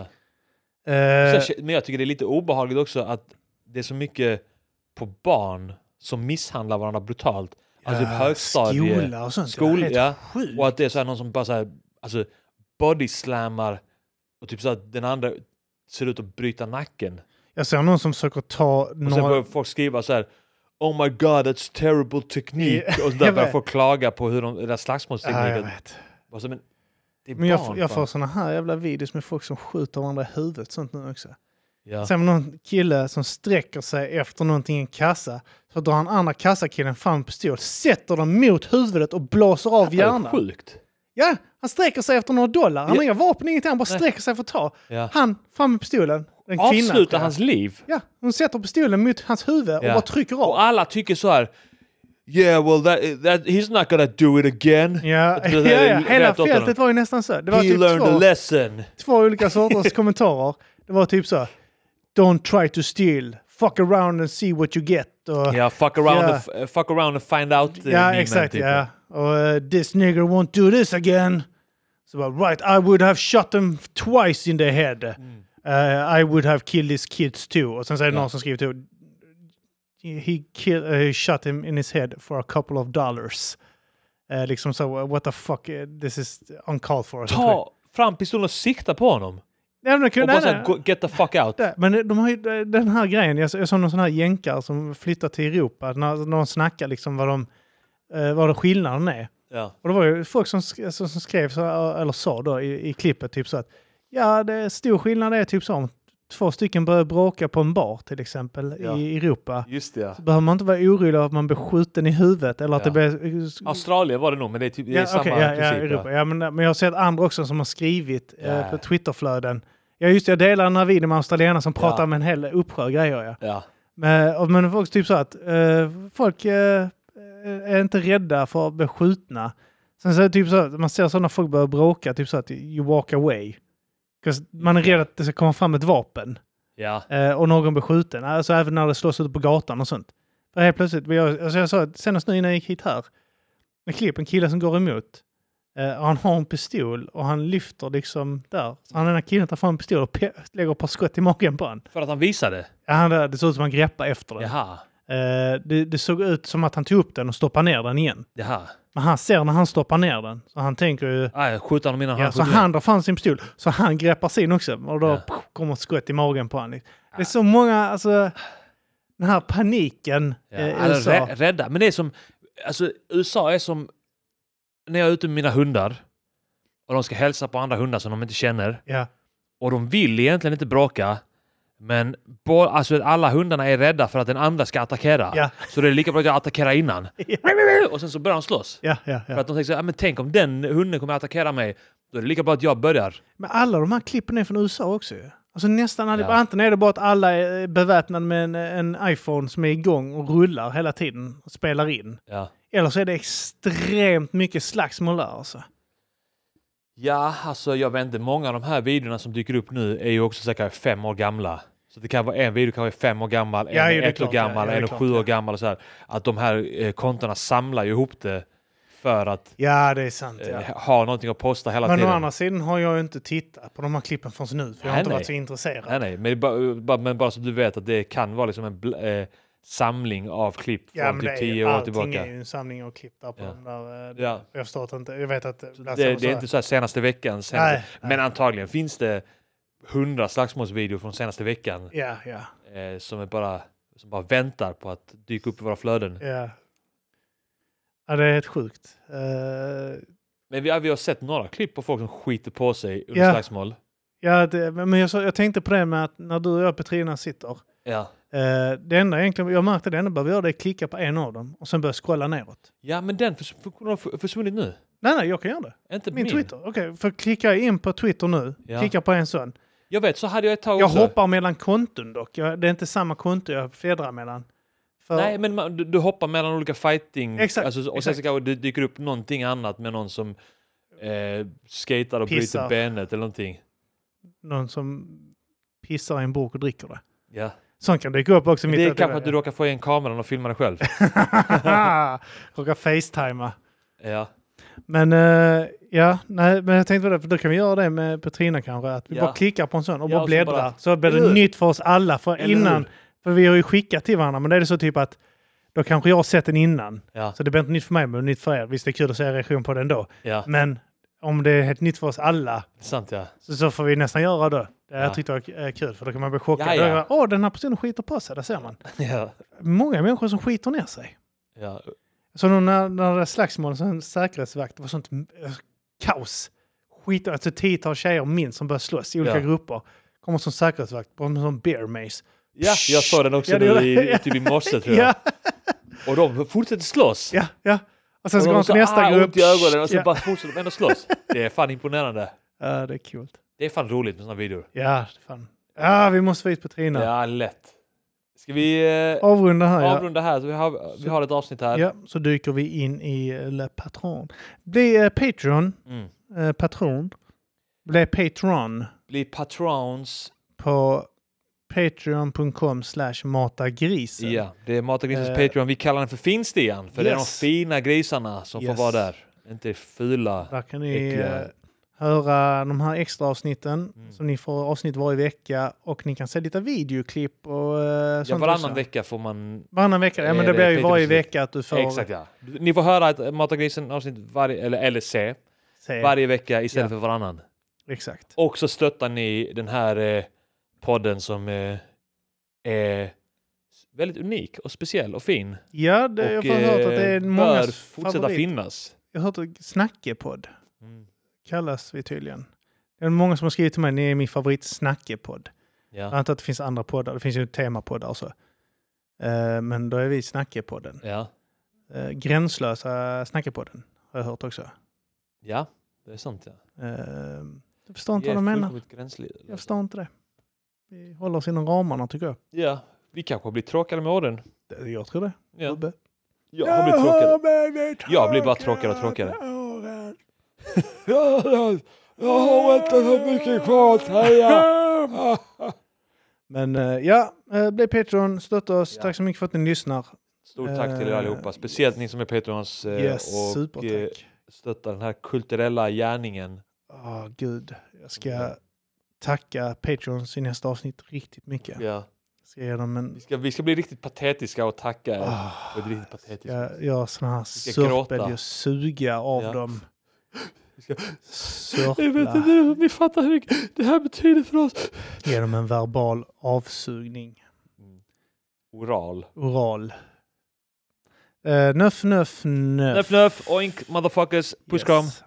Speaker 1: Ja.
Speaker 2: Eh,
Speaker 1: Sen- Men jag tycker det är lite obehagligt också att det är så mycket på barn som misshandlar varandra brutalt. Alltså
Speaker 2: Ja,
Speaker 1: typ högstadie...
Speaker 2: Eh, Skola och sånt.
Speaker 1: skol-
Speaker 2: det är helt
Speaker 1: ja.
Speaker 2: sjukt.
Speaker 1: Och att det är så här någon som bara så här, alltså bodyslammar och typ så att den andra ser ut att bryta nacken.
Speaker 2: Jag ser någon som försöker ta
Speaker 1: Och sen börjar
Speaker 2: några...
Speaker 1: folk skriva så här Oh my god, that's terrible technique.
Speaker 2: Ja,
Speaker 1: Och så där
Speaker 2: jag
Speaker 1: börjar
Speaker 2: vet.
Speaker 1: folk klaga på hur de, deras
Speaker 2: Ja, jag
Speaker 1: slagsmålstekniken...
Speaker 2: vet.
Speaker 1: Och så, men det är
Speaker 2: Men jag,
Speaker 1: barn,
Speaker 2: jag
Speaker 1: fan.
Speaker 2: får såna här jävla videos med folk som skjuter varandra i huvudet sånt nu också.
Speaker 1: Ja.
Speaker 2: Sen var det någon kille som sträcker sig efter någonting i en kassa. Så drar han andra kassakillen fram en pistol, sätter den mot huvudet och blåser av
Speaker 1: Det är
Speaker 2: hjärnan.
Speaker 1: sjukt.
Speaker 2: Ja, han sträcker sig efter några dollar. Han
Speaker 1: Ja.
Speaker 2: har inga vapen, ingenting. Han bara sträcker sig för att ta.
Speaker 1: Ja.
Speaker 2: Han, fram med pistolen. En kvinna. tror
Speaker 1: Avsluta
Speaker 2: jag.
Speaker 1: hans liv.
Speaker 2: Ja, hon sätter pistolen mot hans huvud och
Speaker 1: Ja.
Speaker 2: bara trycker av.
Speaker 1: Och alla tycker så här. Yeah, well, that, that, he's not gonna do it again.
Speaker 2: Ja,
Speaker 1: Det-
Speaker 2: ja,
Speaker 1: det-
Speaker 2: ja.
Speaker 1: det-
Speaker 2: hela
Speaker 1: rätt åt
Speaker 2: fältet
Speaker 1: honom.
Speaker 2: var ju nästan så. Det var
Speaker 1: He
Speaker 2: typ
Speaker 1: learned a
Speaker 2: två,
Speaker 1: lesson.
Speaker 2: två olika sorters kommentarer. Det var typ så. Don't try to steal. Fuck around and see what you get. Och,
Speaker 1: Ja, fuck around,
Speaker 2: Ja.
Speaker 1: And, f- fuck around and find out. eh,
Speaker 2: Ja,
Speaker 1: memen,
Speaker 2: exakt.
Speaker 1: typ.
Speaker 2: Ja. Och eh, this nigger won't do this again. Så bara, right, I would have shot them twice in the head.
Speaker 1: Mm.
Speaker 2: Eh, I would have killed his kids too. Och sen så är det någon som skriver till. He kill, eh, shot him in his head for a couple of dollars. Eh, liksom så, what the fuck, eh, this is uncalled for.
Speaker 1: Ta fram pistolen och sikta på honom.
Speaker 2: Nej, men,
Speaker 1: Och
Speaker 2: kunde,
Speaker 1: bara
Speaker 2: nej,
Speaker 1: såhär,
Speaker 2: nej,
Speaker 1: "Go- get the fuck out.
Speaker 2: nej. men de har ju eh, den här grejen, jag, jag såg någon sån här jänkare som flyttar till Europa, när, när de snackar liksom vad, de, eh, vad de skillnaden är.
Speaker 1: Ja.
Speaker 2: Och det var ju folk som, sk- som som skrev, så, här, eller sa då i, i klippet, typ så att ja, det är stor skillnad är typ så om två stycken börjar bråka på en bar till exempel
Speaker 1: Ja.
Speaker 2: i Europa.
Speaker 1: Just det, ja.
Speaker 2: Behöver man inte vara orolig av att man blir skjuten i huvudet eller att
Speaker 1: Ja.
Speaker 2: det blir... eh,
Speaker 1: Mm. Australien var det nog, men det är, typ, det är
Speaker 2: Ja,
Speaker 1: samma
Speaker 2: okej, ja, ja,
Speaker 1: princip.
Speaker 2: Europa.
Speaker 1: Ja.
Speaker 2: Ja, men, men jag har sett andra också som har skrivit
Speaker 1: Ja.
Speaker 2: eh, på Twitterflöden. Ja, just det, jag delar den här videon med australienare som pratar med en hel uppsjö grejer. Ja.
Speaker 1: Ja.
Speaker 2: Men, och- men folk typ så att eh, folk eh, är inte rädda för att bli skjutna. Sen så är det typ så att man ser sådana folk börja bråka, typ så att you walk away. 'Cause man är rädd att det ska komma fram ett vapen
Speaker 1: Ja.
Speaker 2: eh, och någon blir skjuten. Alltså även när det slås ut på gatan och sånt. För helt plötsligt, men jag, alltså jag sa att senast nu innan jag gick hit här, en klipp, en kille som går emot. Eh, och han har en pistol och han lyfter liksom där. Så han den här killen tar fram en pistol och pe- lägger ett par skott i magen på honom.
Speaker 1: För att han visade?
Speaker 2: Ja, han, det såg ut som han greppade efter den.
Speaker 1: Jaha.
Speaker 2: Eh, det, det såg ut som att han tog upp den och stoppade ner den igen.
Speaker 1: Jaha.
Speaker 2: Men han ser när han stoppar ner den, så han tänker ju...
Speaker 1: Nej, skjuta honom innan
Speaker 2: Ja,
Speaker 1: han
Speaker 2: så
Speaker 1: skjuter
Speaker 2: han drar fram sin pistol, så han greppar sin också. Och då
Speaker 1: Ja.
Speaker 2: pff, kommer ett skott i magen på honom. Det är så många, alltså... Den här paniken
Speaker 1: Ja,
Speaker 2: eh, i
Speaker 1: alltså,
Speaker 2: USA.
Speaker 1: rä- Rädda. Men det är som, alltså USA är som, när jag är ute med mina hundar och de ska hälsa på andra hundar som de inte känner
Speaker 2: Ja,
Speaker 1: och de vill egentligen inte bråka men bo, alltså, alla hundarna är rädda för att den andra ska attackera.
Speaker 2: Ja.
Speaker 1: Så det är lika bra att jag attackerar innan. Och sen så börjar de slåss.
Speaker 2: ja, ja.
Speaker 1: För
Speaker 2: ja.
Speaker 1: att de tänker så här, "Ah, men tänk om den hunden kommer att attackera mig. Då är det lika bra att jag börjar.
Speaker 2: Men alla de här klippen är från USA också ju. Alltså nästan allihopa.
Speaker 1: Ja.
Speaker 2: Antingen är det bara att alla är beväpnade med en, en iPhone som är igång och rullar hela tiden och spelar in.
Speaker 1: Ja,
Speaker 2: Eller så är det extremt mycket slagsmål där alltså.
Speaker 1: ja alltså jag vet inte. Många av de här videorna som dyker upp nu är ju också säkert fem år gamla. Så det kan vara en video kan vara fem år gammal, en
Speaker 2: Ja,
Speaker 1: är
Speaker 2: jo, det är
Speaker 1: ett år
Speaker 2: klart, ja,
Speaker 1: gammal,
Speaker 2: ja, det är
Speaker 1: en är
Speaker 2: klart,
Speaker 1: sju år
Speaker 2: ja.
Speaker 1: gammal och så här. Att de här eh, kontona samlar ju ihop det för att
Speaker 2: Ja, det är sant.
Speaker 1: eh,
Speaker 2: Ja.
Speaker 1: ha någonting att posta hela
Speaker 2: Men å
Speaker 1: tiden.
Speaker 2: andra sidan har jag ju inte tittat på de här klippen förrän nu, för jag har
Speaker 1: Nej,
Speaker 2: inte
Speaker 1: nej.
Speaker 2: varit så intresserad.
Speaker 1: Nej, nej, men, det är bara, bara, men bara så att du vet att det kan vara liksom en bl- eh, samling av klipp
Speaker 2: ja,
Speaker 1: från
Speaker 2: men
Speaker 1: typ
Speaker 2: det är ju,
Speaker 1: tio år
Speaker 2: allting
Speaker 1: tillbaka.
Speaker 2: är ju en samling av klipp där på
Speaker 1: Ja.
Speaker 2: de där... eh,
Speaker 1: Ja.
Speaker 2: Jag förstår att inte... Jag vet att... Lasse
Speaker 1: Det,
Speaker 2: var
Speaker 1: det är
Speaker 2: så
Speaker 1: inte så här senaste veckan. Senaste,
Speaker 2: Nej, nej.
Speaker 1: Men antagligen finns det hundra slagsmålsvideor från senaste veckan
Speaker 2: här, Ja, ja,
Speaker 1: eh, som, är bara, som bara väntar på att dyka upp i våra flöden.
Speaker 2: ja. Ja, det är helt sjukt. Eh,
Speaker 1: Men vi, har- vi har sett några klipp på folk som skiter på sig under
Speaker 2: Ja.
Speaker 1: slagsmål.
Speaker 2: ja, det, men jag, så, jag tänkte på det med att när du och jag och Petrina sitter,
Speaker 1: Ja.
Speaker 2: eh, det enda egentligen, jag märkte det enda jag behöver göra det är klicka på en av dem och sen börja scrolla neråt.
Speaker 1: ja, men den förs- funktionen har f- försvunnit nu.
Speaker 2: Nej, nej, jag kan göra det.
Speaker 1: Inte
Speaker 2: Min, Twitter. Okej, för klickar jag in på Twitter nu,
Speaker 1: Ja.
Speaker 2: klickar på en sån.
Speaker 1: Jag vet, så hade jag ett tag
Speaker 2: Jag
Speaker 1: också.
Speaker 2: hoppar mellan konton dock. Jag, det är inte samma konto jag fjädrar mellan. För,
Speaker 1: Nej, men man, du, du hoppar mellan olika fighting.
Speaker 2: Exakt,
Speaker 1: alltså, och sen
Speaker 2: exakt.
Speaker 1: så kanske det dyker upp någonting annat med någon som eh, skater och
Speaker 2: Pissar.
Speaker 1: bryter benet eller någonting.
Speaker 2: Någon som pissar i en burk och dricker det.
Speaker 1: Ja.
Speaker 2: Sånt kan dyka upp också. mitt
Speaker 1: Det är
Speaker 2: uppe i
Speaker 1: kanske att du råkar få igen kameran och filma dig själv.
Speaker 2: Råkar facetima.
Speaker 1: ja.
Speaker 2: Men eh, ja, nej, men jag tänkte på det, för då kan vi göra det med Petrina kanske. Att vi
Speaker 1: Ja.
Speaker 2: bara klickar på en sån och
Speaker 1: Ja,
Speaker 2: bara
Speaker 1: och så
Speaker 2: bläddrar. Så,
Speaker 1: bara-
Speaker 2: blir det
Speaker 1: Eller hur?
Speaker 2: nytt för oss alla. För
Speaker 1: Eller
Speaker 2: innan,
Speaker 1: hur?
Speaker 2: för vi har ju skickat till varandra, men det är det så typ att då kanske jag har sett den innan.
Speaker 1: Ja.
Speaker 2: Så det blir inte nytt för mig, men nytt för er. Visst, det är kul att se er reaktion på den då.
Speaker 1: ja.
Speaker 2: Men om det är helt nytt för oss alla
Speaker 1: Sant ja.
Speaker 2: så, så får vi nästan göra då. Det
Speaker 1: Ja.
Speaker 2: jag tyckte det var eh, kul för då kan man bli chockad.
Speaker 1: Ja, ja.
Speaker 2: Då är det, Åh, den här personen skiter på sig, där ser man.
Speaker 1: ja.
Speaker 2: Många människor som skiter ner sig.
Speaker 1: ja.
Speaker 2: Så då när, när det var slagsmål, så en säkerhetsvakt, det var sånt eh, kaos. Skit, alltså ett tiotal tjejer minst som började slåss i
Speaker 1: Ja.
Speaker 2: olika grupper. Kommer som säkerhetsvakt på en sån bear mace.
Speaker 1: Ja, jag såg den också
Speaker 2: Ja, det
Speaker 1: nu
Speaker 2: gör
Speaker 1: i,
Speaker 2: det.
Speaker 1: typ i morse tror jag.
Speaker 2: Ja,
Speaker 1: Och de fortsätter slåss.
Speaker 2: ja, ja. Och sen
Speaker 1: Och de
Speaker 2: så går
Speaker 1: har
Speaker 2: han
Speaker 1: så
Speaker 2: till nästa
Speaker 1: ah,
Speaker 2: grupp.
Speaker 1: ont i ögonen och sen
Speaker 2: ja.
Speaker 1: bara fortsätter de ändå slåss. Det är fan imponerande.
Speaker 2: ja, det är kul.
Speaker 1: Det är fan roligt med såna videor.
Speaker 2: Ja, fan. Ja, vi måste få hit Petrina.
Speaker 1: Ja, lätt. Ska vi eh,
Speaker 2: Avrunda här, ja.
Speaker 1: avrunda här? Så vi, har, vi har ett avsnitt här.
Speaker 2: ja. Så dyker vi in i eh, Le Patron. Bli eh, Patreon.
Speaker 1: Mm.
Speaker 2: Eh, patron. Bli Patron
Speaker 1: Bli patrons.
Speaker 2: på patreon.com slash matagrisen.
Speaker 1: Ja, det är Matagrisens
Speaker 2: Eh,
Speaker 1: Patreon. Vi kallar den för Finstian, för det är de
Speaker 2: yes.
Speaker 1: fina grisarna som
Speaker 2: Yes.
Speaker 1: får vara där. Inte fula.
Speaker 2: Där kan ni
Speaker 1: Äckliga.
Speaker 2: eh, höra de här extra avsnitten
Speaker 1: Mm.
Speaker 2: som ni får avsnitt varje vecka och ni kan se lite videoklipp och eh, sånt.
Speaker 1: Ja, varannan
Speaker 2: också.
Speaker 1: vecka får man...
Speaker 2: Varannan vecka? Ja,
Speaker 1: Är
Speaker 2: men det
Speaker 1: det
Speaker 2: blir ju
Speaker 1: Patreon
Speaker 2: varje
Speaker 1: avsnitt?
Speaker 2: vecka att du får
Speaker 1: Exakt ja. Ni får höra ett Matagrisen avsnitt varje, eller, eller se,
Speaker 2: se.
Speaker 1: varje vecka istället
Speaker 2: Eh. Ja.
Speaker 1: för varannan.
Speaker 2: Exakt.
Speaker 1: Och så stöttar ni den här eh, podden som eh, är väldigt unik och speciell och fin.
Speaker 2: Ja, det, jag
Speaker 1: och
Speaker 2: har hört att det är
Speaker 1: eh,
Speaker 2: mångas
Speaker 1: bör fortsätta
Speaker 2: favorit.
Speaker 1: finnas.
Speaker 2: Jag har hört att Snackepodd
Speaker 1: Mm.
Speaker 2: kallas vi tydligen. Det är många som har skrivit till mig, ni är min favorit Snackepodd. Jag
Speaker 1: Ja.
Speaker 2: antar att det finns andra poddar, det finns ju temapoddar och så. Eh, Men då är vi Snackepodden.
Speaker 1: Ja.
Speaker 2: Eh, Gränslösa Snackepodden har jag hört också.
Speaker 1: ja, det är sant. Ja.
Speaker 2: Eh, Jag förstår inte
Speaker 1: Vi är
Speaker 2: vad de menar.
Speaker 1: fullkomligt alltså. gränslösa.
Speaker 2: Jag förstår inte det. Vi håller oss inom ramarna tycker jag.
Speaker 1: Ja, vi kanske har blivit tråkigare med åren.
Speaker 2: Det- Jag tror det.
Speaker 1: Ja.
Speaker 2: Bubbe.
Speaker 1: Jag har blivit tråkigare.
Speaker 2: tråkigare.
Speaker 1: Jag blir bara tråkigare och tråkigare. Jag har inte så mycket kvar att säga.
Speaker 2: Men eh, ja, eh, bli Patreon, stötta oss.
Speaker 1: Ja.
Speaker 2: Tack så mycket för att ni lyssnar.
Speaker 1: Stort tack till er
Speaker 2: Eh,
Speaker 1: allihopa, speciellt ni som är Patreons eh,
Speaker 2: Yes,
Speaker 1: och eh,
Speaker 2: supertack.
Speaker 1: stöttar den här kulturella gärningen.
Speaker 2: Åh gud, jag
Speaker 1: Mm.
Speaker 2: ska tacka Patreons i nästa avsnitt riktigt mycket.
Speaker 1: Ja.
Speaker 2: Jag ska ge dem en...
Speaker 1: Vi, ska, vi ska bli riktigt patetiska och tacka er.
Speaker 2: Ah,
Speaker 1: På ett riktigt patetiskt
Speaker 2: jag gör såna här
Speaker 1: ska
Speaker 2: sörpel,
Speaker 1: gråta.
Speaker 2: jag suga av
Speaker 1: Ja.
Speaker 2: dem.
Speaker 1: Vi ska- Jag vet inte
Speaker 2: Sörpla,
Speaker 1: om ni fattar hur mycket det här betyder för oss.
Speaker 2: ge dem en verbal avsugning.
Speaker 1: Oral.
Speaker 2: Oral. Uh, nöff, nöff, nöff.
Speaker 1: Nöff nöff, oink motherfuckers, puss kram.
Speaker 2: Yes.